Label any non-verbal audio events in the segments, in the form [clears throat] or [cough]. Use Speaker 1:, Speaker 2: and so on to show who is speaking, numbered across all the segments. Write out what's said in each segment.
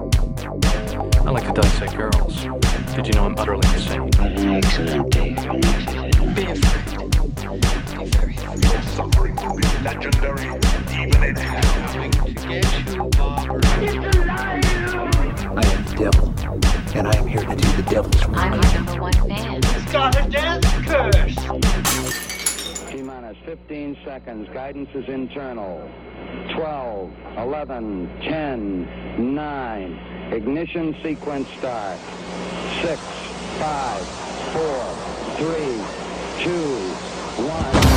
Speaker 1: I like to dissect girls. Did you know I'm utterly insane?
Speaker 2: Be afraid. Be very afraid.
Speaker 3: Suffering to be legendary, even in hell.
Speaker 4: I am the devil, and I am here to do the devil's work.
Speaker 5: I'm your number one fan.
Speaker 6: T minus 15 seconds. Guidance is internal. 12, 11, 10, 9. Ignition sequence start. 6, 5, 4, 3, 2, 1.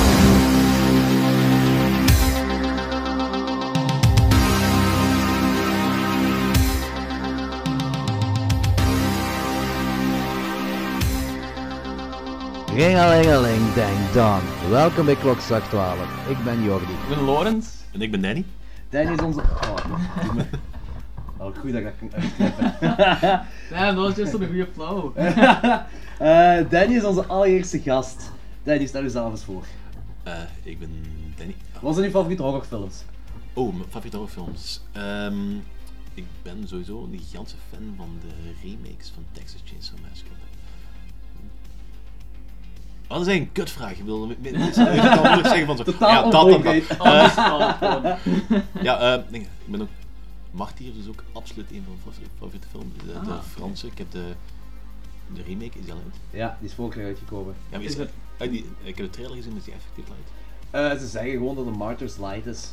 Speaker 7: Ringelingeling, denk dan. Welkom bij Klokzak 12. Ik ben Jordi.
Speaker 8: Ik ben Lorenz.
Speaker 9: En ik ben Danny.
Speaker 7: Dan is onze. Oh, doe me- Wel goed dat ik dat kan uitknippen.
Speaker 8: Ja, dat was juist een goede flow.
Speaker 7: [laughs] Eh, Danny is onze allereerste gast. Danny, stel jezelf eens voor.
Speaker 9: Eh, ik ben Danny.
Speaker 7: Wat zijn je favoriete horrorfilms?
Speaker 9: Oh, mijn favoriete horrorfilms. Ehm, ik ben sowieso een gigantische fan van de remakes van Texas Chainsaw Massacre. Wat is eigenlijk een kutvraag? Ik wil ik kan moeilijk zeggen van zo.
Speaker 7: Totaal
Speaker 9: ja, dat en dat.
Speaker 7: onvoorbereid.
Speaker 9: Eh,
Speaker 8: Oh,
Speaker 9: ja, eh, nee, ik ben ook. Martyr is dus ook absoluut een van mijn favoriete films. De, de
Speaker 8: Ah.
Speaker 9: Franse. Ik heb de. De remake is al uit.
Speaker 7: Ja, die is vorig jaar uitgekomen.
Speaker 9: Ja, maar
Speaker 8: Is
Speaker 9: is,
Speaker 8: het-
Speaker 9: uit die- ik heb de trailer gezien, maar is die effectief uit?
Speaker 7: Eh, ze zeggen gewoon dat de Martyrs Light is.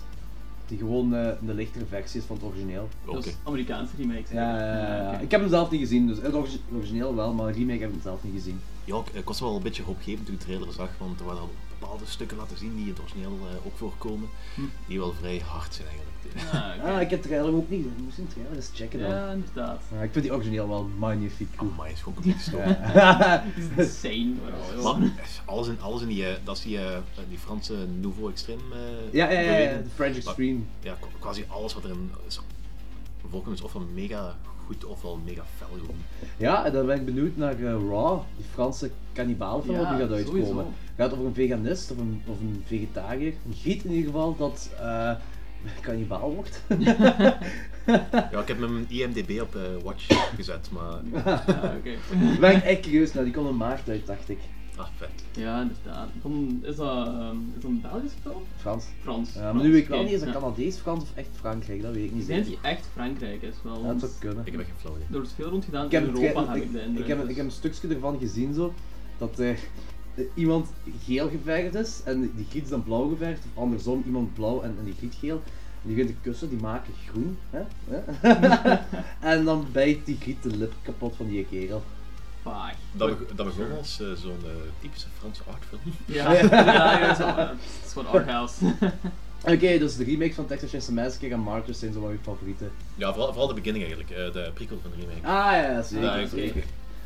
Speaker 7: Die gewoon eh, een lichtere versie is van het origineel.
Speaker 9: Oké.
Speaker 8: Dus Amerikaanse remakes.
Speaker 7: Ja, ja, ja, ja.
Speaker 8: Ah, oké.
Speaker 7: ik heb hem zelf niet gezien, dus het origi- origineel wel, maar de remake heb ik hem zelf niet gezien.
Speaker 9: Ja, ik, ik was wel een beetje hoopgevend toen ik de trailer zag, want er waren al bepaalde stukken laten zien die in het origineel eh, ook voorkomen,
Speaker 7: Hm.
Speaker 9: die wel vrij hard zijn eigenlijk.
Speaker 8: Ah, oké.
Speaker 7: Ah, ik heb de trailer ook niet, ik moest de trailer eens checken dan.
Speaker 8: Ja, inderdaad.
Speaker 7: Ah, ik vind die origineel wel magnifiek goed.
Speaker 9: Maar het Oh is gewoon compleet stom.
Speaker 7: Ja.
Speaker 8: Insane. vooral, joh.
Speaker 9: Maar alles in, alles in die, eh, dat is die, eh, die Franse Nouveau Extreme eh,
Speaker 7: Ja, ja, ja, ja,
Speaker 9: beweging.
Speaker 7: de French Extreme.
Speaker 9: Ja, kwa- quasi alles wat erin is voorkomt is ofwel mega goed ofwel mega fel gewoon.
Speaker 7: Ja, en dan ben ik benieuwd naar eh, Raw, die Franse kannibaalfilm
Speaker 8: Ja,
Speaker 7: die gaat uitkomen.
Speaker 8: sowieso.
Speaker 7: Het gaat over een veganist of een, of een vegetariër, een giet in ieder geval, dat eh [laughs] kannibaal wordt. [laughs]
Speaker 9: Ja, ik heb mijn IMDB op eh, watch [coughs] gezet, maar
Speaker 8: Ja, Ah, oké.
Speaker 7: Daar ben ik echt curieus naar, die komt in maart uit, dacht ik.
Speaker 9: ah, vet.
Speaker 8: Ja, inderdaad. Van, is, dat, ehm, is dat een Belgische film?
Speaker 7: Frans.
Speaker 8: Frans.
Speaker 7: Ja, maar
Speaker 8: Frans,
Speaker 7: nu weet ik wel
Speaker 8: oké.
Speaker 7: niet, is dat
Speaker 8: Ja.
Speaker 7: Canadees, Frans of echt Frankrijk, dat weet ik niet
Speaker 8: Ik denk
Speaker 7: zeker.
Speaker 8: dat die echt Frankrijk is wel.
Speaker 7: Ja, dat
Speaker 8: want
Speaker 7: zou kunnen.
Speaker 9: Ik heb echt geen flauw idee.
Speaker 8: Er wordt veel rond gedaan
Speaker 7: Ik heb,
Speaker 8: in
Speaker 7: het
Speaker 8: Europa,
Speaker 7: ge-
Speaker 8: heb
Speaker 7: ik,
Speaker 8: ik de
Speaker 7: ik
Speaker 8: indruk. dus
Speaker 7: heb, ik heb een stukje ervan gezien zo, dat er iemand geel geverfd is en die giet is dan blauw geverfd, of andersom iemand blauw en, en die giet geel. En die begint te kussen, die maken groen. Hè? Hè? [laughs] en dan bijt die giet de lip kapot van die kerel.
Speaker 8: Vaag.
Speaker 9: Dat, be- dat begon als eh, zo'n eh, typische Franse artfilm.
Speaker 8: Ja, [laughs] ja, ja, zo, eh, het is gewoon [laughs] arthouse.
Speaker 7: Oké, dus de remakes van Texas Chainsaw Massacre en Martyrs zijn zo wel mijn favorieten.
Speaker 9: Ja, vooral, vooral de beginning eigenlijk, eh, de prequel van de remake.
Speaker 7: Ah ja, zeker.
Speaker 9: Ja, oké.
Speaker 7: zeker.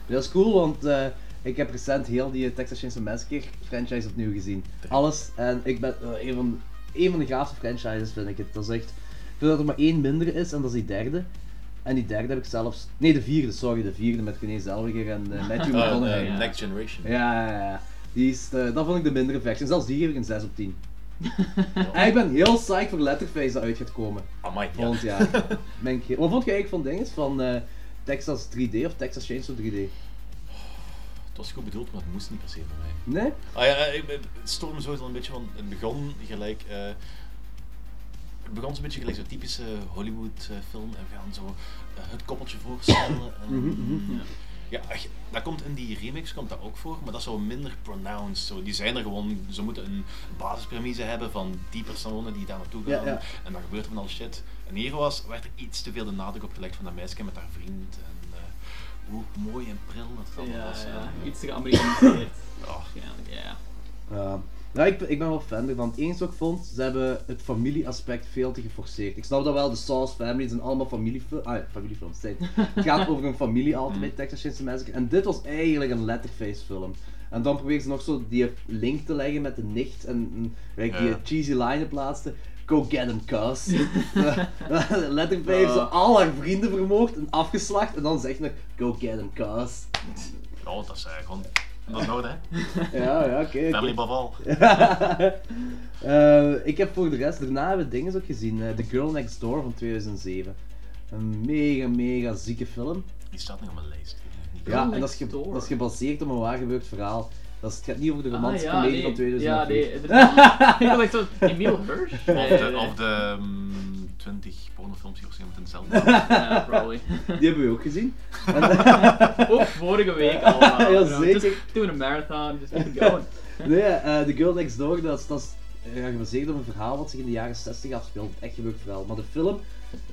Speaker 7: Dat is cool, want eh, ik heb recent heel die Texas Chainsaw Massacre franchise opnieuw gezien. Alles, en ik ben eh, een, van, een van de gaafste franchises vind ik het. Dat is echt, ik vind dat er maar één minder is en dat is die derde. En die derde heb ik zelfs, nee de vierde, sorry, de vierde met René Zellweger en eh, [laughs] Matthew
Speaker 9: Eh,
Speaker 7: McConaughey.
Speaker 9: eh,
Speaker 7: ja.
Speaker 9: Next Generation.
Speaker 7: ja, ja, ja. Die is, eh, dat vond ik de mindere versie. En zelfs die geef ik een 6 op [laughs] 10. en ik ben heel psyched voor Letterface dat uit gaat komen.
Speaker 9: Amai, ja.
Speaker 7: Volgend
Speaker 9: [laughs]
Speaker 7: jaar. Ben ik- Wat vond je eigenlijk van dinges van eh, Texas 3D of Texas Chainsaw 3D?
Speaker 9: Het was goed bedoeld, maar het moest niet per se voor mij.
Speaker 7: Nee?
Speaker 9: Ah ja, eh, ik ben- het stoorde me sowieso een beetje, want het begon gelijk... eh, het begon zo'n beetje gelijk zo'n typische Hollywood eh, film. En we gaan zo eh, het koppeltje voorstellen. En, Mhm, Ja, ach, dat komt in die remix komt dat ook voor, maar dat is wel minder pronounced. Zo, die zijn er gewoon, ze moeten een basispremise hebben van die personen die daar naartoe
Speaker 7: Ja,
Speaker 9: gaan.
Speaker 7: ja.
Speaker 9: En dan gebeurt er van al shit. En hier was, werd er iets te veel de nadruk op gelegd van dat meisje met haar vriend. En eh, hoe mooi en pril dat het allemaal
Speaker 8: Ja,
Speaker 9: was.
Speaker 8: ja.
Speaker 9: En,
Speaker 8: Iets geamerikaniseerd.
Speaker 9: [laughs] oh,
Speaker 8: Waarschijnlijk, ja.
Speaker 7: Ja. Nou, ik, ben- ik ben wel fan ervan. Het enige wat ik vond, ze hebben het familieaspect veel te geforceerd. Ik snap dat wel, de Sauce Family zijn allemaal familiefilms. Ah, ja, familiefilms, zijn. Het gaat over een familie altijd
Speaker 9: Mm-hmm.
Speaker 7: bij Texas Chainsaw Massacre. En dit was eigenlijk een Letterface film. En dan probeer ze nog zo die link te leggen met de nicht en, en waar ik die
Speaker 9: Ja.
Speaker 7: cheesy line plaatste. Go get him, cuz.
Speaker 9: [laughs]
Speaker 7: [laughs] Letterface heeft ze al haar vrienden vermoord en afgeslacht. En dan zegt ze nog, go get him, cuz.
Speaker 9: ja, dat is eh, gewoon Dat
Speaker 7: [laughs]
Speaker 9: is nodig, hè?
Speaker 7: Ja, ja, oké. oké.
Speaker 9: Family above all.
Speaker 7: [laughs] Eh, ik heb voor de rest, daarna hebben we dingen ook gezien. eh, The Girl Next Door van 2007. Een mega, mega zieke film.
Speaker 9: Die staat nog op mijn lijst. Niet
Speaker 7: Ja, en dat is,
Speaker 8: Next
Speaker 7: ge-
Speaker 8: Door.
Speaker 7: dat is gebaseerd op een waargebeurd verhaal. Dat is, het gaat niet over de
Speaker 8: Ah,
Speaker 7: romantische
Speaker 8: ja,
Speaker 7: comedie
Speaker 8: nee.
Speaker 7: van 2004.
Speaker 8: Ja, nee.
Speaker 7: [laughs]
Speaker 8: inderdaad. [laughs] Ik had echt zo, Emile Hirsch? Nee,
Speaker 9: Of
Speaker 8: nee,
Speaker 9: de,
Speaker 8: nee.
Speaker 9: of de mm, 20 pornofilms die op zich met hetzelfde.
Speaker 7: [laughs]
Speaker 8: Ja, probably.
Speaker 7: Die hebben we ook
Speaker 8: [laughs]
Speaker 7: gezien. En-
Speaker 8: Ook vorige week
Speaker 7: [laughs]
Speaker 8: allemaal.
Speaker 7: Ja,
Speaker 8: you know,
Speaker 7: zeker.
Speaker 8: just Doing a marathon, dus just [laughs]
Speaker 7: [laughs]
Speaker 8: keep it going.
Speaker 7: nee, eh, The Girl Next Door, dat is, dat is eh, gebaseerd op een verhaal wat zich in de jaren 60 afspeelt. Een Echt gebeurd verhaal. Maar de film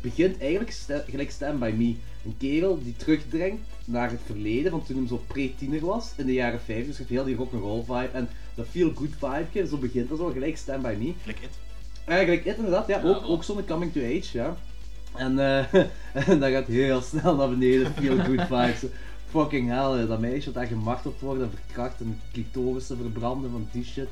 Speaker 7: begint eigenlijk sta- gelijk Stand By Me. Een kerel die terugdringt naar het verleden, van toen hem zo pre-tiener was, in de jaren 50. Dus je hebt heel die rock'n'roll vibe en dat feel-good vibe. Zo begint dat zo, gelijk Stand By Me.
Speaker 9: Klik it.
Speaker 7: Eigenlijk, het inderdaad, ja, ook,
Speaker 8: Ja.
Speaker 7: ook zonder coming to age, ja. En, eh [laughs] en dat gaat heel snel naar beneden, feel good vibes. Fucking hell, ja, dat meisje dat daar gemarteld wordt en verkracht en clitoris te verbranden van die shit.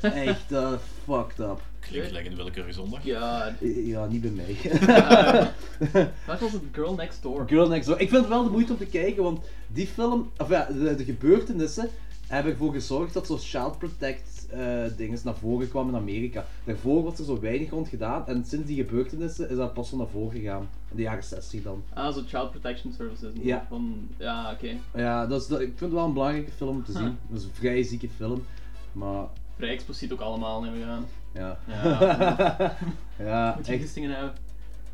Speaker 7: Echt, eh, fucked up.
Speaker 9: Klik like in willekeurige zondag.
Speaker 8: God.
Speaker 7: Eh, Ja, niet bij mij. [laughs]
Speaker 8: Dat was het Girl Next Door.
Speaker 7: Girl Next Door. Ik vind het wel de moeite om te kijken, want die film, of ja, de, de gebeurtenissen hebben ervoor gezorgd dat zo'n child protect eh dingen naar voren kwamen in Amerika. Daarvoor was er zo weinig rond gedaan en sinds die gebeurtenissen is dat pas zo naar voren gegaan. In de jaren 60 dan.
Speaker 8: Ah, zo Child Protection Services.
Speaker 7: Ja.
Speaker 8: Van, ja, oké.
Speaker 7: Ja, dat is, dat, ik vind het wel een belangrijke film om te zien.
Speaker 8: Huh.
Speaker 7: Dat is een vrij zieke film, maar
Speaker 8: Vrij expliciet ook allemaal, neem ik aan.
Speaker 7: ja.
Speaker 8: Ja.
Speaker 7: [laughs] ja,
Speaker 8: Moet je
Speaker 7: echt.
Speaker 8: gistingen hebben.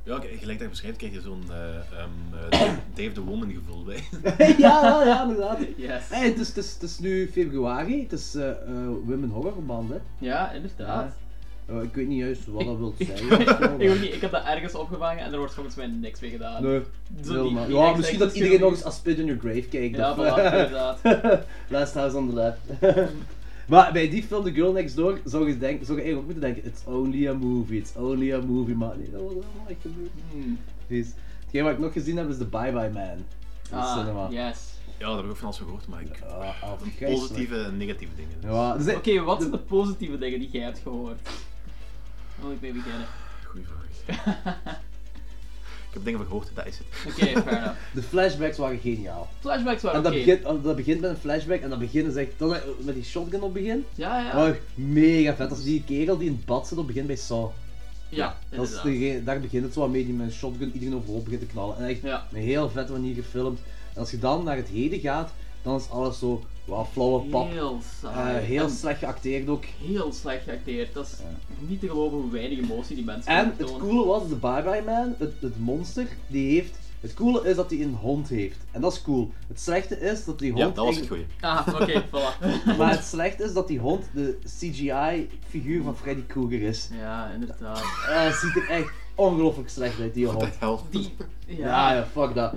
Speaker 9: Ja, k- gelijk dat je beschrijft, krijg je zo'n eh, ehm, eh, Dave the Woman gevoel bij.
Speaker 7: ja, ja, inderdaad.
Speaker 8: Yes.
Speaker 7: Hey, het, is, het, is, het is nu februari, het is eh eh, Women Horror Band, hè.
Speaker 8: Ja, inderdaad.
Speaker 7: Eh, ik weet niet juist wat dat
Speaker 8: [laughs]
Speaker 7: wil zeggen.
Speaker 8: ik, ook niet, ik heb dat ergens opgevangen en er wordt volgens mij niks mee gedaan.
Speaker 7: Nee,
Speaker 8: Zo
Speaker 7: heel
Speaker 8: die-
Speaker 7: maar.
Speaker 8: die
Speaker 7: Ja,
Speaker 8: exact
Speaker 7: misschien
Speaker 8: is
Speaker 7: dat iedereen nog
Speaker 8: gewoon-
Speaker 7: eens A Spit in Your Grave kijkt.
Speaker 8: Ja,
Speaker 7: of,
Speaker 8: voilà, inderdaad.
Speaker 7: [laughs] Last House on the Left. [laughs] maar bij die film The Girl Next Door zou je, denk, zou je eigenlijk ook moeten denken, it's only a movie, it's only a movie, maar nee, dat was helemaal echt een movie.
Speaker 8: Hmm.
Speaker 7: Precies. Hetgeen wat ik nog gezien heb is The Bye Bye Man. In de cinema.
Speaker 8: Ah, yes.
Speaker 9: [laughs] Ja, dat heb ik ook van alles van gehoord, maar ik...
Speaker 7: Ah, ah, vreselijk.
Speaker 9: Positieve en negatieve dingen. Dus.
Speaker 7: Ja, dus,
Speaker 8: Oké, wat zijn de positieve dingen die jij hebt gehoord? Daar wil ik mee beginnen. [laughs]
Speaker 9: Goeie vraag. ik heb dingen van gehoord, dat is het.
Speaker 8: Oké, fair enough.
Speaker 7: De flashbacks waren geniaal.
Speaker 8: Flashbacks waren
Speaker 7: En
Speaker 8: oké.
Speaker 7: dat, begint, oh, dat begint met een flashback en dat begin is echt, dat, met die shotgun op het begin.
Speaker 8: Ja, ja.
Speaker 7: Oh, mega vet. Dat is die kerel die in het bad zit op het begin bij Saw.
Speaker 8: ja,
Speaker 7: Dat is
Speaker 8: inderdaad.
Speaker 7: degene- daar begint het zo wat mee, die met een shotgun iedereen overhoop begint te knallen. En echt
Speaker 8: Ja.
Speaker 7: een heel vette manier gefilmd. En als je dan naar het heden gaat, dan is alles zo wat flauwe pap. Heel,
Speaker 8: Heel saai.
Speaker 7: heel
Speaker 8: En
Speaker 7: slecht geacteerd ook.
Speaker 8: heel slecht geacteerd. Dat is niet te geloven hoe weinig emotie die mensen
Speaker 7: En
Speaker 8: kunnen
Speaker 7: het
Speaker 8: tonen.
Speaker 7: coole was, de Bye Bye Man, het, het monster, die heeft... Het coole is dat hij een hond heeft. En dat is cool. Het slechte is dat die hond...
Speaker 9: [laughs] Ja, dat was het
Speaker 7: eigenlijk-
Speaker 9: goeie.
Speaker 8: Ah, oké,
Speaker 7: [laughs]
Speaker 8: voilà.
Speaker 7: Maar het slechte is dat die hond de CGI-figuur van Freddy Krueger is.
Speaker 8: Ja, inderdaad.
Speaker 7: Eh, het ziet er echt ongelooflijk slecht uit, die hond.
Speaker 9: What the hell?
Speaker 8: Die... Ja,
Speaker 7: Ja, ja, fuck dat.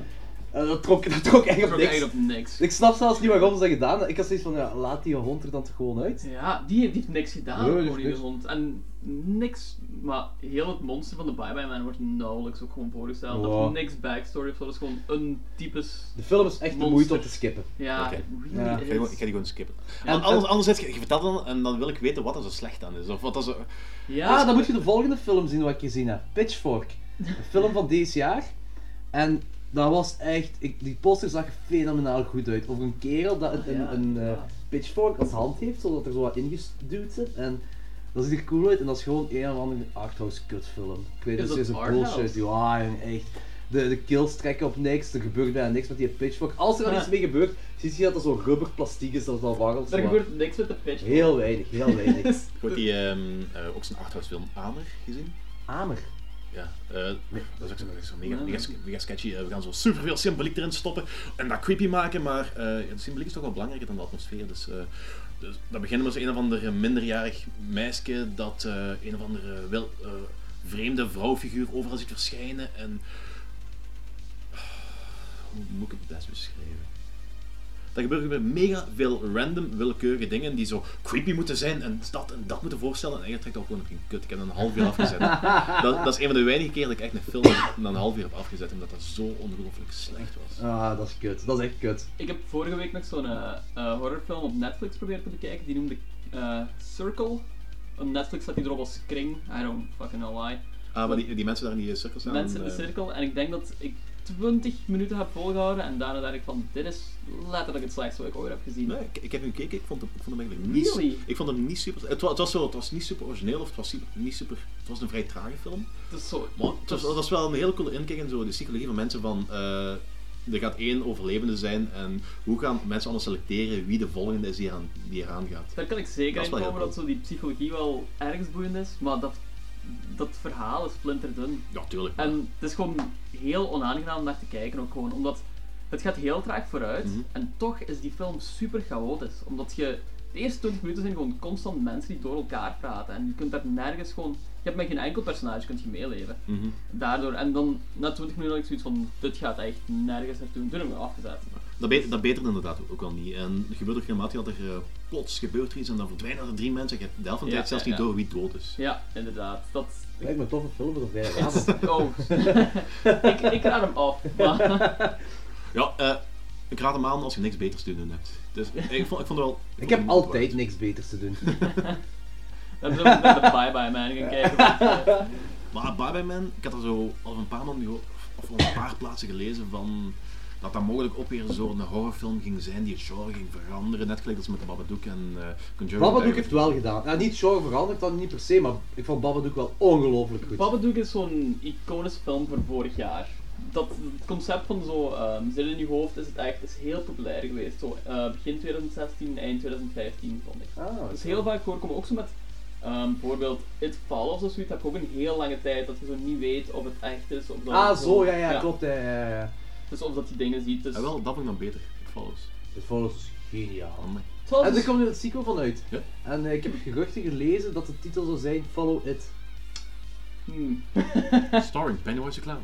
Speaker 7: Eh, dat, trok, [laughs] dat trok echt
Speaker 8: ik
Speaker 7: op
Speaker 8: trok
Speaker 7: niks.
Speaker 8: eigenlijk op niks.
Speaker 7: Ik snap zelfs niet waarom ze dat gedaan hebben. Ik had zoiets van, ja, laat die hond er dan toch gewoon uit.
Speaker 8: Ja, die heeft, die heeft niks gedaan,
Speaker 7: Nee, die
Speaker 8: gewoon
Speaker 7: heeft
Speaker 8: die hond. En niks, maar heel het monster van de Bye Bye Man wordt nauwelijks ook gewoon voorgesteld.
Speaker 7: Ja.
Speaker 8: Of niks backstory of zo, dat is gewoon een typisch...
Speaker 7: De film is echt de
Speaker 8: Monster.
Speaker 7: moeite om te skippen.
Speaker 8: Ja,
Speaker 9: Oké.
Speaker 8: it
Speaker 7: Ja.
Speaker 9: Ik
Speaker 8: really
Speaker 9: ga die
Speaker 8: is.
Speaker 9: gewoon- ik ga die gewoon skippen.
Speaker 7: En-
Speaker 9: Want anders, anders zet je, je vertelt dan en dan wil ik weten wat er zo slecht aan is. Of wat er zo...
Speaker 8: Ja,
Speaker 7: Ah, dan moet je de volgende film zien wat ik gezien heb. Pitchfork. Een film van deze jaar. En dat was echt... Ik, die poster zag er fenomenaal goed uit. Over een kerel dat een,
Speaker 8: ja,
Speaker 7: een, een eh,
Speaker 8: ja.
Speaker 7: pitchfork als hand heeft, zodat er zo wat ingeduwd zit. En dat ziet er cool uit. En dat is gewoon een of andere arthouse kutfilm. Ik weet
Speaker 8: Is
Speaker 7: dat
Speaker 8: dat
Speaker 7: is een
Speaker 8: arthouse?
Speaker 7: bullshit. Ja, jong, echt. De, de kills trekken op niks, er gebeurt bijna niks met die pitchfork. Als er dan
Speaker 8: Ja.
Speaker 7: iets mee gebeurt, zie je dat er zo rubber plastic is dat al waggelt.
Speaker 8: er
Speaker 7: zo wat.
Speaker 8: gebeurt niks met de pitch.
Speaker 7: Heel weinig, heel
Speaker 8: [laughs]
Speaker 7: weinig.
Speaker 9: Goed, die, ehm, eh, ook zijn arthouse film Amer gezien.
Speaker 7: Amer.
Speaker 9: Ja, eh, dat is ook zo, dat is zo mega, mega, mega sketchy. Eh, we gaan zo superveel symboliek erin stoppen en dat creepy maken, maar eh, ja, de symboliek is toch wel belangrijker dan de atmosfeer. Dus, eh dus dat beginnen met zo'n een of ander eh, minderjarig meisje dat eh, een of andere wel, eh, vreemde vrouwfiguur overal ziet verschijnen en... Hoe moet ik het best beschrijven? Daar gebeuren weer mega veel random, willekeurige dingen die zo creepy moeten zijn en dat en dat moeten voorstellen. En eigenlijk trekt dat gewoon op een kut. Ik heb er een half uur [laughs] afgezet. dat, dat is een van de weinige keer dat ik echt een film na een half uur heb afgezet, omdat dat zo ongelooflijk slecht was.
Speaker 7: Ah, dat is kut. Dat is echt kut.
Speaker 8: Ik heb vorige week nog zo'n eh, eh, horrorfilm op Netflix proberen te bekijken. Die noemde eh, Circle. Op Netflix staat die erop als Kring. I don't fucking know why.
Speaker 9: Ah, maar die, die mensen daar in die cirkel staan.
Speaker 8: Mensen in de
Speaker 9: eh,
Speaker 8: cirkel. En ik denk dat ik 20 minuten heb volgehouden en daarna dacht ik van, dit is letterlijk het slechtste wat ik ooit heb gezien.
Speaker 9: Nee, ik, ik heb hem gekeken, ik vond hem, ik vond hem eigenlijk niet,
Speaker 8: Really?
Speaker 9: ik vond hem niet super... Het was, het was, zo, het was niet super origineel of het was super, niet super... Het was een vrij trage film.
Speaker 8: Het is zo...
Speaker 9: Maar het was, dat is wel een hele coole inkijk in zo de psychologie van mensen van... eh, er gaat één overlevende zijn en hoe gaan mensen anders selecteren wie de volgende is die eraan, die eraan gaat.
Speaker 8: Daar kan ik
Speaker 9: Dat
Speaker 8: zeker
Speaker 9: is
Speaker 8: in
Speaker 9: wel heel
Speaker 8: komen dat
Speaker 9: cool.
Speaker 8: zo die psychologie wel ergens boeiend is, maar dat, dat verhaal is splinterdun.
Speaker 9: Ja, tuurlijk.
Speaker 8: En het is gewoon heel onaangenaam om naar te kijken ook gewoon, omdat het gaat heel traag vooruit en toch is die film super chaotisch. Omdat je, de eerste 20 minuten zijn gewoon constant mensen die door elkaar praten en je kunt daar nergens gewoon, je hebt met geen enkel personage kunt je meeleven.
Speaker 9: Mhm.
Speaker 8: Daardoor, en dan na 20 minuten had ik zoiets van, dit gaat echt nergens naartoe, toen heb ik me afgezet.
Speaker 9: Dat, beter, dat beterde inderdaad ook al niet. En er gebeurde regelmatig dat er eh, plots gebeurt er iets en dan verdwijnen er drie mensen. Je hebt de helft van de
Speaker 8: Ja,
Speaker 9: tijd zelfs
Speaker 8: ja,
Speaker 9: niet
Speaker 8: ja.
Speaker 9: door wie dood is.
Speaker 8: Ja, inderdaad. Dat,
Speaker 7: Lijkt me een toffe film voor de raad.
Speaker 8: Oh, [laughs] ik, ik raad hem af. Maar, [laughs]
Speaker 9: Ja, eh, ik raad hem aan als je niks beters te doen hebt. Dus eh, ik vond, ik vond het wel...
Speaker 7: Ik
Speaker 9: vond
Speaker 7: heb
Speaker 9: het
Speaker 7: altijd niks beters te
Speaker 8: [laughs]
Speaker 7: doen.
Speaker 8: dan zullen we naar de Bye Bye Man gaan kijken.
Speaker 9: Maar Bye Bye Man, ik had er zo al een paar maanden geho- of al een paar plaatsen gelezen van dat dat mogelijk ook weer zo'n horrorfilm ging zijn die het genre ging veranderen. Net gelijk als met Babadook en eh Conjuring.
Speaker 7: Babadook
Speaker 9: Diaries.
Speaker 7: heeft wel gedaan. Ja, niet genre veranderd, dat niet per se, maar ik vond Babadook wel ongelooflijk goed.
Speaker 8: Babadook is dus zo'n iconische film van vorig jaar. Dat het concept van zo ehm zin in je hoofd is het echt is heel populair geweest. Zo, eh, begin 2016, eind 2015 vond ik.
Speaker 7: Ah,
Speaker 8: Dat is
Speaker 7: oké.
Speaker 8: heel vaak voorkomen, ook zo met ehm, bijvoorbeeld It Follows of zoiets, heb je ook een heel lange tijd dat je zo niet weet of het echt is. Of dat
Speaker 7: Ah,
Speaker 8: het
Speaker 7: zo, ja, ja, klopt. Ja, ja, ja.
Speaker 8: Dus of dat je dingen ziet. Dus...
Speaker 9: Ja, Ah, wel, dat vond ik dan beter. It Follows.
Speaker 7: Het volgens is geniaal.
Speaker 9: Amai.
Speaker 7: [laughs]
Speaker 8: Het was
Speaker 7: En er
Speaker 8: dus-
Speaker 7: komt nu het sequel van uit.
Speaker 9: Ja.
Speaker 7: En eh, ik heb geruchten gelezen dat de titel zou zijn Follow It.
Speaker 8: Hmm.
Speaker 9: Starring Pennywise the Clown.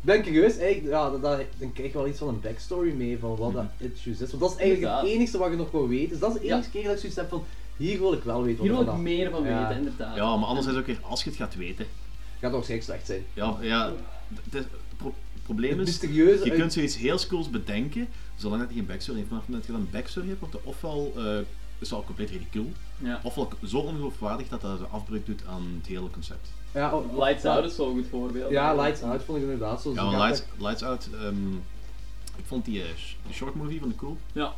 Speaker 7: ben ik geweest, eigenlijk, ja, dat, dat- dan krijg je wel iets van een backstory mee van wat dat It Shoes is. Want dat is eigenlijk het
Speaker 8: Mhm. Inderdaad.
Speaker 7: enige wat je nog wil weten. Dus dat is de
Speaker 8: Ja.
Speaker 7: enige keer dat ik zoiets heb van, hier wil ik wel weten wat
Speaker 8: Hier wil ik
Speaker 7: vanaf-
Speaker 8: meer van
Speaker 7: Ja.
Speaker 8: weten, inderdaad.
Speaker 9: Ja, maar anders is het ook weer, als je het gaat weten.
Speaker 7: Gaat nog steeds slecht zijn.
Speaker 9: Ja, ja. Het is- pro- probleem
Speaker 7: Het
Speaker 9: is,
Speaker 7: mysterieuze
Speaker 9: je
Speaker 7: uit-
Speaker 9: kunt zoiets heel cools bedenken, zolang dat je geen backstory heeft. Maar op het moment dat je dan een backstory hebt, wordt het ofwel eh, is het al compleet ridicuul,
Speaker 8: Ja.
Speaker 9: ofwel zo ongeloofwaardig dat dat een afbreuk doet aan het hele concept.
Speaker 7: Ja, oh,
Speaker 8: Lights
Speaker 7: ja.
Speaker 8: Out is zo'n goed voorbeeld.
Speaker 7: Ja, Lights Out vond ik inderdaad zo.
Speaker 9: Ja, maar Lights, Lights Out, ehm, ik vond die eh, sh- die short movie van de cool
Speaker 8: Ja.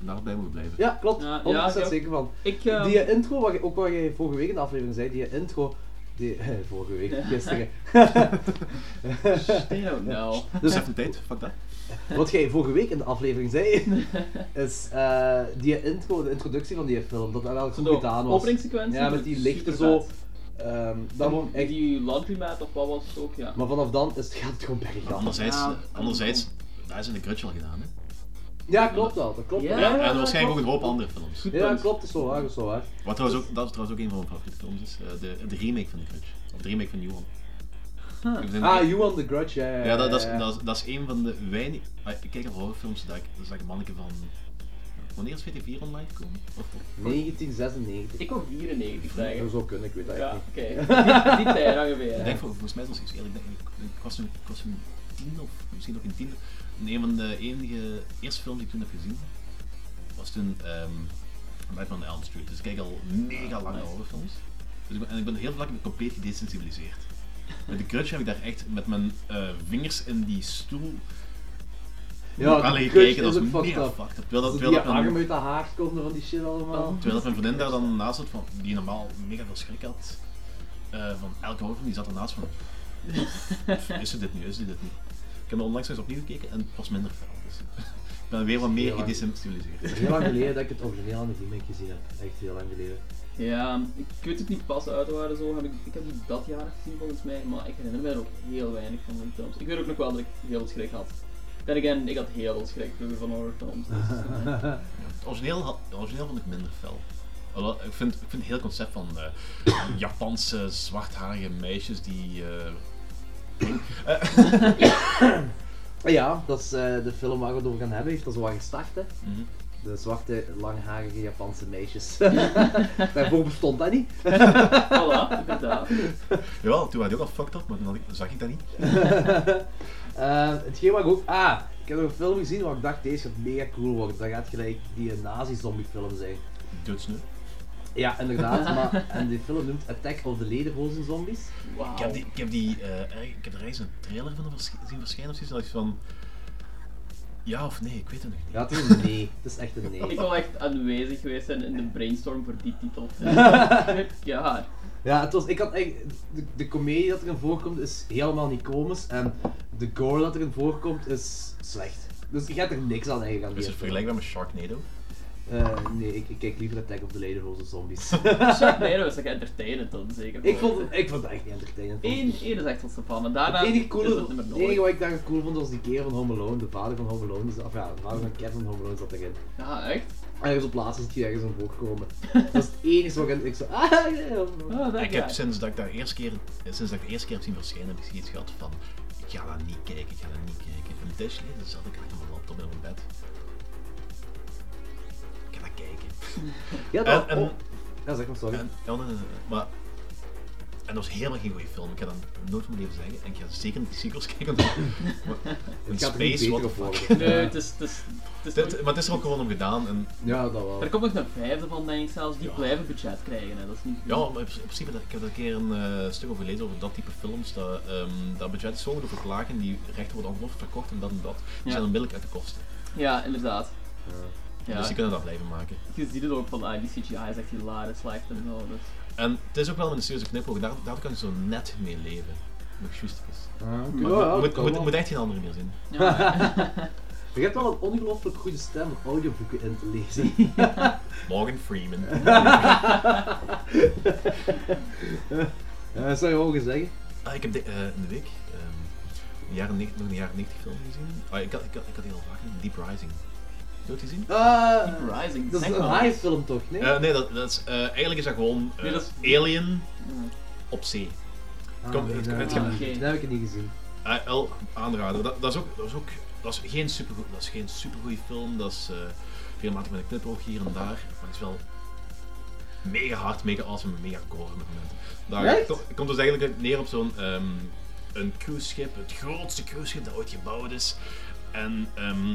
Speaker 9: en daar bij moeten blijven.
Speaker 7: Ja, klopt.
Speaker 8: Ja,
Speaker 7: 100%
Speaker 8: ja,
Speaker 7: zeker van.
Speaker 8: Ik, eh,
Speaker 7: Die eh, intro, wat je, ook wat jij vorige week in de aflevering zei, die eh, intro. Die, [laughs] vorige week, gisteren. [laughs]
Speaker 8: I don't know.
Speaker 9: Dus even tijd, fuck dat.
Speaker 7: Wat jij vorige week in de aflevering
Speaker 8: [laughs]
Speaker 7: zei, is eh, die intro, de introductie van die film, dat dat wel goed
Speaker 8: de
Speaker 7: gedaan was.
Speaker 8: openingssequentie
Speaker 7: Ja,
Speaker 8: is
Speaker 7: met die lichten zo.
Speaker 8: supervet.
Speaker 7: ehm dat wordt echt...
Speaker 8: Die laundromat of wat was het ook, ja.
Speaker 7: Maar vanaf dan is het, gaat het gewoon bergaf.
Speaker 9: Anderzijds,
Speaker 8: Ja.
Speaker 9: anderzijds daar is in de Grudge al gedaan. Hè.
Speaker 7: Ja, klopt dat. Dat klopt.
Speaker 8: Ja.
Speaker 7: wel.
Speaker 9: en
Speaker 8: klopt.
Speaker 9: waarschijnlijk ook een hoop andere films.
Speaker 8: Goed
Speaker 7: Ja,
Speaker 8: punt.
Speaker 7: klopt. Dat is wel waar. Dat is wel waar.
Speaker 9: Wat trouwens ook, dat is trouwens ook een van mijn favoriete films is, eh, de, de remake van de Grudge. Of de remake van Johan. Ik ben-
Speaker 7: Ah, You on the Grudge. Ja, ja,
Speaker 9: Ja, dat, dat,
Speaker 7: ja, ja.
Speaker 9: is, dat, is, dat is een van de weinig. ah, Ik kijk naar horrorfilms, dat ik, dat is dat ik een manneke van. Wanneer is VT4 online gekomen? Of-
Speaker 7: 1996.
Speaker 8: Ik wou 94
Speaker 7: Dat
Speaker 8: zeggen.
Speaker 7: zou kunnen, ik weet dat
Speaker 8: Ja,
Speaker 7: echt niet. [laughs]
Speaker 8: oké. Die tijd ongeveer.
Speaker 9: Ik
Speaker 8: hè.
Speaker 9: denk vol- volgens mij was ik eerlijk, ik, denk- ik, ik was toen, ik was toen tien of misschien nog in tiende. En een van de enige eerste films die ik toen heb gezien was toen ehm Batman Elm Street. Dus ik kijk al mega lange
Speaker 8: Nice.
Speaker 9: horrorfilms. Dus ik ben, en ik ben heel vlak compleet gedesensibiliseerd. Met de crutch heb ik daar echt met mijn eh, vingers in die stoel
Speaker 7: Ja,
Speaker 9: aan
Speaker 7: die
Speaker 9: liggen
Speaker 7: Grudge
Speaker 9: kijken.
Speaker 7: is
Speaker 9: Dat
Speaker 7: ook
Speaker 9: was
Speaker 7: fucked
Speaker 9: mega
Speaker 7: up.
Speaker 9: fucked up. Terwijl dat-
Speaker 7: Als
Speaker 9: terwijl
Speaker 7: die
Speaker 9: dat mijn-
Speaker 7: arm uit de haar komt en van die shit allemaal.
Speaker 9: Terwijl dat mijn vriendin daar dan naast zat, van, die normaal mega veel schrik had eh, van elke horror, die zat ernaast van, is ze dit nu, is ze dit niet? Ik heb er onlangs eens opnieuw gekeken en het was minder fel. Dus [laughs] ik ben weer wat meer
Speaker 7: Heel lang.
Speaker 9: gedesensibiliseerd.
Speaker 7: Heel lang geleden dat ik het origineel aan de remake gezien heb. Echt heel lang geleden.
Speaker 8: Ja, ik weet het niet pas uit waren zo. Heb ik, ik heb die dat jaar gezien volgens mij, maar ik herinner me er ook heel weinig van die films. Ik weet ook nog wel dat ik heel veel schrik had. Then again, ik had heel veel schrik vroeger van horrorfilms. Dus,
Speaker 7: [laughs]
Speaker 8: eh,
Speaker 9: Het origineel, had- het origineel vond ik minder fel. Alhoewel, Ik vind, ik vind het hele concept van eh, Japanse zwartharige meisjes die... eh, [clears throat]
Speaker 7: Ah Ja, dat is eh, de film waar we het over gaan hebben. Heeft dat zo wat gestart, hè?
Speaker 9: mhm.
Speaker 7: De zwarte, langharige Japanse meisjes. [laughs] Daarvoor bestond dat niet.
Speaker 8: voilà, inderdaad.
Speaker 9: [laughs] Jawel, toen waren die ook al fucked up, maar toen had ik, zag ik dat niet.
Speaker 7: Eh, hetgeen wat ik ook... Ah, ik heb nog een film gezien waar ik dacht, deze gaat mega cool worden. Dat gaat gelijk die nazi-zombie film zijn.
Speaker 9: Doodsneu.
Speaker 7: Ja, inderdaad.
Speaker 8: [laughs]
Speaker 7: maar, en die film noemt Attack of the Lederhosen Zombies.
Speaker 8: Wauw.
Speaker 9: Ik heb, die, ik, heb die, eh, er- ik heb er eens een trailer van vers- zien verschijnen of zoiets. En dacht ik van. Ja of nee, ik weet het nog niet.
Speaker 7: Ja, het
Speaker 9: [laughs]
Speaker 7: is een nee. Het is echt een
Speaker 8: Ik
Speaker 7: nee.
Speaker 8: wil echt aanwezig geweest zijn in de brainstorm voor die
Speaker 7: [laughs]
Speaker 8: titel. ja.
Speaker 7: Ja, het was, ik had echt, de, de comedie dat erin voorkomt is helemaal niet komisch. En de gore dat erin voorkomt is slecht. Dus je hebt er niks aan eigenlijk aan die
Speaker 9: Is
Speaker 7: film.
Speaker 9: het vergelijkbaar met Sharknado?
Speaker 7: Eh, nee, ik, ik kijk liever Attack of the Lederhosen
Speaker 9: [laughs]
Speaker 7: Zombies.
Speaker 8: Nee, dat is echt entertainend dan zeker.
Speaker 7: ik, vond, het- ik vond het echt niet entertainend.
Speaker 8: Eén, één is echt wat ze van, maar daarna
Speaker 7: Het enige,
Speaker 8: is
Speaker 7: coole,
Speaker 8: het nummer
Speaker 7: het
Speaker 8: nooit.
Speaker 7: enige wat ik daar cool vond was die keer van Home Alone. De vader van Home Alone, zat- of ja, de vader van Kevin van Home Alone zat erin.
Speaker 8: Ja, echt?
Speaker 7: Ergens op laatst is die ergens aan voorkomen. Dat is het enige wat ik, ik zo... [laughs] Ah, ja, ja.
Speaker 8: Oh, dat
Speaker 9: Ik heb
Speaker 8: ja.
Speaker 9: sinds dat ik, daar eerst keer, sinds dat ik de eerste keer heb zien verschijnen, heb ik zoiets gehad van. Ik ga dat niet kijken, ik ga dat niet kijken. En tijdje geleden zat ik achter mijn laptop in mijn bed. Ik ga dat kijken.
Speaker 7: Ja, dat,
Speaker 9: En, en,
Speaker 7: ja, zeg maar sorry.
Speaker 9: en, ja, nee, nee, nee, maar, en dat was helemaal geen goede film. Ik ga dat nooit van mijn leven zeggen. En ik ga zeker niet de sequels kijken. want- maar- Een
Speaker 7: gaat er niet
Speaker 9: space,
Speaker 7: beter
Speaker 9: what the
Speaker 7: op
Speaker 9: fuck.
Speaker 7: worden. [laughs]
Speaker 8: Nee, het is... Het is, het is
Speaker 9: Dit, maar het is er ook gewoon om gedaan. En,
Speaker 7: Ja, dat wel.
Speaker 8: Er komt nog een vijfde van, denk ik zelfs. Die
Speaker 9: Ja.
Speaker 8: blijven budget krijgen, hè. Dat is niet...
Speaker 9: ja, maar in principe, ik heb er een keer een eh, stuk over gelezen over dat type films. Dat, ehm, dat budget is zo moeten verlagen, die rechten worden ongelooflijk verkocht en dat en dat. Die
Speaker 8: Ja.
Speaker 9: zijn onmiddellijk uit de kosten.
Speaker 8: Ja, inderdaad. Ja,
Speaker 9: Dus die kunnen dat blijven maken.
Speaker 8: je ziet het ook van, ah, die CGI is echt hilarisch, lijkt en zo. Dus.
Speaker 9: En het is ook wel met een serieuze knipoog, daar, daar kan ik zo net mee leven. Nog juist is.
Speaker 7: Ah, oké.
Speaker 9: Maar
Speaker 7: Ja, ja,
Speaker 9: moet-
Speaker 7: dat
Speaker 9: moet,
Speaker 7: kan
Speaker 9: moet,
Speaker 7: wel.
Speaker 9: moet echt geen andere meer zien.
Speaker 8: Ja,
Speaker 7: Je hebt wel een ongelooflijk goede stem om audioboeken in te lezen. [laughs]
Speaker 9: Morgan Freeman.
Speaker 7: Eh, zou je mogen zeggen?
Speaker 9: Ah, ik heb de- eh, in de week ehm, een jaren, neg- nog een jaren 90 film gezien. Ah, ik, had, ik, had, ik had die al vaak gezien, Deep Rising. Heb je dat gezien?
Speaker 7: Ah,
Speaker 8: Rising,
Speaker 7: dat is
Speaker 8: zeg
Speaker 7: een
Speaker 8: maar.
Speaker 7: high film toch? Nee?
Speaker 9: Eh, nee, dat, dat is, eh, eigenlijk is dat gewoon eh,
Speaker 8: Nee, dat
Speaker 9: Alien op zee.
Speaker 7: Ah,
Speaker 9: kom-
Speaker 7: nee,
Speaker 9: het-
Speaker 7: dat
Speaker 9: het-
Speaker 7: heb ik niet
Speaker 8: het-
Speaker 7: gezien. Dat heb ik niet gezien.
Speaker 9: Eh, wel aanraden. Dat, dat, is ook, dat is ook dat is geen supergoed, dat is geen supergoeie film. Dat is eh regelmatig met een knipoog hier en daar. Maar het is wel mega hard, mega awesome, mega core op het moment. Daar
Speaker 7: Echt?
Speaker 9: to- komt dus eigenlijk neer op zo'n ehm, een cruiseschip, het grootste cruiseschip dat ooit gebouwd is. En ehm,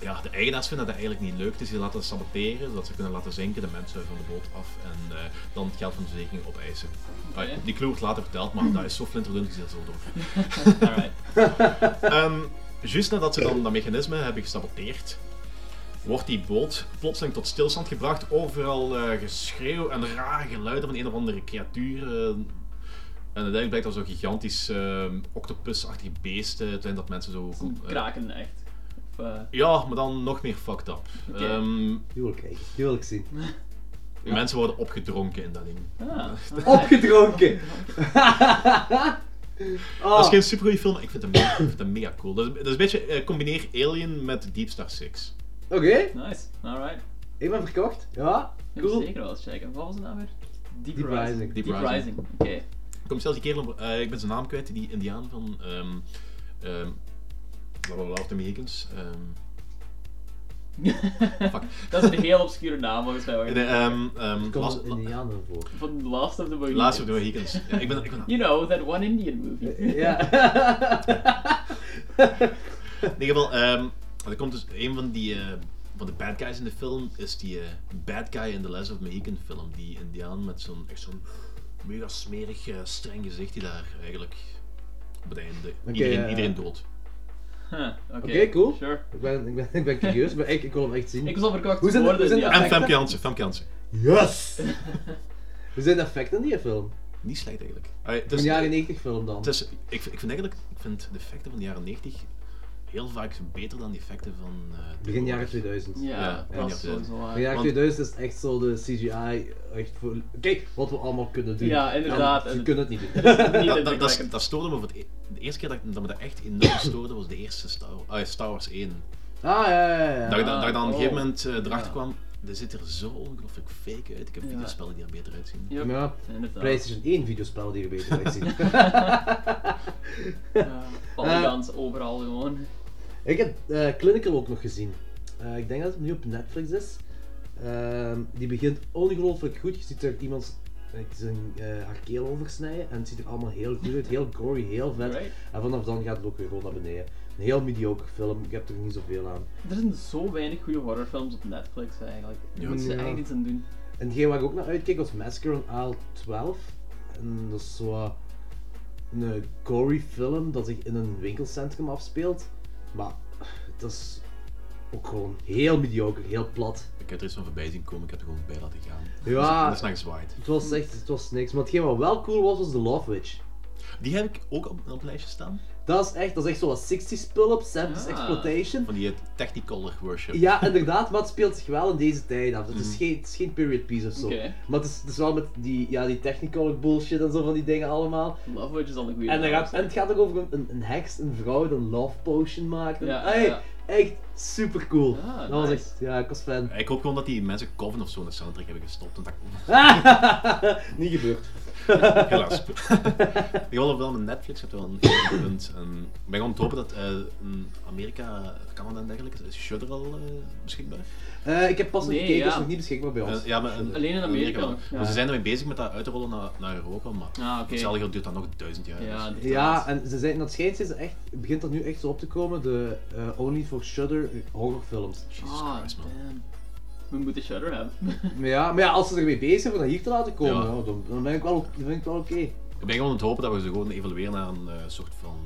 Speaker 9: ja, de eigenaars vinden dat eigenlijk niet leuk. Dus die laten het saboteren, zodat ze kunnen laten zinken, de mensen van de boot af en eh, dan het geld van de verzekering opeisen. Ah,
Speaker 8: Oké.
Speaker 9: die clue wordt later verteld, maar dat is zo flinterdun gezet zo door.
Speaker 8: Alright.
Speaker 9: Ehm juist nadat ze dan dat mechanisme hebben gesaboteerd, wordt die boot plotseling tot stilstand gebracht. Overal eh, geschreeuw en rare geluiden van een of andere creatuur. eh. en uiteindelijk blijkt dat zo'n gigantisch ehm, octopusachtig beest eh, te zijn dat mensen zo... eh,
Speaker 8: Kraken, echt. Of, eh,
Speaker 9: ja, maar dan nog meer fucked up.
Speaker 8: Oké.
Speaker 9: Ehm,
Speaker 7: Die wil ik kijken. Die wil ik
Speaker 9: [laughs]
Speaker 7: zien.
Speaker 9: Mensen worden opgedronken in dat ding. [laughs]
Speaker 8: ah,
Speaker 7: Opgedronken!
Speaker 9: Dat
Speaker 7: Ah,
Speaker 9: is geen supergoeie film, maar ik vind hem, ik vind hem mega cool. Dat is, dat is een beetje eh, combineer Alien met Deep Star 6.
Speaker 7: Oké,
Speaker 8: nice. Alright.
Speaker 7: ik ben verkocht. Ja,
Speaker 8: Ik moet
Speaker 7: cool.
Speaker 8: zeker wel eens checken. Wat was het nou weer? Deep,
Speaker 7: Deep Rising.
Speaker 8: Deep,
Speaker 9: Deep Rising.
Speaker 8: Rising, oké.
Speaker 9: Ik kom zelfs die kerel, op- eh, ik ben zijn naam kwijt, die indiaan van ehm ehm blablabla of de Mohicans. ehm, Fuck.
Speaker 8: [laughs] dat is een heel obscure naam volgens mij. hoor.
Speaker 9: nee, ehm, ehm,
Speaker 7: Komt
Speaker 9: Last-
Speaker 7: een Indianen
Speaker 9: [laughs]
Speaker 7: voor.
Speaker 8: Van The Last of the Mohicans.
Speaker 9: Last of the Mohicans. Ja, ik ben, ik ben,
Speaker 8: You know, that one Indian movie.
Speaker 7: Eh, Ja. [laughs]
Speaker 9: in ieder geval, ehm, er komt dus een van die eh, van de bad guys in de film is die eh, bad guy in de Last of the Mohican film, die indiaan met zo'n echt zo'n mega smerig eh, streng gezicht die daar eigenlijk op het einde iedereen,
Speaker 7: eh,
Speaker 9: iedereen dood.
Speaker 8: [laughs] Huh, Oké,
Speaker 7: Oké, cool.
Speaker 8: Sure.
Speaker 7: Ik ben, ik ben, ik ben curieus, maar ik, ik wil hem echt zien.
Speaker 8: Ik was al verkocht
Speaker 7: Hoe zijn de-
Speaker 8: geworden,
Speaker 7: hoe zijn de
Speaker 8: ja.
Speaker 7: effecten?
Speaker 9: En Femke Jansen, Femke Jansen.
Speaker 7: [laughs] Yes! Hoe zijn de effecten in die film?
Speaker 9: Niet slecht eigenlijk. Allee, het
Speaker 7: Een
Speaker 9: is-
Speaker 7: jaren 90 film dan.
Speaker 9: Het is, ik, vind- ik vind eigenlijk, ik vind de effecten van de jaren 90 heel vaak beter dan de effecten van... eh,
Speaker 7: Begin
Speaker 9: tegenwoordig.
Speaker 7: jaren 2000.
Speaker 8: Ja,
Speaker 9: Ja,
Speaker 8: dat
Speaker 9: ja,
Speaker 8: was
Speaker 9: ja.
Speaker 8: sowieso waar.
Speaker 7: Begin jaren
Speaker 9: Want-
Speaker 7: 2000 is echt zo de CGI. Echt voor... Kijk wat we allemaal kunnen doen.
Speaker 8: Ja, inderdaad.
Speaker 7: Ja,
Speaker 8: En-
Speaker 7: we kunnen het niet doen. [laughs] Ah,
Speaker 8: Niet
Speaker 9: Dat, dat, dat,
Speaker 8: indrukwekkend.
Speaker 9: dat stoorde me voor het e- De eerste keer dat, ik- dat me dat echt
Speaker 7: [coughs]
Speaker 9: enorm stoorde was de eerste Star, ah, Star Wars 1.
Speaker 7: Ah ja, ja, ja.
Speaker 9: Dat, ik dan- dat ik dan op een gegeven
Speaker 8: oh.
Speaker 9: moment eh, erachter
Speaker 8: Ja.
Speaker 9: kwam, er ziet er zo ongelooflijk fake uit. Ik heb
Speaker 8: Ja.
Speaker 9: videospellen die er beter uitzien.
Speaker 8: Yep,
Speaker 7: Ja,
Speaker 8: inderdaad.
Speaker 7: PlayStation 1 videospel die we beter uitzien. [laughs]
Speaker 8: Ja, polygons overal gewoon.
Speaker 7: Ik heb eh, Clinical ook nog gezien. Eh, ik denk dat het nu op Netflix is. Ehm, die begint ongelooflijk goed. Je ziet er iemand eh, zijn eh, haar keel oversnijden en het ziet er allemaal heel goed uit. Heel gory, heel vet.
Speaker 8: Right.
Speaker 7: En vanaf dan gaat het ook weer gewoon naar beneden. Een heel mediocre film, ik heb er niet zoveel aan.
Speaker 8: Er zijn zo weinig goede horrorfilms op Netflix eigenlijk. Daar
Speaker 9: Ja.
Speaker 8: moeten ze
Speaker 7: Ja.
Speaker 8: echt iets aan doen.
Speaker 7: En hetgeen waar ik ook naar uitkeek was Massacre on Isle 12. En dat is zo wat een eh, gory film dat zich in een winkelcentrum afspeelt. Maar dat is ook gewoon heel mediocre, heel plat.
Speaker 9: Ik heb er eens van voorbij zien komen, ik heb er gewoon bij laten gaan.
Speaker 7: Ja.
Speaker 9: Dat is naar gezwaaid.
Speaker 7: Het was echt, het was niks. Maar hetgeen wat wel cool was, was The Love Witch.
Speaker 9: Die heb ik ook op, op een lijstje staan.
Speaker 7: Dat is echt, dat is echt zo'n 60s pull-up, 70s
Speaker 8: Ah.
Speaker 7: dus exploitation.
Speaker 9: Van die eh, Technicolor worship.
Speaker 7: Ja, inderdaad, maar het speelt zich wel in deze tijd af. Het is, geen, het is geen period piece of zo.
Speaker 8: Hmm. Oké.
Speaker 7: Maar het is, het is wel met die, ja, die technicolor bullshit en zo van die dingen allemaal.
Speaker 8: Love Witch is al een goede
Speaker 7: En, dan
Speaker 8: naam.
Speaker 7: gaat, en het gaat ook over een, een, een heks, een vrouw die een love potion maakt. En-
Speaker 8: Ja,
Speaker 7: hey,
Speaker 8: ja.
Speaker 7: Echt super cool.
Speaker 8: Ah,
Speaker 7: dat was
Speaker 8: nice.
Speaker 7: echt, ja, ik was
Speaker 8: [laughs]
Speaker 7: fan.
Speaker 9: Ik hoop gewoon dat die mensen Coven of zo in de soundtrack hebben gestopt. En dat
Speaker 7: [laughs] Niet gebeurd.
Speaker 9: helaas. ik wil wel met Netflix, heb wel een heel punt. En ik ben gewoon te hopen dat eh, in Amerika, Canada en dergelijke, is Shudder al eh, beschikbaar.
Speaker 7: [laughs] Eh, ik heb pas nog
Speaker 8: Nee,
Speaker 7: gekeken,
Speaker 8: ja.
Speaker 7: is nog niet beschikbaar bij ons.
Speaker 9: Eh, ja, maar in-
Speaker 8: Alleen in Amerika
Speaker 9: wel.
Speaker 8: nog, ja.
Speaker 9: Maar ze zijn ermee bezig met dat uitrollen naar, naar Europa, maar
Speaker 8: Ah, oké.
Speaker 9: hetzelfde geld duurt dat nog duizend jaar.
Speaker 8: Ja,
Speaker 9: dus.
Speaker 7: Ja, en ze zijn, dat schijnt zijn ze echt, begint dat nu echt zo op te komen, de eh, Only for Shudder eh, horrorfilms.
Speaker 9: Jesus
Speaker 8: Ah,
Speaker 9: Christ, man.
Speaker 8: damn. We moeten Shudder hebben. [laughs]
Speaker 7: Maar ja, maar ja, als ze ermee bezig zijn om dat hier te laten komen,
Speaker 9: Ja.
Speaker 7: ja, dan, dan ben ik wel, o- dan ben ik wel oké.
Speaker 9: Ik ben gewoon aan het hopen dat we ze gewoon evalueren naar een eh, soort van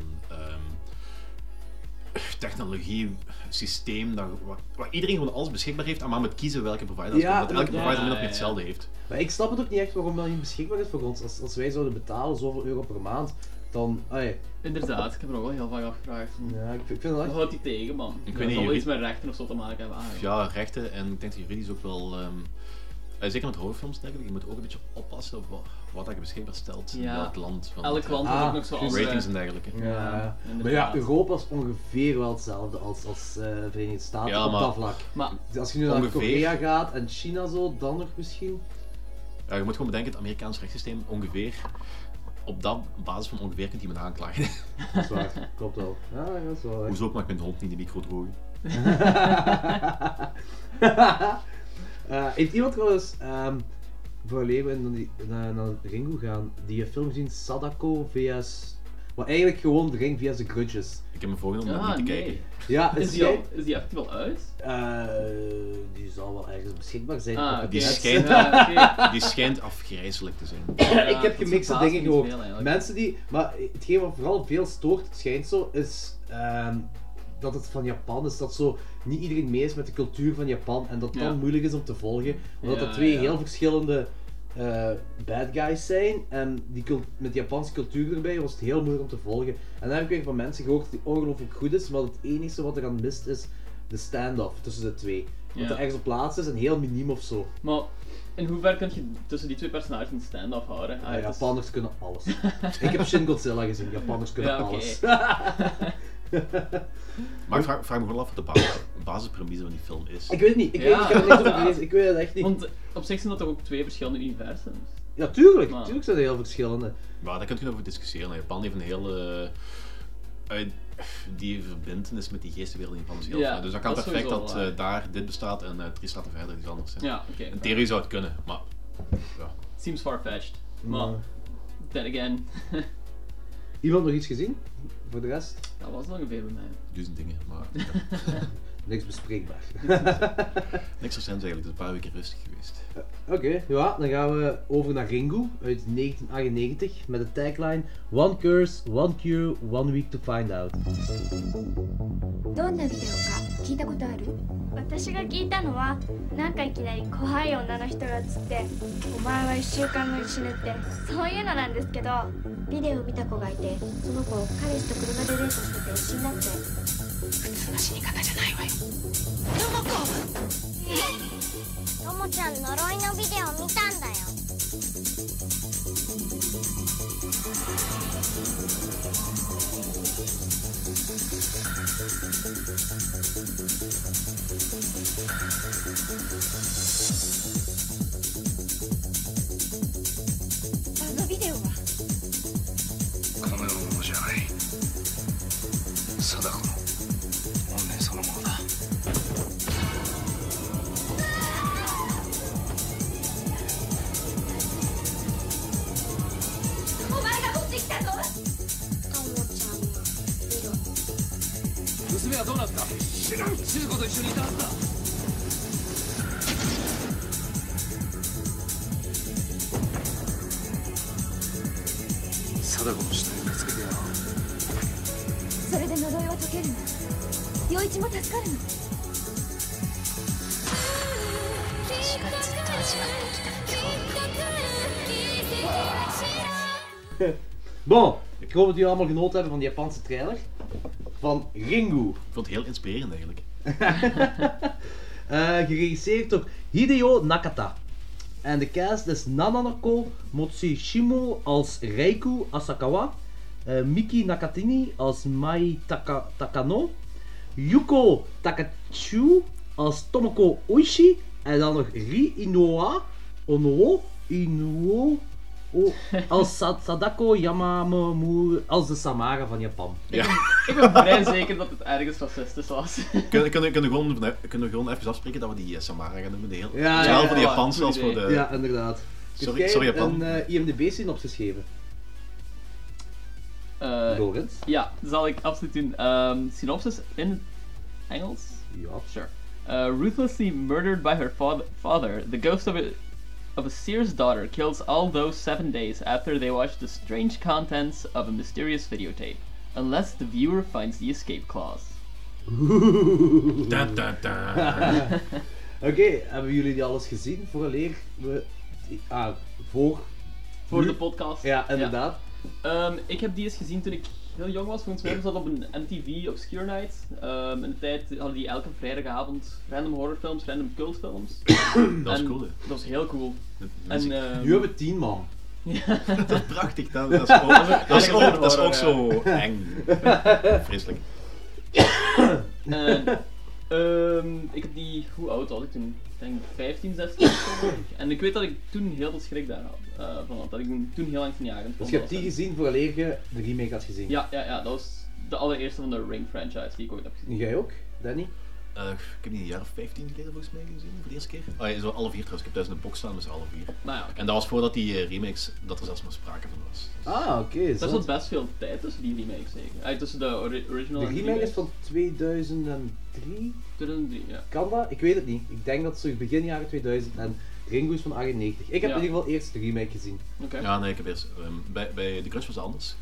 Speaker 9: ehm, technologie, systeem, dat, waar, waar iedereen gewoon alles beschikbaar heeft, en maar moet kiezen welke provider.
Speaker 7: Ja,
Speaker 9: dat elke
Speaker 7: ja,
Speaker 9: provider min of meer
Speaker 8: ja.
Speaker 9: hetzelfde heeft.
Speaker 7: Maar ik snap het ook niet echt waarom dat niet beschikbaar is voor ons. Als, als wij zouden betalen zoveel euro per maand, dan, ai,
Speaker 8: Inderdaad, ik heb er ook wel heel vaak afgevraagd.
Speaker 7: ja, ik, vind- ik vind dat
Speaker 8: Wat
Speaker 7: echt...
Speaker 8: houdt die tegen, man?
Speaker 9: weet
Speaker 8: dat
Speaker 9: niet,
Speaker 8: zal wel
Speaker 9: jullie-
Speaker 8: iets met rechten of zo te maken hebben. Ah,
Speaker 9: Ja, rechten en ik denk dat juridisch ook wel. ehm, eh, zeker met horrorfilms denk ik, je moet ook een beetje oppassen op wat, wat dat je beschikbaar stelt in
Speaker 8: Ja.
Speaker 9: welk land. want,
Speaker 8: Elk
Speaker 9: eh,
Speaker 8: land eh,
Speaker 7: Ah,
Speaker 8: heeft ook nog zo
Speaker 7: juist.
Speaker 8: andere...
Speaker 9: Ratings en dergelijke.
Speaker 7: Ja, ja.
Speaker 8: inderdaad.
Speaker 7: maar ja, Europa is ongeveer wel hetzelfde als, als eh, Verenigde Staten
Speaker 9: Ja,
Speaker 7: op
Speaker 9: maar-
Speaker 7: dat vlak. Dus
Speaker 8: Maar
Speaker 7: Als je nu naar
Speaker 9: Ongeveer.
Speaker 7: Korea gaat en China zo, dan nog misschien.
Speaker 9: Ja, je moet gewoon bedenken, het Amerikaans rechtssysteem ongeveer. Op dat basis van ongeveer kunt iemand aanklagen. [laughs]
Speaker 7: Dat is waar, [laughs] klopt wel. Ja, ja, dat is wel. hè.
Speaker 9: Hoezo ook mag ik mijn hond niet in de micro drogen?
Speaker 7: Eh, heeft iemand wel eens ehm voor leven en dan die, naar, naar Ringo gaan, die film gezien Sadako vs. Wat eigenlijk gewoon de ring via de grudges.
Speaker 9: Ik heb me voorgenomen om
Speaker 8: ah,
Speaker 9: dat niet te
Speaker 8: nee.
Speaker 9: kijken.
Speaker 7: Ja, het
Speaker 8: Is die, al, is die echt wel uit?
Speaker 7: eh, die zal wel ergens beschikbaar zijn.
Speaker 8: Ah,
Speaker 7: op het
Speaker 8: oké.
Speaker 9: Die
Speaker 7: net.
Speaker 9: schijnt-
Speaker 8: Ja, oké.
Speaker 9: Die schijnt afgrijzelijk te zijn.
Speaker 7: ik
Speaker 8: Ja,
Speaker 7: heb
Speaker 8: dat
Speaker 7: gemixte
Speaker 8: verbaast
Speaker 7: dingen
Speaker 8: me niet
Speaker 7: gehoord.
Speaker 8: veel, eigenlijk.
Speaker 7: Mensen die. Maar hetgeen wat vooral veel stoort, het schijnt zo, is. ehm, dat het van Japan is, dat zo niet iedereen mee is met de cultuur van Japan en dat dan
Speaker 8: Ja.
Speaker 7: moeilijk is om te volgen, omdat
Speaker 8: Ja,
Speaker 7: dat twee
Speaker 8: ja.
Speaker 7: heel verschillende eh, bad guys zijn en die cult- met de Japanse cultuur erbij was het heel moeilijk om te volgen. En dan heb ik weer van mensen gehoord die ongelooflijk goed is, maar het enige wat er aan mist is de stand-off tussen de twee. Dat
Speaker 8: Ja.
Speaker 7: er ergens op plaats is en heel miniem of zo.
Speaker 8: Maar in hoeverre kun je tussen die twee personages een stand-off houden? Ah,
Speaker 7: Ja,
Speaker 8: het is-
Speaker 7: Japanners kunnen
Speaker 8: [laughs]
Speaker 7: alles. ik heb Shin Godzilla gezien, Japanners kunnen
Speaker 8: Ja, oké.
Speaker 7: alles. [laughs]
Speaker 9: Maar ik vraag, vraag me gewoon af wat de basis, basispremise van die film is.
Speaker 7: ik weet het niet, ik, weet,
Speaker 8: Ja.
Speaker 7: ik heb er niks over gelezen, ik weet het echt niet.
Speaker 8: Want op zich zijn dat toch ook twee verschillende universums?
Speaker 7: ja, tuurlijk,
Speaker 8: Maar-
Speaker 7: tuurlijk zijn er heel verschillende.
Speaker 9: Maar daar kun je over discussiëren. Japan heeft een hele. eh, eh, die verbindenis met die geestenwereld in Japan is heel
Speaker 8: Ja,
Speaker 9: fijn. Dus dat kan
Speaker 8: dat is
Speaker 9: perfect
Speaker 8: sowieso
Speaker 9: dat
Speaker 8: wel
Speaker 9: eh,
Speaker 8: waar.
Speaker 9: daar dit bestaat en eh, drie straten verder iets anders. Hè.
Speaker 8: Ja, oké.
Speaker 9: In theorie zou het kunnen, maar. Ja.
Speaker 8: Seems far-fetched. Maar, then again, [laughs]
Speaker 7: Iemand nog iets gezien? Voor de rest,
Speaker 8: dat was het ongeveer bij mij.
Speaker 9: Duizend dingen, maar ja.
Speaker 7: niks bespreekbaar.
Speaker 9: niks recents eigenlijk. Het is een paar weken rustig geweest.
Speaker 7: [laughs] Oké, ja, dan gaan we over naar Ringu uit 1998 met de tagline One curse, one cure, one week to find out.
Speaker 10: どんなビデオか聞いたことある私が聞いたのはなんかいきなり怖い女の人が映って「お前は1週間後に死ぬ」ってそういうのなんですけどビデオを見た子がいてその子彼氏と車でデートしてて死んだって
Speaker 11: その死に方じゃないわよ
Speaker 10: ともちゃん呪いのビデオ見たんだよ
Speaker 11: あのビデオは
Speaker 1: この世のものじゃない貞子の怨念そのものだ
Speaker 10: お前がこっち来たぞともちゃんのビデオ
Speaker 1: 娘はどうなった知らん中子と一緒にいたはずだ
Speaker 12: ざことして見つけてやろう
Speaker 10: それで呪いは解けるの陽一も助かるの
Speaker 7: Bon, ik hoop dat jullie allemaal genoten hebben van de Japanse trailer. Van Ringu.
Speaker 9: Ik vond het heel inspirerend eigenlijk.
Speaker 7: Eh, geregisseerd door Hideo Nakata. En de cast is Nananako Motsishimo als Reiku Asakawa, eh, Miki Nakatini als Mai Taka- Takano, Yuko Takachu als Tomoko Oishi en dan nog Ri Inoa Ono Inuo
Speaker 8: [laughs]
Speaker 7: o- als Sa- Sadako Yamamoru als de Samara van Japan.
Speaker 8: Ik ben vrij zeker dat het ergens racistisch was.
Speaker 9: [laughs]
Speaker 8: [laughs]
Speaker 9: Kunnen, kunnen, kunnen, we gewoon, kunnen we gewoon even afspreken dat we die eh, Samara gaan noemen? De heel,
Speaker 7: Ja,
Speaker 9: zowel
Speaker 7: ja,
Speaker 9: voor de
Speaker 8: ja,
Speaker 9: Japanse
Speaker 8: goed
Speaker 9: als voor de...
Speaker 7: Ja, inderdaad.
Speaker 9: Eh, Sorry-
Speaker 7: Kun jij
Speaker 9: sorry, Japan.
Speaker 7: een eh, IMDb-synopsis geven,
Speaker 8: Eh,
Speaker 7: Lorenz?
Speaker 8: ja, dat zal ik absoluut doen. Ehm, synopsis in Engels?
Speaker 7: Ja.
Speaker 8: Sure. Uh, ruthlessly murdered by her fa- father, the ghost of a, of a seer's daughter kills all those seven days after they watch the strange contents of a mysterious videotape, unless the viewer finds the escape clause.
Speaker 9: Da, da, da.
Speaker 8: [laughs]
Speaker 7: Oké, hebben jullie die alles gezien vooraleer we... Ah, voor...
Speaker 8: Voor
Speaker 7: Nu-
Speaker 8: de podcast.
Speaker 7: Hmm? Ja, inderdaad.
Speaker 8: Ehm, ik heb die eens gezien toen ik heel jong was. Volgens mij was dat op een MTV Obscure Night. Ehm, in de tijd hadden die elke vrijdagavond random horrorfilms, random cultfilms.
Speaker 9: Dat was cool, hè.
Speaker 8: Dat was heel cool. En, ehm,
Speaker 7: Nu hebben
Speaker 8: [laughs]
Speaker 7: we tien man.
Speaker 9: Dat is prachtig. Dat, [laughs] dat is ook, dat is ook, dat is ook zo eng. [laughs] Vreselijk.
Speaker 8: En, Eh, [laughs] ehm, ik heb die, hoe oud was ik toen? Ik denk 15, 16 of zo. denk ik. En ik weet dat ik toen heel veel schrik daar had, eh, van had. Dat ik toen heel lang van jaren
Speaker 7: Dus je hebt die gezien vooraleer je de remake had gezien.
Speaker 8: Ja, ja, ja, dat was de allereerste van de Ring franchise die ik ooit heb gezien.
Speaker 7: En jij ook, Danny?
Speaker 9: Eh, ik heb die een jaar of 15 geleden volgens mij gezien, voor de eerste keer. Oh, ja, zo alle vier trouwens. Ik heb thuis een box staan, dus alle vier.
Speaker 8: Maar ja, oké.
Speaker 9: En dat was voordat die eh, remakes, dat er zelfs nog sprake van was.
Speaker 7: Ah, oké.
Speaker 8: daar
Speaker 7: zot.
Speaker 8: zat best veel tijd tussen die remakes zeker. Eh, tussen de ori- original
Speaker 7: de
Speaker 8: en
Speaker 7: remake is van 2003?
Speaker 8: 2003, ja.
Speaker 7: Kan dat? Ik weet het niet. Ik denk dat het zo begin jaren 2000 en Ringo is van 98. Ik heb
Speaker 8: Ja.
Speaker 7: in ieder geval eerst de remake gezien.
Speaker 8: Oké.
Speaker 9: Ja, nee, ik heb eerst... ehm, bij, bij The Grudge was het anders.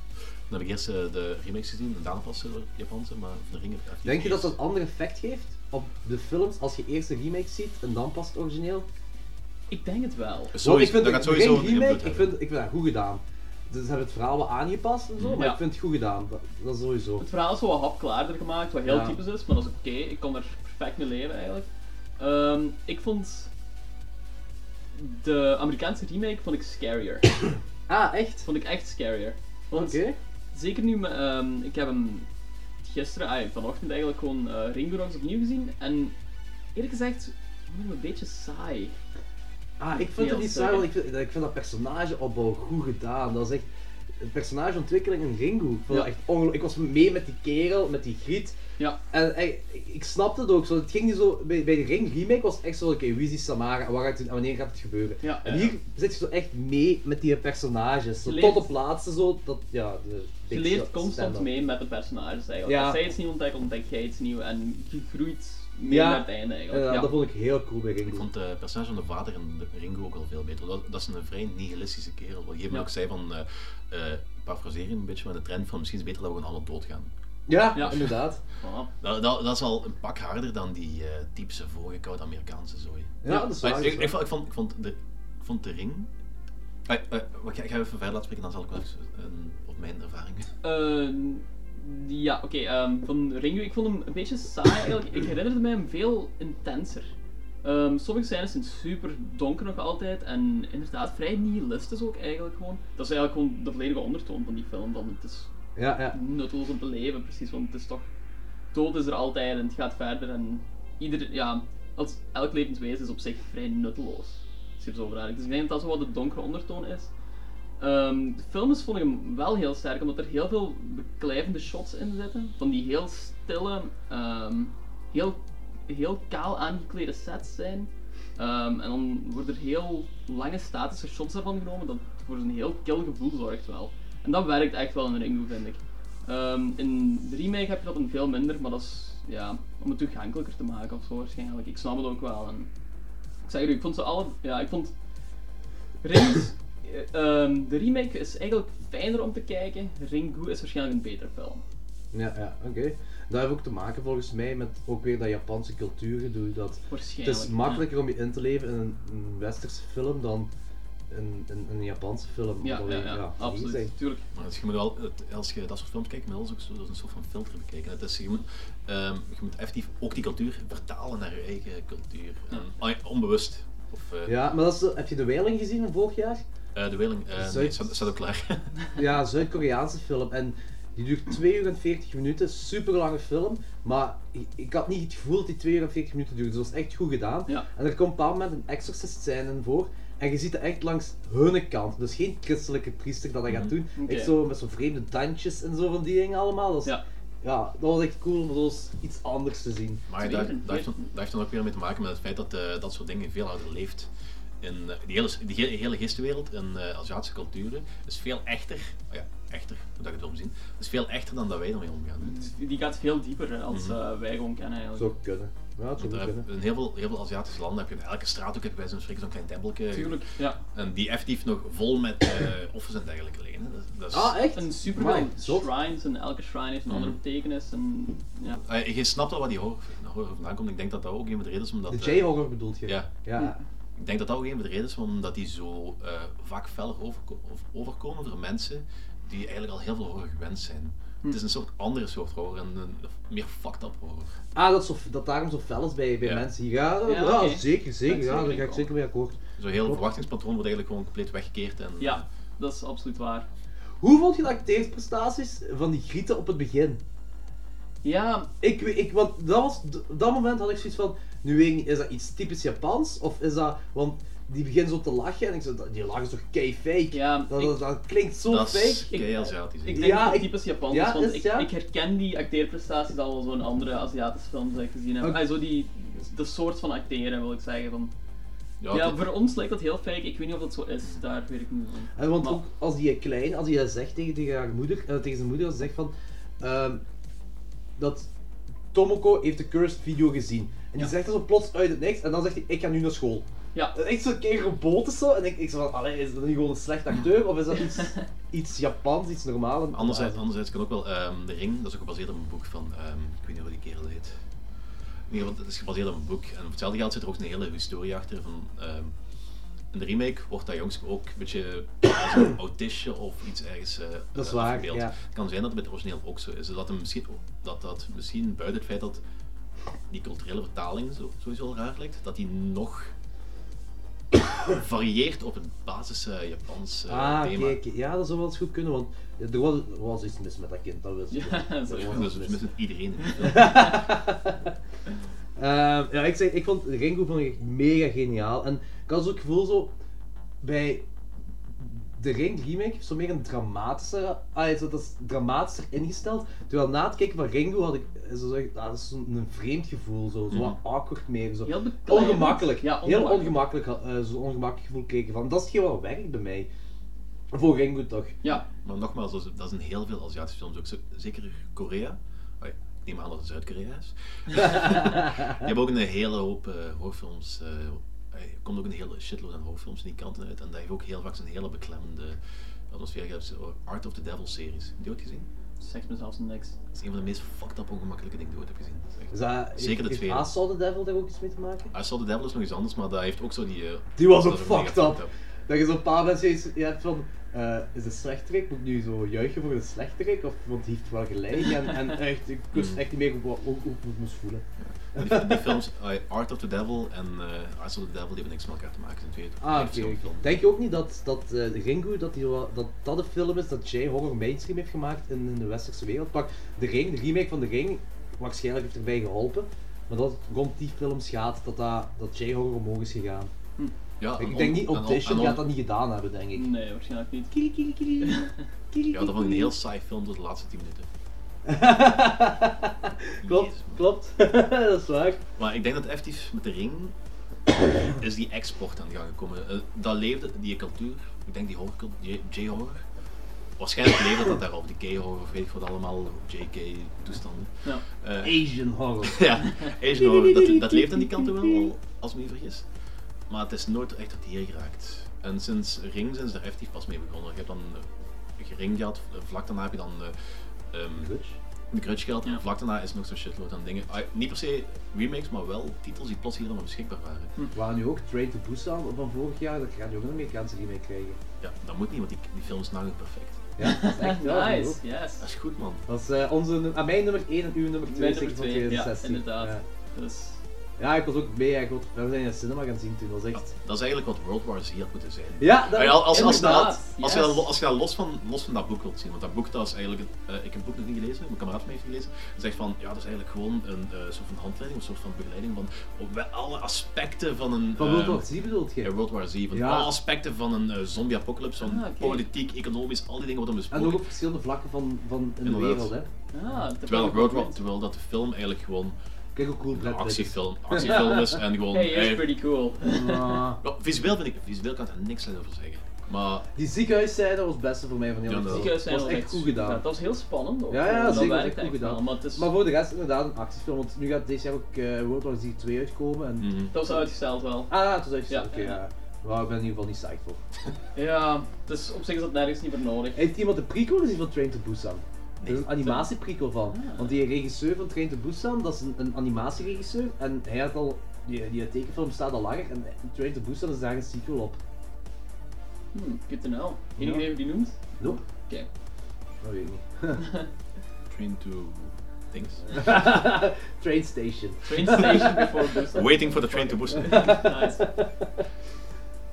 Speaker 9: Dan heb ik eerst eh, de remakes gezien, en daarna pas eh, de Japanse, maar van de ring heb ik echt
Speaker 7: Denk je dat
Speaker 9: eerst-
Speaker 7: dat een ander effect geeft op de films als je eerst de remake ziet en dan pas het origineel?
Speaker 8: Ik denk het wel.
Speaker 7: Want ik
Speaker 9: Sowieso,
Speaker 7: vind
Speaker 9: dat
Speaker 7: de
Speaker 9: gaat sowieso
Speaker 7: Ring
Speaker 9: een
Speaker 7: remake,
Speaker 9: invloed
Speaker 7: ik
Speaker 9: hebben.
Speaker 7: vind, ik vind dat goed gedaan. Dus ze hebben het verhaal wel aangepast en zo, maar
Speaker 8: Ja.
Speaker 7: ik vind het goed gedaan. Dat, dat is sowieso.
Speaker 8: Het verhaal is wel wat hapklaarder gemaakt, wat heel
Speaker 7: Ja.
Speaker 8: typisch is, maar dat is oké. Ik kon er perfect mee leven eigenlijk. Ehm, ik vond de Amerikaanse remake vond ik scarier.
Speaker 7: Ah, echt?
Speaker 8: vond ik echt scarier.
Speaker 7: Oké.
Speaker 8: Want zeker nu, met, ehm, ik heb hem gisteren, ah, vanochtend eigenlijk gewoon eh Ringo nog eens opnieuw gezien. En eerlijk gezegd, ik vond hem een beetje saai.
Speaker 7: Ah, ik vind
Speaker 8: Heel
Speaker 7: het niet
Speaker 8: sterk,
Speaker 7: saai, want ik vind, ik vind dat personageopbouw goed gedaan. Dat is echt een personageontwikkeling in Ringo. Ik, vond dat
Speaker 8: Ja.
Speaker 7: echt ongeloo- ik was mee met die kerel, met die griet.
Speaker 8: Ja,
Speaker 7: En ik, ik snapte het ook zo. Het ging niet zo. Bij, bij de Ring remake was het echt zo: oké, wie is die Samara en, waar gaat het, en wanneer gaat het gebeuren?
Speaker 8: Ja,
Speaker 7: en
Speaker 8: ja,
Speaker 7: hier zit je zo echt mee met die personages. Zo
Speaker 8: Je
Speaker 7: tot
Speaker 8: leeft-
Speaker 7: op laatste zo. Dat, ja, de,
Speaker 8: je leeft constant mee met de personages eigenlijk.
Speaker 7: Ja.
Speaker 8: Als zij iets nieuw ontdekt, ontdek jij iets nieuw en je groeit mee
Speaker 7: Ja.
Speaker 8: naar het einde eigenlijk.
Speaker 7: Ja,
Speaker 8: Ja.
Speaker 7: Dat vond ik heel cool bij Ringo.
Speaker 9: Ik vond de personage van de vader en de Ringo ook al veel beter. Dat, dat is een vreemd nihilistische kerel. Wat je
Speaker 8: Ja.
Speaker 9: ook zei van, eh eh, parafraseren een beetje met de trend van misschien is het beter dat we gewoon allemaal doodgaan.
Speaker 7: Ja,
Speaker 8: Ja.
Speaker 7: inderdaad.
Speaker 8: Voilà.
Speaker 9: Dat, dat, dat is al een pak harder dan die eh typische voorgekoude Amerikaanse zooi.
Speaker 7: Ja, dat is
Speaker 9: Maar
Speaker 7: waar.
Speaker 9: ik, ik, vond, ik, vond, ik vond de, ik vond de ring... Ah, eh, wat- ik ga even verder laten spreken, dan zal ik wel eens eh, op mijn ervaring...
Speaker 8: Ehm, ja, oké. ehm, van Ringu, ik vond hem een beetje saai eigenlijk. Ik herinnerde mij hem veel intenser. Ehm, sommige scènes zijn super donker nog altijd en inderdaad vrij nihilistisch ook eigenlijk gewoon. Dat is eigenlijk gewoon de volledige ondertoon van die film, van het is
Speaker 7: Ja, ja.
Speaker 8: nutteloos om te leven precies, want het is toch... Dood is er altijd en het gaat verder en ieder, ja, als, elk levenswezen is op zich vrij nutteloos. Als je er zo over nadenkt. Dus ik denk dat dat zo wat de donkere ondertoon is. Ehm, de film is vond ik hem wel heel sterk, omdat er heel veel beklijvende shots in zitten. Van die heel stille, ehm, heel, heel kaal aangeklede sets zijn. Ehm, en dan worden er heel lange statische shots daarvan genomen, dat voor een heel kil gevoel zorgt wel. En dat werkt echt wel in Ringo, vind ik. Ehm, in de remake heb je dat een veel minder, maar dat is ja, om het toegankelijker te maken of zo waarschijnlijk. Ik snap het ook wel. En ik zeg het u, ik vond ze alle. Ja, ik vond Rings eh, ehm, de remake is eigenlijk fijner om te kijken. Ringu is waarschijnlijk een betere film.
Speaker 7: Ja, ja, oké. Dat heeft ook te maken volgens mij met ook weer dat Japanse cultuurgedoe. Dat het
Speaker 8: Waarschijnlijk.
Speaker 7: is makkelijker om je in te leven in een, een westerse film dan in, in, in een Japanse film.
Speaker 8: Ja, ja,
Speaker 7: Allee,
Speaker 8: ja,
Speaker 7: nee, zeg.
Speaker 8: absoluut. Tuurlijk.
Speaker 9: Maar het- je moet wel, het- als je dat soort films kijkt, moet je alles ook zo, dat is een soort van filter bekijken. Het is, je, moet, ehm, je moet effectief ook die cultuur vertalen naar je eigen cultuur. En- ah ja, onbewust. Of, eh,
Speaker 7: Ja, maar dat is, de- heb je De Weiling gezien van vorig jaar?
Speaker 9: eh, de Weling, eh, nee,
Speaker 7: Zuid-
Speaker 9: staat, staat ook klaar. [laughs]
Speaker 7: Ja, een Zuid-Koreaanse film. En die duurt 2 uur en 40 minuten, super lange film. Maar ik, ik had niet het gevoel dat die 2 uur en 40 minuten duurde. Dus dat was echt goed gedaan.
Speaker 8: Ja.
Speaker 7: En er komt op een bepaald moment een exorcist scène in voor. En je ziet het echt langs hun kant. Dus geen christelijke priester dat dat gaat doen.
Speaker 8: Mhm. Oké.
Speaker 7: Echt zo met zo'n vreemde dansjes en zo van die dingen allemaal. Dat is-
Speaker 8: Ja.
Speaker 7: ja, dat was echt cool om dat was iets anders te zien.
Speaker 9: Maar
Speaker 8: Twee
Speaker 9: daar,
Speaker 8: uur
Speaker 9: daar,
Speaker 8: en
Speaker 9: heeft, dan-
Speaker 8: veertien.
Speaker 9: daar heeft dan ook weer mee te maken met het feit dat eh, dat soort dingen veel ouder leeft. In eh, die hele, die hele, hele geestenwereld en eh, Aziatische culturen is veel echter, oh ja, echter, hoe dat je het wil zien, is veel echter dan dat wij ermee omgaan. hè.
Speaker 8: Die gaat veel dieper hè, als
Speaker 7: Mhm.
Speaker 8: eh, wij gewoon kennen eigenlijk.
Speaker 7: Zou kunnen. Ja, het zou goed
Speaker 9: Daar heb-
Speaker 7: kunnen.
Speaker 9: eh, in heel veel, heel veel Aziatische landen heb je in elke straat ook heb je bij zo'n spreken zo'n klein tempeltje.
Speaker 8: Tuurlijk, ja.
Speaker 9: En die effectief nog vol met eh offers en dergelijke liggen. hè. Dat, is- dat is,
Speaker 7: Ah, echt?
Speaker 8: Een
Speaker 7: Amai,
Speaker 8: superveel
Speaker 7: zot. Mhm.
Speaker 8: shrines en elke shrine heeft een andere betekenis. En, ja.
Speaker 9: Eh, je snapt al wat die horror, horror vandaan komt. Ik denk dat dat ook een van de redenen is omdat...
Speaker 7: De
Speaker 9: eh,
Speaker 7: J-horror bedoelt je?
Speaker 9: Ja.
Speaker 7: Ja.
Speaker 9: ik denk dat dat ook een van de redenen is omdat die zo eh, vaak fel overko- of overkomen voor mensen die eigenlijk al heel veel horror gewend zijn.
Speaker 7: Hm.
Speaker 9: Het is een soort andere soort horror, een, een meer fucked up horror.
Speaker 7: Ah, dat, is zo, dat daarom zo fel is bij, bij
Speaker 9: Ja.
Speaker 7: mensen hier. Ja, dat-
Speaker 8: Ja,
Speaker 7: ja,
Speaker 8: oké.
Speaker 7: zeker, zeker.
Speaker 8: Dat
Speaker 7: Ja,
Speaker 8: zou
Speaker 7: daar
Speaker 8: ik
Speaker 7: ga ik
Speaker 8: ook.
Speaker 7: zeker mee akkoord.
Speaker 9: Zo'n heel verwachtingspatroon wordt eigenlijk gewoon compleet weggekeerd. En,
Speaker 8: ja, dat is absoluut waar.
Speaker 7: Hoe vond je de acteerprestaties van die Grieten op het begin?
Speaker 8: Ja,
Speaker 7: Ik, weet- ik, want dat was, op dat moment had ik zoiets van, nu weet ik niet, is dat iets typisch Japans? Of is dat, want die beginnen zo te lachen en ik zei, dat- die lachen is toch kei fake?
Speaker 8: Ja,
Speaker 7: dat,
Speaker 8: ik-
Speaker 7: dat, dat klinkt zo
Speaker 9: dat
Speaker 7: fake.
Speaker 9: is kei Aziatisch.
Speaker 8: ik
Speaker 9: hè.
Speaker 8: denk
Speaker 7: Ja,
Speaker 8: dat het
Speaker 7: ik-
Speaker 8: typisch Japans
Speaker 7: ja,
Speaker 8: is, want
Speaker 7: is het,
Speaker 8: ik,
Speaker 7: ja?
Speaker 8: ik herken die acteerprestaties al wel zo'n andere Aziatische films die ik gezien heb.
Speaker 7: Oké.
Speaker 8: Ah, zo die, de soort van acteren wil ik zeggen. Van,
Speaker 9: Ja,
Speaker 8: ja,
Speaker 9: het-
Speaker 8: voor ons lijkt dat heel fake, ik weet niet of dat zo is, daar weet ik niet van.
Speaker 7: En Eh, want
Speaker 8: Maar-
Speaker 7: ook als die klein, als hij dat zegt tegen, tegen haar moeder, eh, tegen zijn moeder, als hij zegt van ehm, dat Tomoko heeft de cursed video gezien. En die zegt dat zo plots uit het niks en dan zegt hij, ik ga nu naar school.
Speaker 8: Ja,
Speaker 7: Dat is echt zo'n keer geboten zo. En ik, ik zo van, allee, is dat nu gewoon een slecht acteur of is dat iets, iets Japans, iets normaal?
Speaker 9: Anderzijds, anderzijds kan ook wel ehm, De Ring, dat is ook gebaseerd op een boek van, ehm, ik weet niet hoe die kerel heet. In ieder geval, het is gebaseerd op een boek. En op hetzelfde geld zit er ook een hele historie achter. Van, ehm, in de remake wordt dat jongske ook een beetje als een
Speaker 7: [coughs]
Speaker 9: autistje of iets ergens eh
Speaker 7: Dat is
Speaker 9: eh,
Speaker 7: waar,
Speaker 9: afgebeeld.
Speaker 7: ja.
Speaker 9: Het kan zijn dat het met het origineel ook zo is. Dus Dat, hem misschien, dat dat misschien buiten het feit dat die culturele vertaling zo, sowieso al raar lijkt, dat die nog [coughs] varieert op het basis eh, Japans eh,
Speaker 7: Ah,
Speaker 9: thema.
Speaker 7: kijk, ja, dat zou wel eens goed kunnen, want er was, er was iets mis met dat kind, dat wist ik.
Speaker 8: Ja,
Speaker 7: wel. [laughs]
Speaker 8: zo.
Speaker 7: Er was
Speaker 9: Dus
Speaker 7: iets mis.
Speaker 9: met iedereen in die film.
Speaker 7: [laughs] Ehm, ja, ik, zeg, ik vond Ringo vond ik echt mega geniaal. En ik had zo het gevoel zo, bij de Ring remake is zo meer een dramatischer, ah, zo, dat is dramatischer ingesteld. Terwijl na het kijken van Ringo had ik zo, zeg, ah, dat is zo'n een vreemd gevoel, zo, zo wat awkward meer. Zo.
Speaker 8: Mhm. Heel beklijvend.
Speaker 7: ongemakkelijk.
Speaker 8: Ja,
Speaker 7: Heel
Speaker 8: ongemakkelijk.
Speaker 7: ongemakkelijk, had- eh, zo'n ongemakkelijk gevoel kreeg ik van. Dat is hetgeen wat werkt bij mij. Voor Ringo toch. [laughs]
Speaker 8: ja,
Speaker 9: Maar nogmaals, dat is, dat is in heel veel Aziatische films ook. zo- Zeker Korea. Oh ja, ik neem aan dat het Zuid-Korea is. Die hebben ook een hele hoop eh horrorfilms. eh, er komt ook een hele shitload aan horrorfilms in die kanten uit. En daar heeft ook heel vaak zo'n hele beklemmende atmosfeer. Je hebt zo Art of the Devil series. Heb je die ooit gezien?
Speaker 8: zegt me zelfs niks.
Speaker 9: Dat is een van de meest fucked up ongemakkelijke dingen die ik ooit heb gezien. Dat is echt-
Speaker 7: Is dat,
Speaker 9: Zeker de
Speaker 7: heeft
Speaker 9: tweede.
Speaker 7: Haas Saw the Devil daar ook iets mee te maken?
Speaker 9: I Saw the Devil is nog iets anders, maar dat heeft ook zo die... eh,
Speaker 7: Die was
Speaker 9: dat
Speaker 7: ook
Speaker 9: is mega
Speaker 7: fucked up. Dat je zo'n paar mensen iets je hebt van. eh, is de slechterik, moet ik nu zo juichen voor de slechterik? Of, want die heeft wel gelijk. En,
Speaker 9: [laughs]
Speaker 7: en echt, ik wist echt niet meer hoe, hoe, hoe ik me moest voelen.
Speaker 9: Die, die films, eh, Art of the Devil en eh I Saw the Devil, die hebben niks met elkaar te maken. Het zijn twee
Speaker 7: Ah,
Speaker 9: twee
Speaker 7: oké.
Speaker 9: verschillende films.
Speaker 7: Denk je ook niet dat, dat eh, de Ringu, dat, die, wel- dat dat de film is dat Jay horror mainstream heeft gemaakt in, in de westerse wereld? Pak de Ring, de remake van de Ring, waarschijnlijk heeft erbij geholpen. Maar dat het rond die films gaat, dat, dat, dat Jay horror omhoog is gegaan.
Speaker 9: Ja, en
Speaker 7: Ik denk
Speaker 9: on-
Speaker 7: niet,
Speaker 9: en on-
Speaker 7: Audition
Speaker 9: en on-
Speaker 7: gaat dat niet gedaan hebben, denk ik.
Speaker 8: Nee, waarschijnlijk niet.
Speaker 7: Kiri, kiri,
Speaker 8: [laughs]
Speaker 7: kiri. Kiri,
Speaker 9: Ja, dat was een
Speaker 7: kiri.
Speaker 9: heel saai film tot de laatste 10 minuten.
Speaker 7: [laughs] klopt,
Speaker 9: Jezus, man.
Speaker 7: klopt. dat is waar.
Speaker 9: Maar ik denk dat effectief met de ring is die export aan de gang gekomen. Eh, dat leefde, die cultuur, ik denk die horror, die J-horror. Waarschijnlijk leefde dat daarop, die K-horror of weet ik wat allemaal, JK-toestanden.
Speaker 8: Ja.
Speaker 9: Eh
Speaker 7: Asian horror.
Speaker 9: [laughs] ja, Asian horror, dat, dat leeft aan die kant wel, al, als ik me niet vergis. Maar het is nooit echt tot hier geraakt. En sinds Ring zijn ze er effectief pas mee begonnen. Je hebt dan eh, Ring gehad, eh, vlak daarna heb je dan eh, ehm,
Speaker 7: Glitch?
Speaker 9: de Grudge gehad
Speaker 8: Ja.
Speaker 9: en vlak daarna is nog zo'n shitload aan dingen. Ah, niet per se remakes, maar wel titels die plots hier allemaal beschikbaar waren.
Speaker 7: We gaan nu ook Train to Busan van vorig jaar, dat gaat je ook een Amerikaanse remake krijgen.
Speaker 9: Ja, dat moet niet, want die, die film is nou perfect.
Speaker 7: [laughs] Ja, dat is echt wel. vind ik ook.
Speaker 8: Nice, yes.
Speaker 9: Dat is goed man.
Speaker 7: Dat is eh, onze, num- ah, mijn nummer 1 en uw nummer 2
Speaker 8: Mijn
Speaker 7: zeker van
Speaker 8: nummer twee, ja,
Speaker 7: 2016.
Speaker 8: inderdaad.
Speaker 7: Ja.
Speaker 8: Dus,
Speaker 7: Ja, ik was ook mee. hè. Ik was- we zijn in de cinema gaan zien toen. Dat was
Speaker 9: Ja,
Speaker 7: echt...
Speaker 9: dat is eigenlijk wat World War Z had moeten zijn.
Speaker 7: Ja, dat
Speaker 9: Ah ja, als, als,
Speaker 8: Inderdaad,
Speaker 9: als, als, je
Speaker 8: yes.
Speaker 9: dat, lo- als je dat los van, los van dat boek wilt zien, want dat boek dat is eigenlijk, eh, ik heb het boek nog niet gelezen, mijn kameraad van mij heeft gelezen, die zegt van, ja, dat is eigenlijk gewoon een eh, soort van handleiding, een soort van begeleiding van op wel- alle aspecten van een...
Speaker 7: Van
Speaker 9: eh,
Speaker 7: World War Z bedoelt
Speaker 9: ja,
Speaker 7: je?
Speaker 9: World War Z, van
Speaker 7: Ja.
Speaker 9: alle aspecten van een eh, zombie-apocalypse, van
Speaker 8: Ah, oké.
Speaker 9: politiek, economisch, al die dingen worden
Speaker 7: En ook
Speaker 9: besproken.
Speaker 7: op verschillende vlakken van, van in de
Speaker 9: Inderdaad.
Speaker 7: wereld, hè.
Speaker 8: ah, dat
Speaker 9: Terwijl,
Speaker 8: heb ik
Speaker 9: World
Speaker 8: ook
Speaker 9: War, terwijl dat de film eigenlijk gewoon
Speaker 7: Kijk hoe cool
Speaker 9: een
Speaker 7: Brad Pitt is.
Speaker 9: actiefilm, actiefilm is en gewoon...
Speaker 8: Hey, is
Speaker 9: eh,
Speaker 8: pretty cool.
Speaker 7: Ah.
Speaker 9: wel, visueel vind ik, visueel kan ik daar niks over zeggen. Maar
Speaker 7: Die ziekenhuiszijde was het beste voor mij van heel
Speaker 9: Ja,
Speaker 7: de
Speaker 9: dat-
Speaker 7: film.
Speaker 8: Ziekenhuis zijn
Speaker 7: Dat was
Speaker 8: wel
Speaker 7: echt goed gedaan.
Speaker 8: Ja, dat was heel spannend ook.
Speaker 7: Ja, ja,
Speaker 8: dat
Speaker 7: zeker,
Speaker 8: werkt
Speaker 7: dat is
Speaker 8: echt
Speaker 7: goed
Speaker 8: wel,
Speaker 7: gedaan.
Speaker 8: Maar het is,
Speaker 7: Maar voor de rest inderdaad een actiefilm, want nu gaat deze jaar ook eh, World War Z 2 uitkomen. En...
Speaker 9: mhm.
Speaker 8: dat was uitgesteld wel.
Speaker 7: Ah, het was uitgesteld,
Speaker 8: Mm. Ja,
Speaker 7: oké.
Speaker 8: ja.
Speaker 7: ja. Wauw, ik ben in ieder geval niet psyched voor.
Speaker 8: Ja, dus op zich is dat nergens niet meer nodig.
Speaker 7: Heeft iemand de prequel gezien van Train to Busan? Er is een
Speaker 9: Nee.
Speaker 7: animatieprequel van.
Speaker 8: Ah.
Speaker 7: Want die regisseur van Train to Busan, dat is een, een animatieregisseur. En hij had al... Die, die tekenfilm staat al langer en Train to Busan is daar een sequel op.
Speaker 8: Hm, good to know. Enig
Speaker 7: Ja.
Speaker 8: idee wie die noemt?
Speaker 7: Nope.
Speaker 8: Oké.
Speaker 7: Dat weet ik niet.
Speaker 9: Train to things. [laughs]
Speaker 7: [laughs] Train Station.
Speaker 8: Train Station Before
Speaker 7: [laughs]
Speaker 8: Busan.
Speaker 9: Waiting for the train to Busan.
Speaker 8: Nice.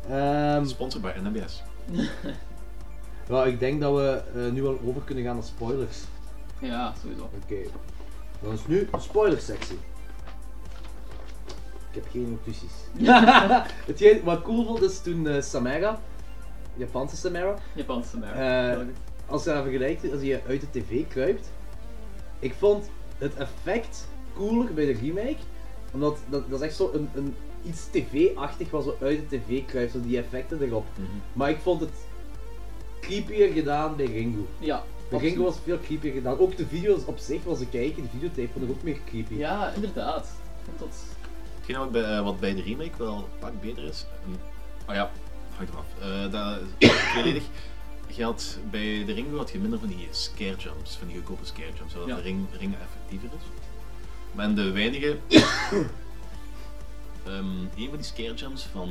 Speaker 7: Ehm,
Speaker 9: Sponsored by NMBS.
Speaker 7: ja, ik denk dat we eh, nu al over kunnen gaan naar spoilers.
Speaker 8: Ja, sowieso.
Speaker 7: Oké. Dan is nu de spoilersectie. Ik heb geen notities. Hetgeen wat ik cool vond is toen eh, Samara, Japanse Samara,
Speaker 8: Japanse merk.
Speaker 7: Eh, als je haar vergelijkt, als je uit de tv kruipt. Ik vond het effect cooler bij de remake, omdat dat, dat is echt zo een, een iets tv-achtig was wat uit de tv kruipt, zo die effecten erop. Maar ik vond het creepier gedaan bij Ringo.
Speaker 8: ja,
Speaker 7: De
Speaker 8: absoluut.
Speaker 7: Ringo was veel creepier gedaan. Ook de video's op zich, was ik kijken, de videotape vond ik ook meer creepy.
Speaker 8: Ja, inderdaad. Ik vond dat...
Speaker 9: Hetgeen wat bij, eh, wat bij de remake wel een pak beter is. Ah oh ja, hangt eraf. Eh dat is tweeledig. Je had, bij de Ringo had je minder van die scare jumps, van die goedkope scare jumps, zodat
Speaker 8: Ja.
Speaker 9: de ring, ring effectiever is. Maar in de weinige. [coughs] ehm, een van die scare jumps van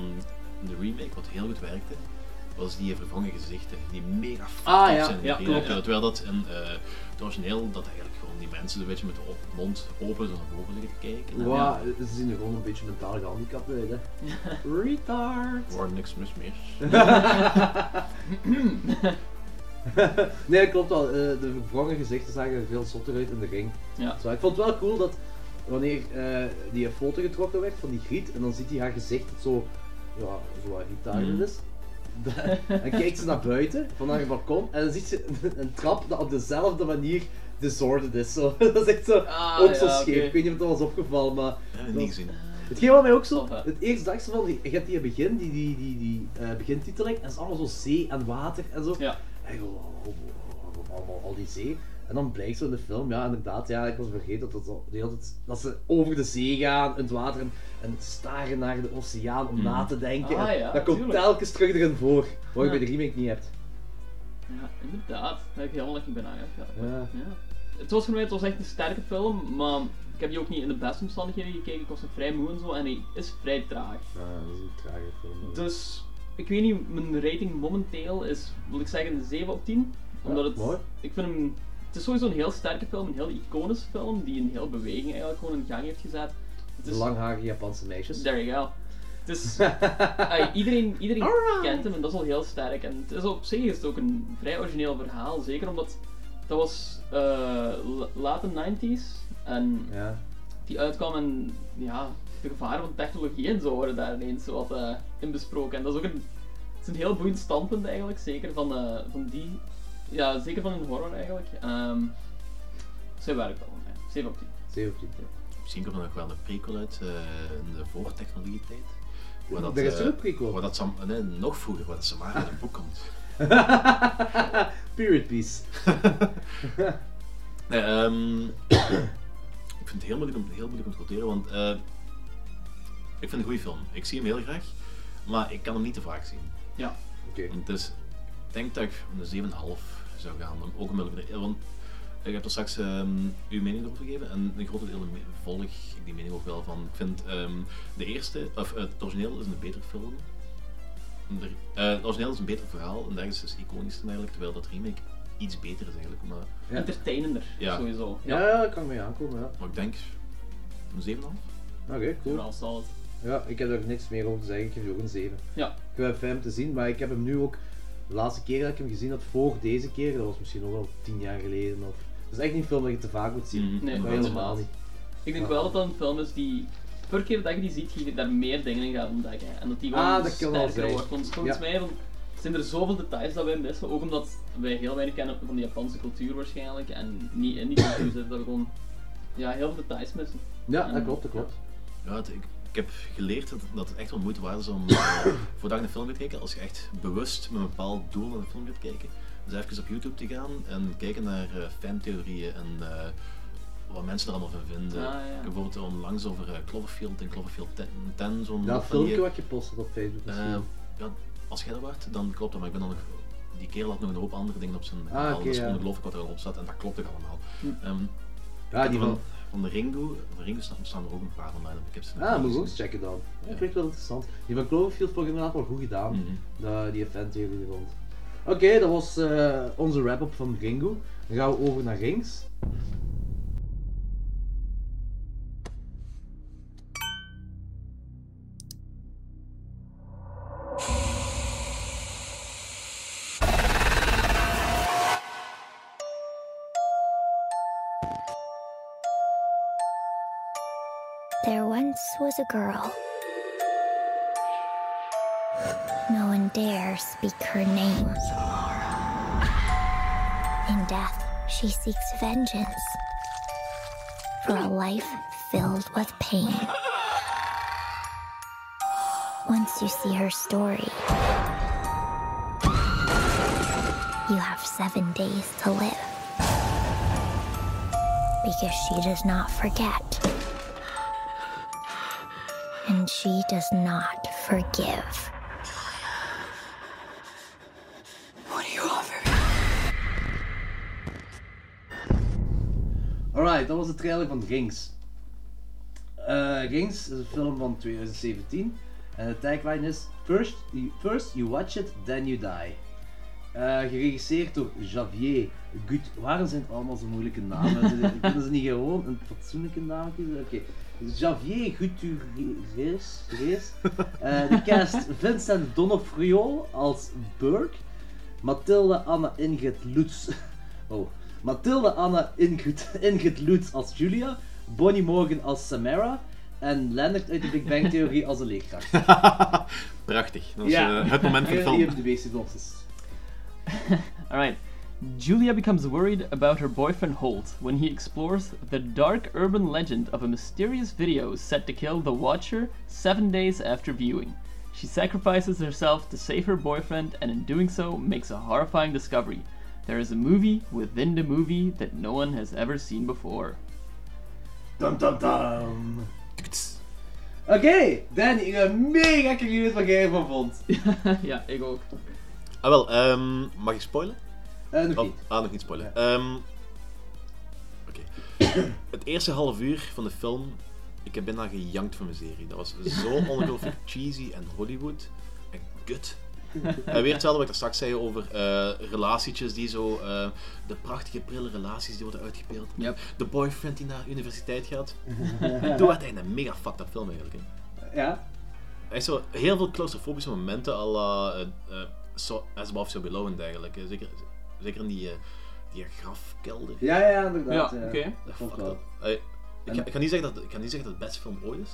Speaker 9: de remake, wat heel goed werkte, was die vervangen gezichten, die mega fucked
Speaker 7: Ah,
Speaker 9: up
Speaker 7: ja,
Speaker 9: zijn.
Speaker 8: ja,
Speaker 9: Die-
Speaker 8: klopt.
Speaker 9: eh, terwijl dat in eh, het origineel, dat eigenlijk gewoon die mensen een beetje met de op- mond open zo naar boven liggen te kijken. En ja,
Speaker 7: Wow, ze zien er gewoon een beetje mentaal gehandicapt uit, hè. Retard!
Speaker 9: Waar niks mis [laughs] meer.
Speaker 7: nee, dat klopt wel. Eh, de verwrongen gezichten zagen er veel zotter uit in de ring.
Speaker 8: Ja.
Speaker 7: Zo, ik vond het wel cool dat wanneer eh, die foto getrokken werd van die griet, en dan ziet hij haar gezicht dat zo, ja, zo wat irritarend
Speaker 8: Mm.
Speaker 9: Mhm.
Speaker 7: is. [laughs] Da- en kijkt ze naar buiten, van haar balkon, en dan ziet ze [laughs] een, een trap dat op dezelfde manier disordered is. Zo. [laughs] dat is echt zo,
Speaker 8: Ah,
Speaker 7: ook zo
Speaker 8: ja,
Speaker 7: scheef.
Speaker 8: oké.
Speaker 7: Ik weet niet of dat was opgevallen, maar
Speaker 9: Dat heb ik niet gezien.
Speaker 7: Hetgeen wat mij ook zo,
Speaker 8: Tof, hè?
Speaker 7: het eerste dagse van, die- je hebt die begin, die, die, die, die eh, begintiteling, en het is allemaal zo zee en water en zo.
Speaker 8: Ja.
Speaker 7: En gewoon allemaal, allemaal al die zee. En dan blijkt zo in de film, ja inderdaad, ja, ik was vergeten dat, dat, zo- de hele tijd- dat ze over de zee gaan, in het water, en, en staren naar de oceaan om na te denken.
Speaker 8: Ah,
Speaker 7: En
Speaker 8: ja,
Speaker 7: dat komt
Speaker 8: tuurlijk.
Speaker 7: telkens terug erin voor, wat je
Speaker 8: Ja.
Speaker 7: bij de remake niet hebt.
Speaker 8: Ja, inderdaad. Daar heb ik helemaal niet bij nagedacht. Ja.
Speaker 7: Ja.
Speaker 8: Ja. Het was voor mij het was echt een sterke film, maar ik heb die ook niet in de beste omstandigheden gekeken. Ik was nog vrij moe en zo en hij is vrij traag.
Speaker 7: Ja, Ah, dat is een trage film.
Speaker 8: Dus ik weet niet, mijn rating momenteel is, wil ik zeggen, een 7 op 10. Omdat het,
Speaker 7: mooi.
Speaker 8: ik vind hem, het is sowieso een heel sterke film, een heel iconische film die een heel beweging eigenlijk gewoon in gang heeft gezet. Het
Speaker 7: De
Speaker 8: is,
Speaker 7: langharige Japanse meisjes.
Speaker 8: There you go. Dus Het [laughs] is,
Speaker 7: [laughs]
Speaker 8: ai, iedereen iedereen kent hem en dat is al heel sterk. En het is op zich is het ook een vrij origineel verhaal, zeker omdat dat was eh, la- late 90s en
Speaker 7: Ja.
Speaker 8: die uitkwam en ja, de gevaren van technologie en zo worden daar ineens wat eh, in besproken. En dat is ook een, het is een heel boeiend standpunt eigenlijk, zeker van, eh, van die, ja, zeker van hun horror eigenlijk. Ehm ze werkt wel, ja. 7 op 10.
Speaker 7: 17.
Speaker 9: Misschien komt er nog wel een prequel uit eh, in de voortechnologietijd. Waar dat,
Speaker 7: Er is
Speaker 9: eh,
Speaker 7: er een prequel.
Speaker 9: Waar dat Sam, nee, nog vroeger, waar dat Samara in een boek
Speaker 7: [laughs]
Speaker 9: komt.
Speaker 7: Period piece.
Speaker 9: Nee, ehm, [coughs] ik vind het heel moeilijk om, heel moeilijk om te quoteren, want eh, ik vind het een goede film. Ik zie hem heel graag, maar ik kan hem niet te vaak zien.
Speaker 8: Ja.
Speaker 5: En Dus ik denk dat ik om de 7,5 zou gaan. om- Ook omwille van de want ik heb er straks ehm, uw mening over gegeven en een groot deel me- volg ik die mening ook wel van. Ik vind ehm, de eerste, of eh, het origineel is een betere film. De, eh, het origineel is een beter verhaal en ergens is het dus iconisch dan eigenlijk, terwijl dat remake iets beter is eigenlijk. Maar,
Speaker 7: Ja.
Speaker 8: Entertainender,
Speaker 5: Ja.
Speaker 8: sowieso.
Speaker 7: Ja, ja, dat kan mee aankomen, ja.
Speaker 5: maar ik denk een 7,5.
Speaker 7: Oké, cool.
Speaker 8: Vooral solid.
Speaker 7: Ja, ik heb er niks meer over te zeggen. Ik geef er ook een 7.
Speaker 8: Ja.
Speaker 7: Ik heb hem te zien, maar ik heb hem nu ook... De laatste keer dat ik hem gezien had, voor deze keer, dat was misschien ook wel 10 jaar geleden. Of... Dat is echt niet een film dat je te vaak moet zien.
Speaker 5: Mhm.
Speaker 8: Nee,
Speaker 7: Maar
Speaker 8: inderdaad.
Speaker 7: helemaal niet.
Speaker 8: Ik denk wel dat dat een film is die... Per keer dat je die ziet, je daar meer dingen in gaat ontdekken. En dat die wel
Speaker 7: Ah, dat kan wel
Speaker 8: sterker
Speaker 7: zijn.
Speaker 8: wordt. Want volgens
Speaker 7: Ja.
Speaker 8: mij van, zijn er zoveel details dat wij missen. Ook omdat wij heel weinig kennen van de Japanse cultuur waarschijnlijk. En niet in die cultuur zitten, dat we gewoon ja, heel veel details missen.
Speaker 7: Ja,
Speaker 8: Ja.
Speaker 7: dat klopt, dat klopt.
Speaker 5: Mhm. Ja, het- ik, ik heb geleerd dat, dat het echt wel moeite waard is om [coughs] eh, voordat je een film gaat kijken, als je echt bewust met een bepaald doel naar een film gaat kijken, dus even op YouTube te gaan en kijken naar eh, fantheorieën en eh, wat mensen er allemaal van vinden.
Speaker 8: Ah, ja.
Speaker 5: Ik heb bijvoorbeeld onlangs over eh, Cloverfield en Cloverfield 10, 10 zo'n
Speaker 7: Dat
Speaker 5: van die-
Speaker 7: filmpje wat je post op Facebook
Speaker 5: eh,
Speaker 7: misschien.
Speaker 5: ja, als jij er waart, dan klopt dat, maar ik ben dan nog... Die kerel had nog een hoop andere dingen op zijn
Speaker 7: Ah,
Speaker 5: kanaal,
Speaker 7: oké,
Speaker 5: dus
Speaker 7: ja.
Speaker 5: ongelooflijk wat erop staat en dat klopt ook allemaal.
Speaker 8: Hm.
Speaker 5: Ehm,
Speaker 7: ja, die
Speaker 5: van,
Speaker 7: van...
Speaker 5: van, de Ringo, van de Ringo staan, staan er ook een paar online op. Ik heb ze nog
Speaker 7: Ah,
Speaker 5: niet
Speaker 7: moet ik ook
Speaker 5: gezien.
Speaker 7: eens checken dan. Ja, klinkt wel interessant. Die van Cloverfield vond ik inderdaad wel goed gedaan.
Speaker 5: Mhm.
Speaker 7: de- die eventtheorie rond. Oké, dat was eh, onze wrap-up van Ringo. Dan gaan we over naar Rings.
Speaker 10: There once was a girl. No one dare speak her name. In death, she seeks vengeance for a life filled with pain. Once you see her story, you have seven days to live. Because she does not forget and she does not forgive.
Speaker 7: Alright, dat was de trailer van Rings. Eh, Rings is een film van 2017. En de tagline is First you, first you watch it, then you die. Eh, geregisseerd door Javier Gut. Waarom zijn het allemaal zo moeilijke namen? Ze- Kunnen ze niet gewoon een fatsoenlijke naam kiezen? Oké. Javier Gutierrez. Reyes. Eh, de cast Vincent Donofrio als Burke. Mathilde Anna Ingrid Lutz. Oh. Mathilde Anna Ingrid, [laughs] Ingrid Lutz als Julia. Bonnie Morgan als Samara. En Leonard uit de Big Bang Theorie als een [laughs] leerkracht.
Speaker 5: [laughs] Prachtig. Dat is eh, het
Speaker 7: [laughs]
Speaker 5: moment van de
Speaker 7: Hier
Speaker 5: film.
Speaker 7: heb je de synopsis.
Speaker 8: [laughs] Alright. Julia becomes worried about her boyfriend Holt when he explores the dark urban legend of a mysterious video set to kill the Watcher seven days after viewing. She sacrifices herself to save her boyfriend and in doing so makes a horrifying discovery. There is a movie within the movie that no one has ever seen before. [laughs]
Speaker 7: Dum dum dum. Oké, Danny, ik ben mega curieus wat jij ervan vond.
Speaker 8: ja, ik ook.
Speaker 9: Ah wel, ehm, mag ik spoilen?
Speaker 7: Eh, nog
Speaker 9: Oh,
Speaker 7: niet.
Speaker 9: ah, nog niet spoilen. Ehm, Oké. [coughs] het eerste half uur van de film, ik heb bijna gejankt van mijn serie. Dat was zo ongelooflijk cheesy en Hollywood en kut. En weer hetzelfde wat ik daar straks zei over eh, relatietjes die zo... eh, de prachtige, prille relaties die worden uitgebeeld.
Speaker 8: Yep.
Speaker 9: De boyfriend die naar universiteit gaat. Toen werd hij een mega fucked up film eigenlijk. Hè.
Speaker 7: Ja?
Speaker 9: Echt zo, heel veel claustrofobische momenten, à la eh, eh, so, As Above, So Below en dergelijke. Zeker, zeker in die, eh, die grafkelder.
Speaker 7: Ja, ja, ja, inderdaad.
Speaker 8: Ja,
Speaker 7: ja.
Speaker 8: oké.
Speaker 9: Dat
Speaker 7: klopt
Speaker 9: fucked
Speaker 7: wel.
Speaker 9: up. Eh, ik, ga, ik, ga niet zeggen dat, ik ga niet zeggen dat het de beste film ooit is,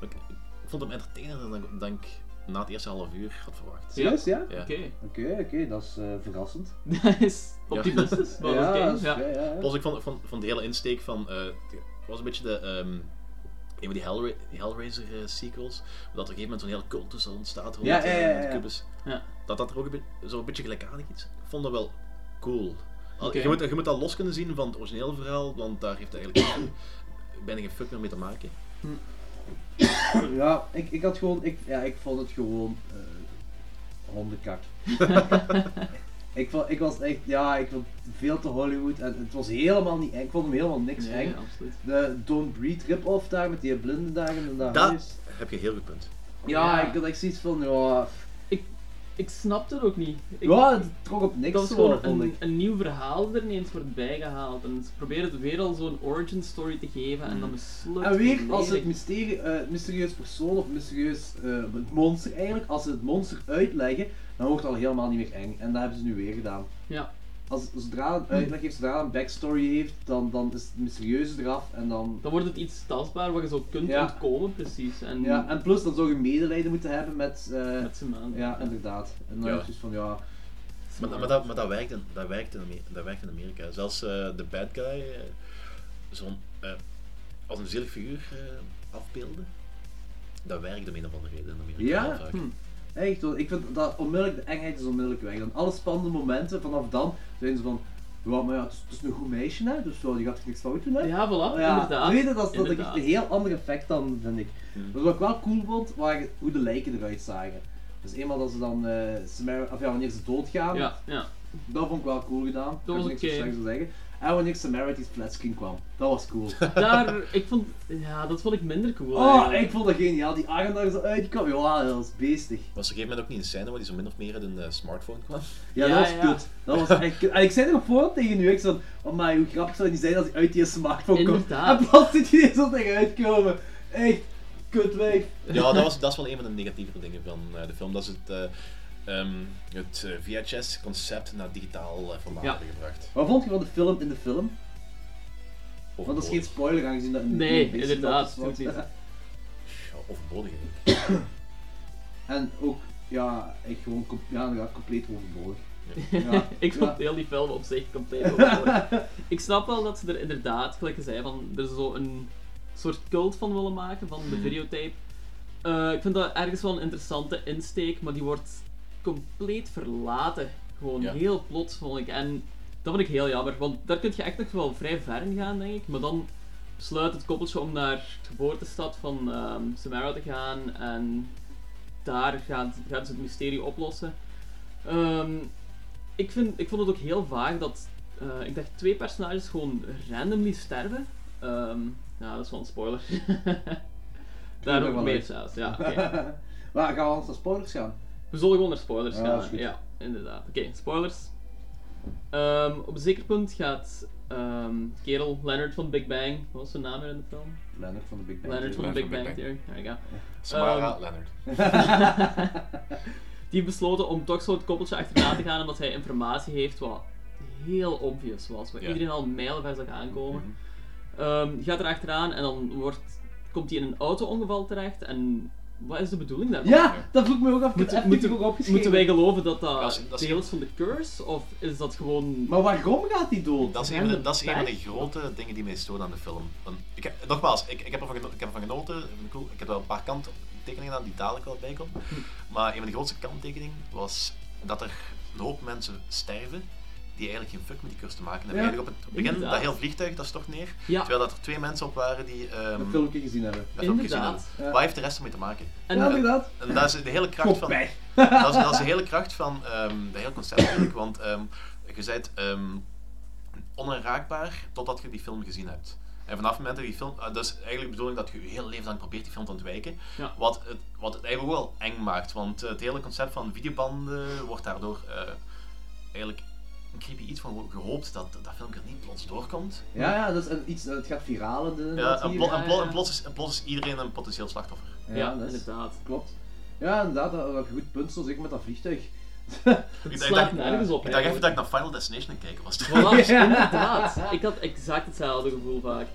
Speaker 9: maar ik, ik vond hem entertainender dan, ik- dan ik na het eerste half uur had verwacht.
Speaker 7: Serieus, ja?
Speaker 9: Ja.
Speaker 7: Oké, oké, dat is eh, verrassend.
Speaker 8: Dat is
Speaker 9: optimistisch,
Speaker 8: optimistisch.
Speaker 7: ja,
Speaker 8: ja,
Speaker 7: dat is vrij, ja, ja.
Speaker 9: Plus, ik vond, vond, vond de hele insteek van... eh, het was een beetje de... ehm, een van die Hellra- Hellraiser eh, sequels, dat er op een gegeven moment zo'n hele cultus ontstaat rond
Speaker 7: Ja, ja,
Speaker 9: eh,
Speaker 7: ja, ja,
Speaker 9: de
Speaker 7: ja.
Speaker 9: kubus.
Speaker 8: Ja.
Speaker 9: dat dat er ook een be- zo'n beetje gelijkaardig is. Ik vond dat wel cool. Al-
Speaker 8: Oké.
Speaker 9: Je, moet, je moet dat los kunnen zien van het origineel verhaal, want daar heeft eigenlijk [coughs] bijna geen fuck meer mee te maken.
Speaker 7: Ja, ik, ik had gewoon, ik, ja, ik vond het gewoon eh,
Speaker 8: [laughs]
Speaker 7: hondenkak. ik, vond, ik was echt, ja, ik vond veel te Hollywood en het was helemaal niet eng. Ik vond hem helemaal niks
Speaker 8: Nee,
Speaker 7: eng.
Speaker 8: absoluut.
Speaker 7: De Don't Breed rip-off daar met die blinde dagen en daar.
Speaker 9: Dat heb je heel goed punt.
Speaker 7: Ja,
Speaker 8: Ja.
Speaker 7: ik had echt zoiets van, ja,
Speaker 8: Ik snapte het ook niet. Ik,
Speaker 7: ja, het trok op niks
Speaker 8: dat was
Speaker 7: gewoon,
Speaker 8: gewoon
Speaker 7: vond
Speaker 8: een,
Speaker 7: ik.
Speaker 8: een nieuw verhaal er ineens wordt bijgehaald. En ze proberen het weer al zo'n origin story te geven en dan mislukt
Speaker 7: Hmm. En weer, als het
Speaker 8: volledig.
Speaker 7: mysterie, eh, mysterieus persoon of mysterieus eh, het monster eigenlijk, als ze het monster uitleggen, dan wordt het al helemaal niet meer eng. En dat hebben ze nu weer gedaan.
Speaker 8: Ja.
Speaker 7: Als, zodra
Speaker 8: Hm.
Speaker 7: een uitleg heeft, zodra een backstory heeft, dan, dan is het mysterieuze eraf en dan...
Speaker 8: Dan wordt het iets tastbaar wat je zo kunt
Speaker 7: Ja.
Speaker 8: ontkomen, precies. En
Speaker 7: Ja, en plus dan zou je medelijden moeten hebben met... eh,
Speaker 8: met z'n maanden.
Speaker 7: ja, inderdaad. En dan
Speaker 9: Ja.
Speaker 7: heb je zoiets van, ja...
Speaker 9: Maar, maar, dat, maar dat, werkt in, dat, werkt in Amerika, dat werkt in Amerika. Zelfs eh, de bad guy, eh, zo'n, eh, als een zielig figuur eh, afbeelde, dat werkt om een of andere reden in Amerika.
Speaker 7: Ja?
Speaker 9: heel vaak.
Speaker 8: Hm.
Speaker 7: Echt hoor, ik vind dat onmiddellijk, de engheid is onmiddellijk weg. Dan alle spannende momenten, vanaf dan zijn ze van, ja maar ja, het is, het is een goed meisje hè, dus zo, die gaat er niks fout doen hè.
Speaker 8: Ja, voilà,
Speaker 7: Ja,
Speaker 8: inderdaad.
Speaker 7: weet je, dat, is- dat heeft
Speaker 8: inderdaad.
Speaker 7: een heel ander effect dan, vind ik. Wat ik wel cool vond, waren hoe de lijken eruit zagen. Dus eenmaal dat ze dan, eh Samara, of ja, wanneer ze doodgaan,
Speaker 8: Ja, ja.
Speaker 7: dat vond ik wel cool gedaan. Daar kan
Speaker 8: was
Speaker 7: ik niks
Speaker 8: oké.
Speaker 7: slechts over zeggen. En wanneer Samara die flatscreen kwam, dat was
Speaker 8: [laughs]
Speaker 7: cool.
Speaker 8: Daar, ik vond, ja, dat vond ik minder cool.
Speaker 7: oh,
Speaker 8: eigenlijk.
Speaker 7: ik vond dat geniaal, die arm daar zo uitkwam, ja, dat was beestig.
Speaker 9: Was er op een gegeven moment ook niet een scène waar die zo min of meer uit een eh, smartphone kwam?
Speaker 7: Ja,
Speaker 8: Ja,
Speaker 7: dat was
Speaker 8: ja.
Speaker 7: kut. Dat was echt kut. En ik zei er nog voorhand tegen u, ik zei van, maar hoe grappig zou het niet zijn als hij uit die smartphone komt.
Speaker 8: Inderdaad.
Speaker 7: En plots zit hij er zo tegenuit komen. Echt, kut wijf.
Speaker 9: Ja, dat, was, dat is wel een van de negatievere dingen van eh, de film. Dat is het, eh, ehm, het eh, VHS-concept naar digitaal eh, formaat
Speaker 8: Ja.
Speaker 9: hebben gebracht.
Speaker 7: Wat vond je van de film in de film?
Speaker 9: Of
Speaker 7: Want dat is geen spoiler aangezien dat in de
Speaker 8: Nee,
Speaker 7: in de beste
Speaker 8: inderdaad,
Speaker 7: film is,
Speaker 8: doet
Speaker 7: want-
Speaker 8: [laughs] niet.
Speaker 9: overbodig. hè.
Speaker 7: Ehm, En ook, ja, echt gewoon com- ja, inderdaad, compleet overbodig. Ja.
Speaker 8: ik vond
Speaker 7: Ja.
Speaker 8: heel die film op zich
Speaker 7: [laughs]
Speaker 8: compleet overbodig. ik snap wel dat ze er inderdaad, gelijk je zei, van, er zo een soort cult van willen maken van de videotape. Eh, ik vind dat ergens wel een interessante insteek, maar die wordt compleet verlaten. Gewoon
Speaker 9: Ja.
Speaker 8: heel plots, vond ik. En dat vond ik heel jammer, want daar kun je echt nog wel vrij ver in gaan, denk ik. Maar dan besluit het koppeltje om naar de geboortestad van ehm Samara te gaan en daar gaan, gaan ze het mysterie oplossen. Ehm, ik, vind, ik vond het ook heel vaag dat. eh, ik dacht twee personages gewoon randomly sterven. Ehm, nou, dat is wel een spoiler. [laughs]
Speaker 7: er
Speaker 8: daar ook
Speaker 7: wel
Speaker 8: meer
Speaker 7: uit.
Speaker 8: zelfs, ja. oké.
Speaker 7: maar gaan we anders naar spoilers gaan?
Speaker 8: We zullen gewoon naar spoilers
Speaker 7: Ja,
Speaker 8: gaan.
Speaker 7: is goed.
Speaker 8: Ja, inderdaad. Oké, spoilers. Ehm, op een zeker punt gaat ehm, kerel Leonard van Big Bang, wat was zijn naam weer in de film?
Speaker 7: Leonard van de Big Bang.
Speaker 8: Leonard van de
Speaker 1: Leonard van
Speaker 8: Big
Speaker 1: Big
Speaker 8: Bang
Speaker 1: Bang.
Speaker 8: Theory. There you go.
Speaker 9: Samara Leonard.
Speaker 8: Die besloten om toch zo het koppeltje achterna te gaan omdat hij informatie heeft wat heel obvious was. Wat
Speaker 9: Ja.
Speaker 8: iedereen al mijlenver zag aankomen. Ehm, die gaat er achteraan en dan wordt, komt hij in een auto-ongeval terecht. En wat is de bedoeling
Speaker 7: [laughs]
Speaker 8: daarvan?
Speaker 7: Ja, dat vroeg ik me ook af. Ik heb het
Speaker 8: Moeten,
Speaker 7: echt
Speaker 8: moeten-
Speaker 7: niet goed opgeschreven.
Speaker 8: moeten wij geloven dat dat,
Speaker 9: Dat is- dat is-
Speaker 8: deel is van de curse? Of is dat gewoon...
Speaker 7: Maar waarom gaat hij dood?
Speaker 9: Dat is,
Speaker 8: Ja,
Speaker 9: een, van de-
Speaker 8: de
Speaker 9: dat is een van de
Speaker 8: pech.
Speaker 9: grote dingen die mij storen aan de film. Want ik heb, nogmaals, ik, ik, heb ervan geno- ik heb ervan genoten, ik vind het cool. ik heb wel een paar kanttekeningen aan die dadelijk wel bij komen.
Speaker 7: Hm.
Speaker 9: Maar een van de grootste kanttekeningen was dat er een hoop mensen sterven die eigenlijk geen fuck met die cursus te maken hebben.
Speaker 7: Ja,
Speaker 9: Eigenlijk op het begin,
Speaker 8: inderdaad.
Speaker 9: dat heel vliegtuig, dat stort neer.
Speaker 8: Ja.
Speaker 9: Terwijl dat er twee mensen op waren die ehm
Speaker 7: Dat filmpje gezien hebben.
Speaker 9: dat filmpje gezien
Speaker 8: Inderdaad.
Speaker 9: hebben.
Speaker 7: Ja.
Speaker 9: Waar heeft de rest ermee te maken?
Speaker 8: En
Speaker 7: Ja,
Speaker 8: dan-
Speaker 7: inderdaad.
Speaker 9: En eh, dat is de hele kracht
Speaker 7: Goed
Speaker 9: van...
Speaker 7: bij.
Speaker 9: dat, is, dat is de hele kracht van ehm de hele concept natuurlijk, want ehm, je bent ehm, onaanraakbaar totdat je die film gezien hebt. En vanaf het moment dat je die film... eh, dat is eigenlijk de bedoeling dat je je hele leven lang probeert die film te ontwijken.
Speaker 8: Ja.
Speaker 9: Wat, het, wat het eigenlijk ook wel eng maakt, want eh, het hele concept van videobanden wordt daardoor eh, eigenlijk een creepy iets van gehoopt dat dat filmpje er niet plots doorkomt.
Speaker 7: Ja, ja, dat is een, iets, het gaat viraal. inderdaad
Speaker 9: Ja, en,
Speaker 7: hier.
Speaker 9: plo- en, plo-
Speaker 8: ja.
Speaker 9: en plots is, en plots is iedereen een potentieel slachtoffer.
Speaker 8: Ja,
Speaker 7: dat is-
Speaker 8: inderdaad.
Speaker 7: Klopt. Ja, inderdaad, dat, dat goed punt, zoals ik met dat vliegtuig. [laughs]
Speaker 8: Het
Speaker 9: dacht-
Speaker 8: slaat
Speaker 9: ik-
Speaker 8: nergens
Speaker 9: Ik dacht
Speaker 8: op.
Speaker 9: even
Speaker 8: eigenlijk.
Speaker 9: dat ik naar Final Destination aan het kijken was.
Speaker 8: Voilà,
Speaker 7: [laughs]
Speaker 8: inderdaad. Ik had exact hetzelfde gevoel vaak.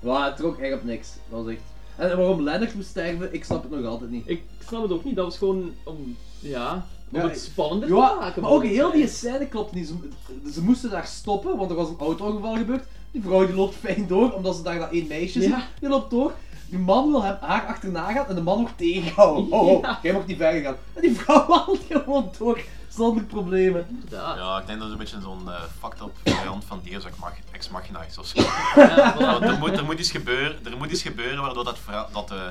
Speaker 7: Waar het trok echt op niks. Dat was echt. En waarom Lennart moest sterven, ik snap het nog altijd niet.
Speaker 8: Ik snap het ook niet, dat was gewoon om, ja, om
Speaker 7: Ja,
Speaker 8: het spannender te
Speaker 7: Ja,
Speaker 8: maken.
Speaker 7: maar ook
Speaker 8: man.
Speaker 7: heel die scène klopt niet. Ze, ze moesten daar stoppen, want er was een auto-ongeval gebeurd. Die vrouw die loopt fijn door, omdat ze daar dat één meisje ziet.
Speaker 8: Ja.
Speaker 7: Die loopt door. Die man wil hem, haar achterna gaan en de man wordt tegenhouden. Oh, oh,
Speaker 8: Ja.
Speaker 7: jij mag niet verder gaan. En die vrouw wandelt gewoon door, zonder problemen.
Speaker 8: Inderdaad.
Speaker 9: [laughs] Ja, ik denk dat het een beetje zo'n eh, fucked up variant van Deus Ex Mach- Ex Machina is ofzo.
Speaker 8: Ja, voilà.
Speaker 9: Want er, moet, er, moet iets gebeuren, er moet iets gebeuren waardoor dat, verhaal, dat eh,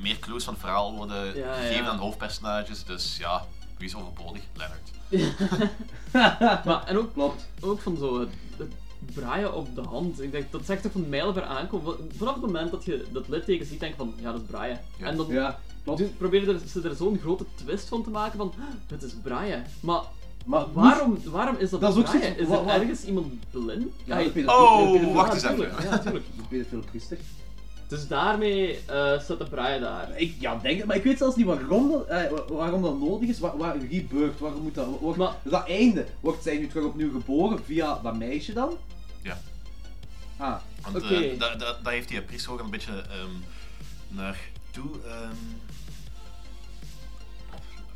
Speaker 9: meer clues van het verhaal worden
Speaker 8: Ja,
Speaker 9: gegeven
Speaker 8: ja.
Speaker 9: aan de hoofdpersonages. Dus ja, Wie is overbodig? Leonard.
Speaker 8: Maar, en ook, ook van zo het, het braaien op de hand. Ik denk, dat zegt toch van mijlenver aankomen. Want Vanaf het moment dat je dat litteken ziet, denk je van, ja, dat is braaien.
Speaker 9: Ja.
Speaker 8: En dan
Speaker 7: Ja, klopt.
Speaker 8: dus proberen er- ze er zo'n grote twist van te maken van, "Ah, het is braaien. Maar
Speaker 7: Maar
Speaker 8: waarom, waarom is dat,
Speaker 7: dus- Dat is ook
Speaker 8: braaien?
Speaker 7: zoiets-
Speaker 8: Is
Speaker 7: wa-
Speaker 8: er
Speaker 7: wa-
Speaker 8: ergens iemand blind?
Speaker 7: Ja,
Speaker 8: Ai,
Speaker 7: de pedofiel-
Speaker 9: Oh,
Speaker 7: de pedofiel-
Speaker 9: wacht eens
Speaker 7: ja,
Speaker 9: even.
Speaker 7: tuurlijk, Ja, [laughs] natuurlijk. De pedofiel priester.
Speaker 8: Dus daarmee eh staat de braaien daar.
Speaker 7: Ik ja, denk het, maar ik weet zelfs niet waarom dat, eh, wa- waarom dat nodig is. Waar, waar gebeurt, waarom moet dat. Wordt,
Speaker 8: Maar-
Speaker 7: dat einde, wordt zij nu terug opnieuw geboren via dat meisje dan?
Speaker 9: Ja.
Speaker 7: Ah,
Speaker 9: Want
Speaker 8: Oké.
Speaker 9: eh, da- da- daar heeft die priester ook een beetje ehm naar toe, ehm,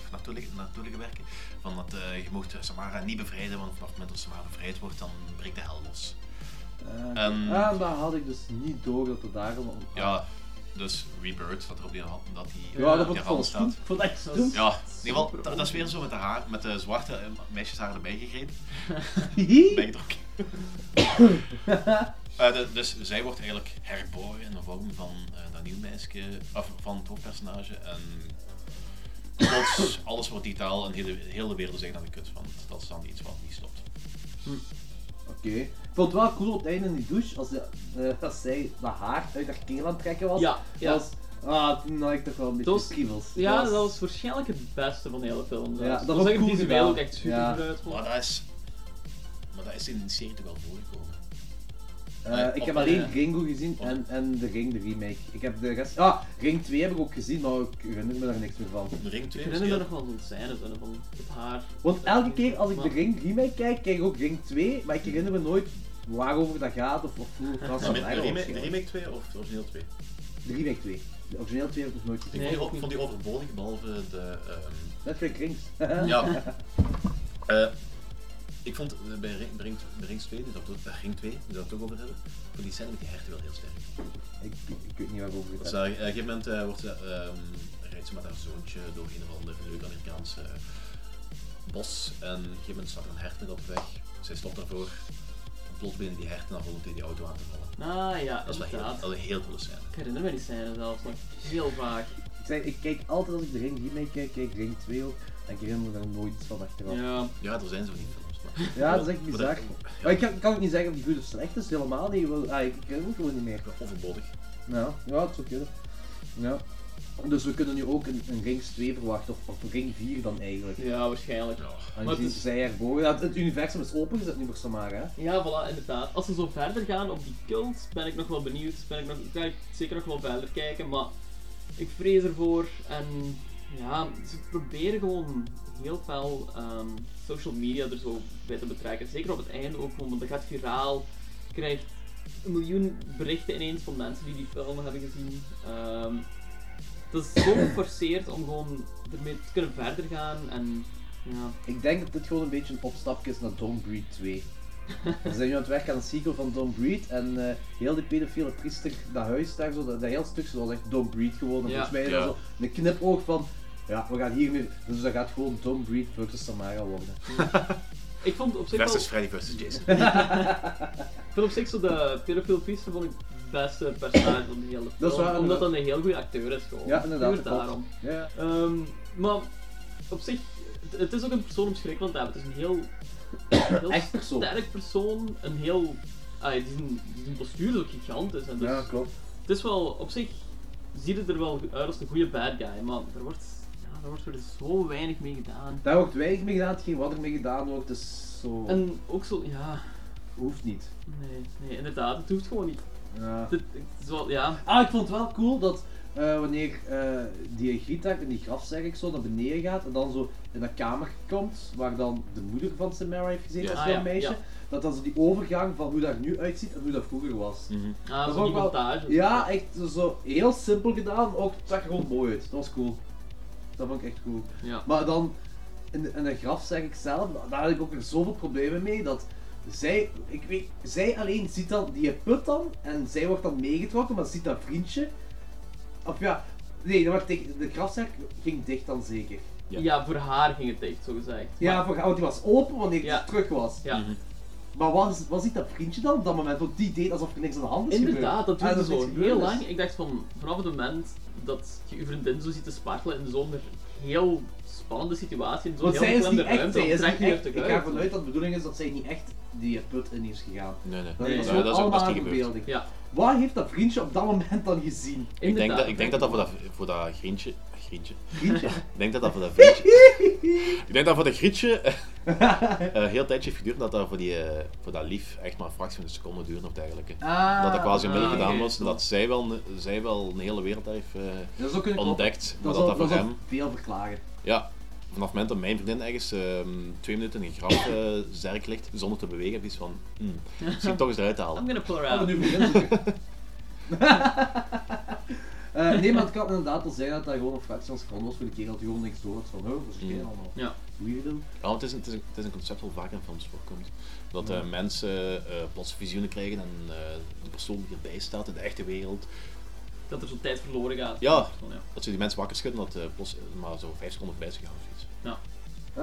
Speaker 9: of naartoe, liggen, naartoe liggen werken. Van dat eh, je mocht Samara niet bevrijden, want vanaf het moment dat Samara bevrijd wordt, dan breekt de hel los.
Speaker 7: eh,
Speaker 9: Ehm,
Speaker 8: Hmm.
Speaker 7: ah, daar had ik dus niet door dat het daarom.
Speaker 9: Ja, dus Rebirth, dat er op die hand dat die,
Speaker 7: Ah.
Speaker 9: eh,
Speaker 7: Ja, dat
Speaker 9: die
Speaker 7: vond ik
Speaker 9: hand
Speaker 7: volgens
Speaker 9: staat.
Speaker 7: goed. Ik vond dat echt stom.
Speaker 9: Ja, in ieder geval, dat, dat is weer zo met de, haar, met de zwarte eh, meisjeshaar erbij
Speaker 7: [laughs]
Speaker 9: gegrepen.
Speaker 7: Hihi.
Speaker 9: Bijgedrukt. Eh, de- dus zij wordt eigenlijk herboren in de vorm van eh, dat nieuw meisje, of van het hoofdpersonage. En plots, alles wordt digitaal en de hele, de hele wereld is echt aan de kut, want dat is dan iets wat niet stopt.
Speaker 7: Oké. Ik vond het wel cool op het einde in die douche als, de, eh, als zij dat haar uit haar keel aan het trekken was.
Speaker 8: Ja, ja.
Speaker 7: Dat was ah, toen had ik toch wel een beetje
Speaker 8: Dat was-
Speaker 7: kriebels.
Speaker 8: Ja, dat was waarschijnlijk het beste van de hele film.
Speaker 7: Ja,
Speaker 8: zelfs.
Speaker 7: dat
Speaker 8: was
Speaker 7: was
Speaker 8: echt
Speaker 7: cool
Speaker 8: visueel
Speaker 7: gedaan.
Speaker 8: ook echt super
Speaker 7: Ja.
Speaker 8: goed uitgevoerd.
Speaker 9: Maar dat is, maar dat is in de serie toch wel voorgekomen.
Speaker 7: Eh, ik heb
Speaker 9: Op-
Speaker 7: alleen
Speaker 8: eh,
Speaker 7: Ringo gezien en, en de Ring, de remake. Ik heb de rest... Ah, Ring 2 heb ik ook gezien, maar ik herinner me daar niks meer van.
Speaker 9: De Ring 2
Speaker 8: Ik herinner me nog wel zo'n scène zo, van het haar.
Speaker 7: Want elke keer als ik de Ring remake kijk, kijk ik ook Ring 2, maar ik herinner me nooit waarover dat gaat of, of hoe of wat
Speaker 9: de,
Speaker 7: dat
Speaker 9: de
Speaker 7: eigenlijk
Speaker 9: remake, de
Speaker 7: waarschijnlijk.
Speaker 9: remake 2 of de origineel 2?
Speaker 7: De remake 2. De origineel 2 heb ik nog nooit gezien.
Speaker 9: Ik
Speaker 8: Nee,
Speaker 9: vond
Speaker 8: ook
Speaker 9: die, vond die overbodig, behalve de... ehm,
Speaker 7: Net gelijk Rings. [laughs]
Speaker 9: Ja. Eh, ik vond eh, bij Ring, bij Ring, bij Ring 2, dus dat, eh, Ring 2, die dat ook over hebben, ik vond die scène met die herten wel heel sterk.
Speaker 7: ik, ik weet niet waarover het
Speaker 9: Dus,
Speaker 7: gaat.
Speaker 9: eh, op een gegeven moment eh, wordt ze, ehm, rijdt ze met haar zoontje door een of ander leuk Amerikaans eh, bos en op een gegeven moment staat er een hert met op de weg. Zij stopt daarvoor en plots binnen die herten en om tegen die auto aan te vallen.
Speaker 8: Ah ja,
Speaker 9: Dat is wel heel,
Speaker 8: inderdaad.
Speaker 9: dat is een heel coole scène.
Speaker 8: Ik herinner me die scène zelfs nog heel vaak.
Speaker 7: Ik, zei, ik kijk altijd als ik de Ring remake kijk, kijk Ring 2 op en ik herinner me daar nooit iets van achteraf. Ja,
Speaker 8: Ja.
Speaker 9: Ja, er zijn zo niet films. Maar,
Speaker 7: dat is echt
Speaker 9: Maar
Speaker 7: bizar. Maar ik kan, kan ook niet zeggen of die goed of slecht is, helemaal niet. Wel, ah, ik ik herinner me gewoon niet meer.
Speaker 9: Overbodig.
Speaker 7: Ja, ja, het zou kunnen. Ja. Dus we kunnen nu ook een, een Rings 2 verwachten, of, of Ring 4 dan eigenlijk.
Speaker 8: ja, waarschijnlijk.
Speaker 9: Ja.
Speaker 8: Maar het
Speaker 7: Aangezien
Speaker 8: is-
Speaker 7: zij erboven... Ja, het, het universum is opengezet nu voor Samara, hè.
Speaker 8: Ja, voilà, inderdaad. Als ze zo verder gaan op die cult, ben ik nog wel benieuwd. Ben ik, nog, ga ik zeker nog wel verder kijken, maar ik vrees ervoor. En ja, ze proberen gewoon heel veel ehm, social media er zo bij te betrekken. Zeker op het einde ook gewoon, want dat gaat viraal. Je krijgt een miljoen berichten ineens van mensen die die film hebben gezien. Ehm dat is zo geforceerd om gewoon ermee te kunnen verder gaan. En ja,
Speaker 7: Ik denk dat dit gewoon een beetje een opstapje is naar Don't Breed
Speaker 8: [laughs]
Speaker 7: 2. We zijn nu aan het werk aan een sequel van Don't Breed en eh, heel die pedofiele priester, dat huis daar, zo, dat, dat heel stuk, zo, dat was echt Don't Breed gewoon. En
Speaker 8: Ja.
Speaker 7: volgens mij is
Speaker 9: Ja.
Speaker 7: dat zo een knipoog van, ja, we gaan hiermee... Dus dat gaat gewoon Don't Breed versus Samara worden.
Speaker 8: ik vond op zich wel...
Speaker 9: Versus Freddy versus Jason.
Speaker 8: Ik vind op zich zo de pedofiel priester vond ik het beste personage van de hele film.
Speaker 7: Dat is waar,
Speaker 8: omdat
Speaker 7: inderdaad.
Speaker 8: dat een heel goede acteur is gewoon.
Speaker 7: Ja, inderdaad,
Speaker 8: Puur
Speaker 7: dat klopt.
Speaker 8: daarom.
Speaker 7: Ja.
Speaker 8: Ehm, maar op zich, het, het is ook een persoon om schrik van te hebben. Het is een
Speaker 7: [coughs]
Speaker 8: heel, een heel
Speaker 7: Echt persoon.
Speaker 8: sterk persoon. Een heel... Ah, die zijn, die zijn postuur is ook gigantisch. En dus,
Speaker 7: Ja, klopt.
Speaker 8: Het is wel... Op zich ziet het er wel uit als een goede bad guy. Maar er wordt, ja, er wordt weer zo weinig mee gedaan.
Speaker 7: Daar wordt weinig mee gedaan, geen wat er mee gedaan wordt, dus zo...
Speaker 8: En ook zo... Ja...
Speaker 7: Hoeft niet.
Speaker 8: Nee, nee, inderdaad. Het hoeft gewoon niet.
Speaker 7: Ja.
Speaker 8: Het, het is wel... Ja...
Speaker 7: Ah, ik vond het wel cool dat eh, wanneer eh, die Grietak in die graf zeg ik zo naar beneden gaat en dan zo in dat kamer komt waar dan de moeder van Samara heeft gezeten
Speaker 9: Ja.
Speaker 7: als
Speaker 8: Ah,
Speaker 7: jong
Speaker 8: ja,
Speaker 7: meisje,
Speaker 8: ja.
Speaker 7: dat dan zo die overgang van hoe dat er nu uitziet en hoe dat vroeger was.
Speaker 8: Ah,
Speaker 7: Dat
Speaker 8: zo'n
Speaker 7: vond ik wel-
Speaker 8: montage.
Speaker 7: Ja, echt zo heel simpel gedaan, ook het zag er gewoon mooi uit. Dat was cool. Dat vond ik echt cool.
Speaker 8: Ja.
Speaker 7: Maar dan, in, de- in een graf zeg ik zelf, daar had ik ook weer zoveel problemen mee, dat zij, ik weet, zij alleen ziet dan die put dan, en zij wordt dan meegetrokken, maar ziet dat vriendje. Of ja, nee, dat werd dicht- de grafzak ging dicht dan zeker.
Speaker 8: Ja. voor haar ging het dicht, zo gezegd.
Speaker 7: Ja, voor, want die was open wanneer hij
Speaker 8: Ja.
Speaker 9: Mhm.
Speaker 7: terug was.
Speaker 8: Ja.
Speaker 7: Maar was, was niet dat vriendje dan op dat moment? Want die deed alsof er niks aan de hand is
Speaker 8: Inderdaad, dat
Speaker 7: gebeurd.
Speaker 8: duurde
Speaker 7: Alsof
Speaker 8: zo
Speaker 7: niks gebeurd
Speaker 8: heel
Speaker 7: is.
Speaker 8: lang. Ik dacht van, vanaf het moment dat je je vriendin zo ziet te sparkelen in zo'n heel spannende situatie, in zo'n
Speaker 7: Want
Speaker 8: heel
Speaker 7: zij is niet
Speaker 8: beklemde
Speaker 7: echt,
Speaker 8: ruimte,
Speaker 7: zij
Speaker 8: dan
Speaker 7: is
Speaker 8: trek
Speaker 7: niet
Speaker 8: je er
Speaker 7: echt,
Speaker 8: toch
Speaker 7: ik ga
Speaker 8: uit.
Speaker 7: vanuit dat de bedoeling is dat zij niet echt die put in is gegaan.
Speaker 9: Nee, nee.
Speaker 7: Dat
Speaker 8: Nee,
Speaker 7: is
Speaker 8: nee,
Speaker 7: gewoon
Speaker 9: dat is ook-
Speaker 7: allemaal
Speaker 9: dat is
Speaker 7: een
Speaker 9: niet gebeurd.
Speaker 7: verbeelding.
Speaker 8: Ja,
Speaker 7: Wat heeft dat vriendje op dat moment dan gezien?
Speaker 9: Ik denk, dat,
Speaker 8: inderdaad.
Speaker 9: ik denk dat dat voor dat, voor dat grientje... Grientje?
Speaker 7: Vriendje?
Speaker 9: Ik denk dat dat voor dat vriendje...
Speaker 8: [laughs]
Speaker 9: ik denk dat voor dat grietje [laughs] eh heel tijdje heeft geduurd dat dat voor, die, eh, voor dat lief echt maar een fractie van een seconde duurde of dergelijke.
Speaker 7: Ah,
Speaker 9: dat dat quasi een beetje
Speaker 8: ah,
Speaker 9: gedaan
Speaker 8: oké,
Speaker 9: was en dat zij wel, een- zij wel een hele wereld heeft eh,
Speaker 7: dat is ook een
Speaker 9: ontdekt. Maar
Speaker 7: Dat
Speaker 9: dat
Speaker 7: zal,
Speaker 9: dat voor
Speaker 7: dat zal
Speaker 9: hem...
Speaker 7: veel verklagen.
Speaker 9: Ja, vanaf het moment dat mijn vriendin ergens ehm, twee minuten in een graf eh, zerk ligt zonder te bewegen, heb je iets van...
Speaker 8: [laughs]
Speaker 9: Hmm, misschien toch eens eruit te
Speaker 8: I'm
Speaker 9: halen.
Speaker 8: gonna pull her
Speaker 7: Gaan we
Speaker 8: out.
Speaker 7: Oh, nu
Speaker 9: [laughs]
Speaker 7: beginnen? Eh, nee, maar het kan inderdaad wel zijn dat dat gewoon een fractie van een seconde was voor de keer dat hij gewoon niks door had van, oh, dat is geen allemaal.
Speaker 8: Ja.
Speaker 7: Weirdo.
Speaker 9: Ja, want Nou, het is, een, het, is een, het is een concept dat vaak in films voorkomt. Dat eh, mensen eh, plots visioenen krijgen en eh, de persoon die erbij staat in de echte wereld,
Speaker 8: Dat er zo'n tijd verloren gaat.
Speaker 9: Ja.
Speaker 8: ja.
Speaker 9: dat ze die mensen wakker schudden dat eh plots eh, maar zo vijf seconden voorbij is gegaan of iets.
Speaker 7: Ah,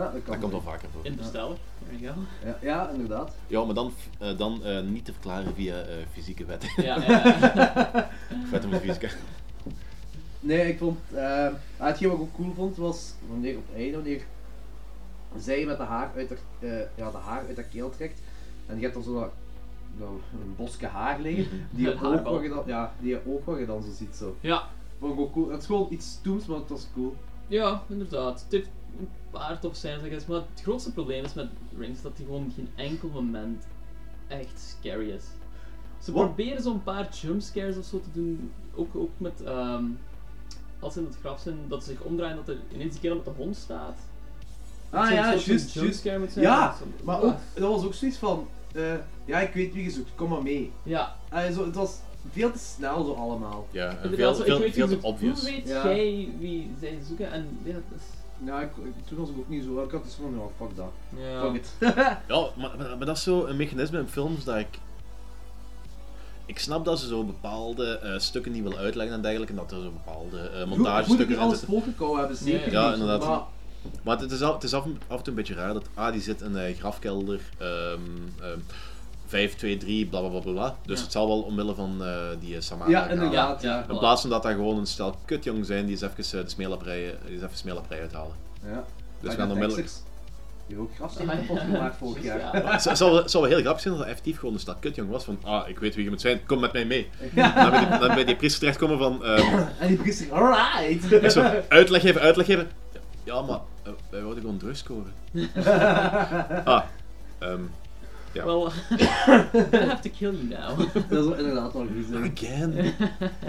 Speaker 7: dat kan
Speaker 9: Dat komt wel
Speaker 7: wel.
Speaker 9: vaker voor.
Speaker 8: Interstellar. There you go.
Speaker 7: Ja, ja, inderdaad.
Speaker 9: Ja, maar dan, eh, dan eh, niet te verklaren via eh, fysieke [laughs] wetten.
Speaker 8: Ja, ja, ja. [laughs]
Speaker 9: wetten met fysica.
Speaker 7: Nee, ik vond. eh, ah, hetgeen wat ik ook cool vond was wanneer op einde, wanneer zij met de haar uit haar, eh, ja, de haar uit haar keel trekt. En je hebt dan zo dat, nou, een boske haar liggen. Die je
Speaker 8: [laughs] Een haarbal.
Speaker 7: oogwaggen dan, ja, die je oogwaggen dan zo ziet. Zo.
Speaker 8: ja.
Speaker 7: Vond ik ook cool. Het is gewoon iets stoms, maar het was cool.
Speaker 8: Ja, inderdaad. Het heeft een paar top scènes, I guess. Maar het grootste probleem is met Rings is dat die gewoon geen enkel moment echt scary is. Ze
Speaker 7: Wat?
Speaker 8: proberen zo'n paar jumpscares of zo te doen. Ook, ook met, ehm, als ze in het graf zijn, dat ze zich omdraaien dat er ineens die kerel met de hond staat. Dat
Speaker 7: Ah
Speaker 8: zo'n
Speaker 7: ja,
Speaker 8: soort van
Speaker 7: juist, juist.
Speaker 8: jumpscare moet zijn.
Speaker 7: Ja,
Speaker 8: Zo'n-
Speaker 7: maar
Speaker 8: Ah.
Speaker 7: ook, dat was ook zoiets van. eh, ja, ik weet wie je zoekt, kom maar mee.
Speaker 8: Ja,
Speaker 7: Ah, zo, het was veel te snel zo allemaal.
Speaker 9: Ja, en
Speaker 8: inderdaad.
Speaker 9: veel,
Speaker 8: zo, ik
Speaker 9: veel,
Speaker 8: weet
Speaker 9: veel
Speaker 8: wie
Speaker 9: te
Speaker 8: ze-
Speaker 9: obvious.
Speaker 8: Hoe weet
Speaker 7: Ja.
Speaker 8: jij wie zij zoeken? En ja, dat is...
Speaker 7: Ja, Nou, ik, ik- toen was ik ook niet zo. Ik had iets van, ja, fuck dat.
Speaker 8: Ja.
Speaker 7: Fuck it.
Speaker 9: Ja, maar, maar, maar dat is zo een mechanisme in films dat ik. Ik snap dat ze zo bepaalde eh, stukken niet willen uitleggen en dergelijke, en dat er zo bepaalde eh,
Speaker 7: Moet ik niet
Speaker 9: montagestukken in
Speaker 7: alles
Speaker 9: zitten.
Speaker 7: volgekomen hebben, zeker
Speaker 8: Nee.
Speaker 9: Ja,
Speaker 7: niet.
Speaker 9: inderdaad.
Speaker 7: Maar Ah,
Speaker 9: Maar het is, al, het is af, en- af en toe een beetje raar dat A die zit in een grafkelder ehm ehm 5, 2, 3, bla bla bla bla, bla. Dus
Speaker 8: Ja.
Speaker 9: het zal wel omwille van eh, die eh, Samara
Speaker 7: Ja,
Speaker 9: gaan.
Speaker 7: inderdaad,
Speaker 8: Ja,
Speaker 7: ja.
Speaker 8: ja.
Speaker 9: In plaats van dat daar gewoon een stel kutjong zijn die eens even eh, de smeelaprij, die eens even smeelaprij uithalen.
Speaker 7: ja.
Speaker 9: Dus we
Speaker 7: Agatha
Speaker 9: gaan onmiddellijk.
Speaker 7: Texas. Die heeft ook grafsteen
Speaker 8: [laughs]
Speaker 7: kapot gemaakt vorig
Speaker 8: Ah, Dus Ja.
Speaker 7: jaar.
Speaker 9: Het zou- zou, wel- zou wel heel grappig zijn dat dat effectief gewoon een stel kutjong was van, ah, ik weet wie je moet zijn, kom met mij mee. Dan bij die, dan bij die priester terechtkomen van, ehm,
Speaker 7: [laughs] En die begint zich, alright!
Speaker 9: [laughs] ik zo, uitleg geven, uitleg geven. Ja, maar eh, wij wilden gewoon drugs scoren. ah, ehm, Ja.
Speaker 7: [laughs]
Speaker 8: [laughs] Well, I have to kill you now.
Speaker 7: Dat is wel inderdaad wel goed. zo.
Speaker 9: again.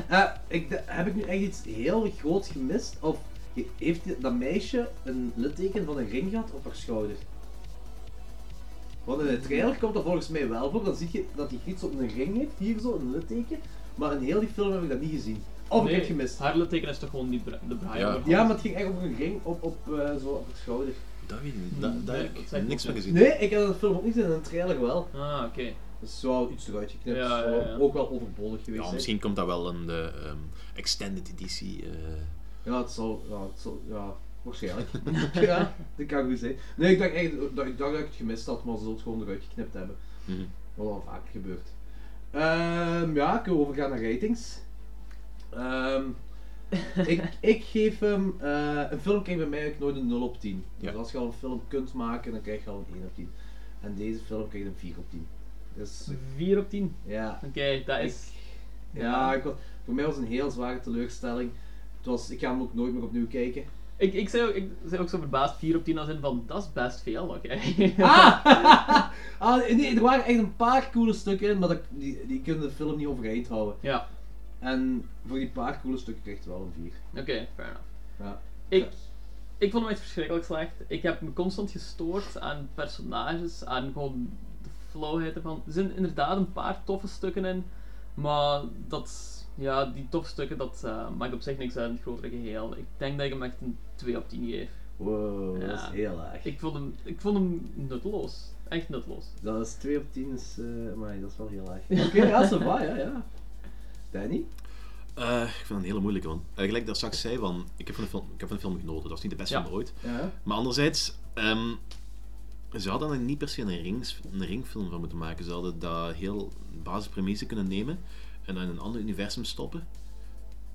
Speaker 7: Eh, ik, de- heb ik nu echt iets heel groots gemist? Of he- heeft die- dat meisje een litteken van een ring gehad op haar schouder? Want in de trailer komt dat volgens mij wel voor. Dan zie je dat die gids op een ring heeft, hier zo, een litteken. Maar in heel die film heb ik dat niet gezien. Of ik heb het gemist.
Speaker 8: Haar litteken is toch gewoon die bra- de braai.
Speaker 9: Ja.
Speaker 8: onderkant?
Speaker 7: Ja, maar het ging echt op een ring op, op, eh, zo op het schouder.
Speaker 9: Dat weet ik niet. Da- Daar heb
Speaker 8: Nee, dat
Speaker 9: ik
Speaker 8: zeg ik
Speaker 9: niks
Speaker 8: ook
Speaker 9: van
Speaker 8: niet.
Speaker 9: gezien.
Speaker 7: Nee, ik heb dat film ook niet gezien, in de trailer wel.
Speaker 8: Ah, oké.
Speaker 7: Dat is wel iets eruit geknipt.
Speaker 8: Ja,
Speaker 7: dat is wel-
Speaker 8: ja, ja.
Speaker 7: Ook wel overbodig geweest.
Speaker 9: Ja,
Speaker 7: hè.
Speaker 9: misschien komt dat wel een de ehm, extended editie. eh.
Speaker 7: Ja, het zal, ja, het zal, ja, waarschijnlijk. [laughs] ja, dat kan goed zijn. Nee, ik dacht echt, dat, ik dacht dat ik het gemist had, maar ze zullen het gewoon eruit geknipt hebben.
Speaker 9: Mhm.
Speaker 7: Wat al vaak gebeurt. Ehm, ja, kunnen we overgaan naar ratings. Ehm, ik, ik geef hem, eh, een film krijgt bij mij ook nooit een 0 op 10.
Speaker 9: Ja.
Speaker 7: Dus als je al een film kunt maken, dan krijg je al een 1 op 10. En deze film krijgt een 4 op 10. Dus,
Speaker 8: 4 op 10.
Speaker 7: ja.
Speaker 8: Oké, dat is.
Speaker 7: Ja, ik was, voor mij was het een heel zware teleurstelling. Het was, ik ga hem ook nooit meer opnieuw kijken.
Speaker 8: Ik, ik, zei, ook- ik zei ook zo verbaasd 4 op 10 als in van dat is best veel, oké.
Speaker 7: Ah! [laughs] ah nee, er waren echt een paar coole stukken in, maar dat, die, die kunnen de film niet overeind houden.
Speaker 8: [laughs] ja,
Speaker 7: En voor die paar coole stukken krijgt het wel een 4.
Speaker 8: oké, fair enough.
Speaker 7: Ja.
Speaker 8: Ik, ik vond hem echt verschrikkelijk slecht. Ik heb me constant gestoord aan personages, aan gewoon de flowheid ervan. Er zijn inderdaad een paar toffe stukken in, maar dat, ja, die toffe stukken, dat eh, maakt op zich niks uit in het grotere geheel. Ik denk dat ik hem echt een 2 op 10 geef.
Speaker 7: Wow, dat is
Speaker 8: Ja.
Speaker 7: heel laag.
Speaker 8: Ik vond hem, ik vond hem nutteloos. Echt nutteloos.
Speaker 7: Dat is 2 op 10, is, eh maar dat is wel heel laag. Oké, ja, ça va, ja, ja. Danny?
Speaker 9: Eh, ik vind het een hele moeilijke, want eh, gelijk dat straks zei, van, ik, heb van de film, ik heb van de film genoten, dat is niet de beste
Speaker 8: Ja.
Speaker 9: film ooit.
Speaker 7: Ja.
Speaker 9: Maar anderzijds, ehm, Ze hadden er niet per se een, rings, een ringfilm van moeten maken. Ze hadden dat heel basispremise kunnen nemen en dan in een ander universum stoppen.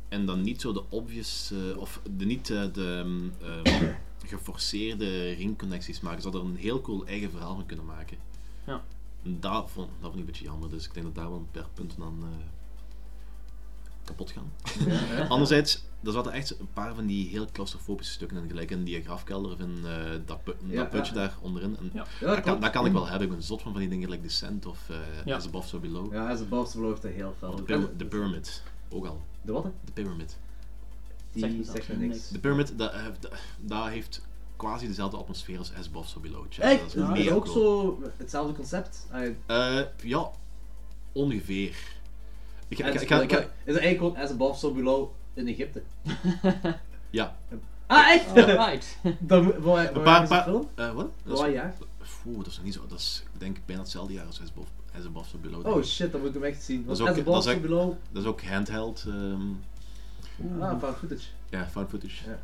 Speaker 9: En dan niet zo de obvious, eh, of de, niet eh, de ehm, ehm, geforceerde ringconnecties maken. Ze hadden er een heel cool eigen verhaal van kunnen maken.
Speaker 8: Ja.
Speaker 9: En Dat vond, dat vond ik een beetje jammer, dus ik denk dat daar wel een paar punten aan eh, kapot gaan. [laughs] Anderzijds, er zaten echt een paar van die heel claustrofobische stukken in, gelijk in die grafkelder of in eh, dat, pu-
Speaker 7: Ja,
Speaker 9: dat putje
Speaker 7: ja.
Speaker 9: daar onderin. En
Speaker 8: Ja. [laughs]
Speaker 7: Ja,
Speaker 9: dat, kan,
Speaker 7: klopt. Mm.
Speaker 9: dat kan ik wel hebben, ik ben zot van van die dingen, like Descent of eh
Speaker 8: Ja.
Speaker 9: As Above So Below.
Speaker 7: Ja, en zijn bovenste belooft dat heel fel.
Speaker 9: Of The,
Speaker 7: En
Speaker 9: Pyra- The Pyramid, ook al.
Speaker 7: De wat? hè?
Speaker 9: The Pyramid.
Speaker 8: Zegt
Speaker 7: Die
Speaker 8: me zelfs
Speaker 7: zegt me niks.
Speaker 9: The Pyramid, dat, eh, dat- dat heeft quasi dezelfde atmosfeer als As Above So Below. Check,
Speaker 7: Echt?
Speaker 9: dat
Speaker 7: Is het
Speaker 9: mega
Speaker 7: ook
Speaker 9: cool.
Speaker 7: zo hetzelfde concept? Ah,
Speaker 9: Eh, ja, ongeveer. Ik, ga-
Speaker 7: en
Speaker 9: ik,
Speaker 7: ze-
Speaker 9: ga- ik, ga- ik, ga-
Speaker 7: Is het eigenlijk gewoon as above, so below in Egypte?
Speaker 9: ja,
Speaker 7: Ah, echt? [laughs]
Speaker 8: Alright. [laughs]
Speaker 7: Dan moet- waar-
Speaker 9: een
Speaker 7: waar
Speaker 9: paar...
Speaker 7: is die
Speaker 9: paar
Speaker 7: film?
Speaker 9: eh, wat? Dat is-
Speaker 7: Waar jaar?
Speaker 9: Oeh, dat is nog niet zo. Dat is ik denk bijna hetzelfde jaar als As Above, As Above So Below. denk
Speaker 7: Oh
Speaker 9: ik.
Speaker 7: shit, dan moet ik hem echt zien.
Speaker 9: Dat
Speaker 7: Want
Speaker 9: is ook-
Speaker 7: as above,
Speaker 9: dat is
Speaker 7: so
Speaker 9: ook-
Speaker 7: below.
Speaker 9: Dat is ook handheld. ehm,
Speaker 7: Ah, found footage.
Speaker 9: ja, found footage.
Speaker 7: Ja.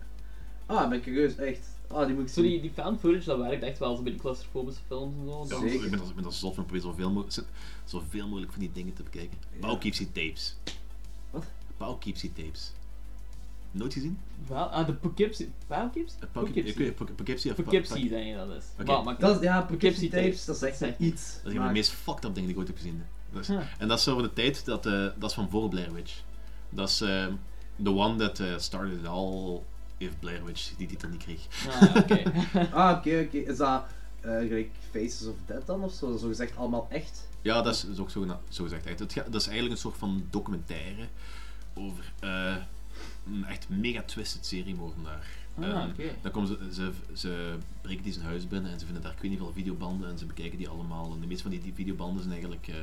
Speaker 7: Ah, ben ik curieus, echt. Ah, die moet ik
Speaker 8: Zo die,
Speaker 7: zien.
Speaker 8: die found footage, dat werkt echt wel zo bij die claustrofobische films en zo.
Speaker 9: Ja,
Speaker 8: Dat-
Speaker 7: Zeker.
Speaker 9: ik ben als, ik ben als zot van probeer zoveel, mo- zo- zoveel mogelijk van die dingen te bekijken. Bouw Keepsie tapes.
Speaker 7: Wat?
Speaker 9: Bouw Keepsie tapes. Nooit gezien? Eh,
Speaker 8: Wel, ah, de Poughkeepsie. Poughkeepsie? Poughkeepsie.
Speaker 9: Poughkeepsie of Pa-
Speaker 8: Poughkeepsie,
Speaker 9: Pa-
Speaker 8: denk je dat is.
Speaker 9: Oké.
Speaker 8: Maar- maar-
Speaker 7: Dat is, ja, Poughkeepsie
Speaker 8: Poughkeepsie tapes,
Speaker 7: tapes, dat is echt
Speaker 8: zegt
Speaker 7: een iets.
Speaker 9: Dat is een van de meest fucked up dingen die ik ooit heb gezien. Dat is-
Speaker 8: Ja.
Speaker 9: En dat is over de tijd dat, eh, dat is van voor Blair Witch. Dat is ehm, the one that eh, started it all if Blair Witch die titel niet kreeg. [laughs]
Speaker 8: Ah, oké.
Speaker 7: [laughs] Ah, oké, oké. Is dat eh, gelijk Faces of Dead dan of zo? Zo gezegd allemaal echt?
Speaker 9: Ja, dat is, is ook zo, zo gezegd. Echt. Het ga- dat is eigenlijk een soort van documentaire over eh, een echt mega twisted seriemoordenaar.
Speaker 8: Ah,
Speaker 9: Ehm,
Speaker 8: oké.
Speaker 9: Dan komen ze, ze, ze breken die zijn huis binnen en ze vinden daar ik weet niet veel videobanden en ze bekijken die allemaal. En de meeste van die, die videobanden zijn eigenlijk eh,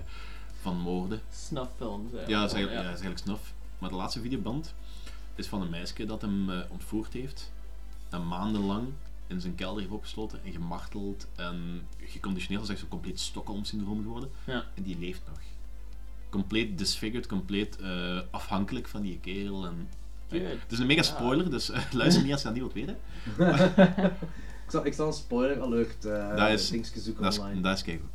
Speaker 9: van moorden.
Speaker 8: Snuffilms. eh.
Speaker 9: Ja, dat is eigenlijk, ja, dat is eigenlijk snuf. Maar de laatste videoband is van een meisje dat hem eh, ontvoerd heeft. En maandenlang in zijn kelder heeft opgesloten en gemarteld en geconditioneerd als echt zo'n compleet Stockholm-syndroom geworden.
Speaker 8: Ja.
Speaker 9: En die leeft nog. Compleet disfigured, compleet eh, afhankelijk van die kerel. En,
Speaker 8: Good.
Speaker 9: Het is een mega spoiler, dus eh, [laughs] luister niet als je dat niet wilt weten.
Speaker 7: Ik zal, ik zal een spoiler alert eh
Speaker 9: Dat is-
Speaker 7: linkje zoeken
Speaker 9: Dat is,
Speaker 7: online.
Speaker 9: dat is keigoed.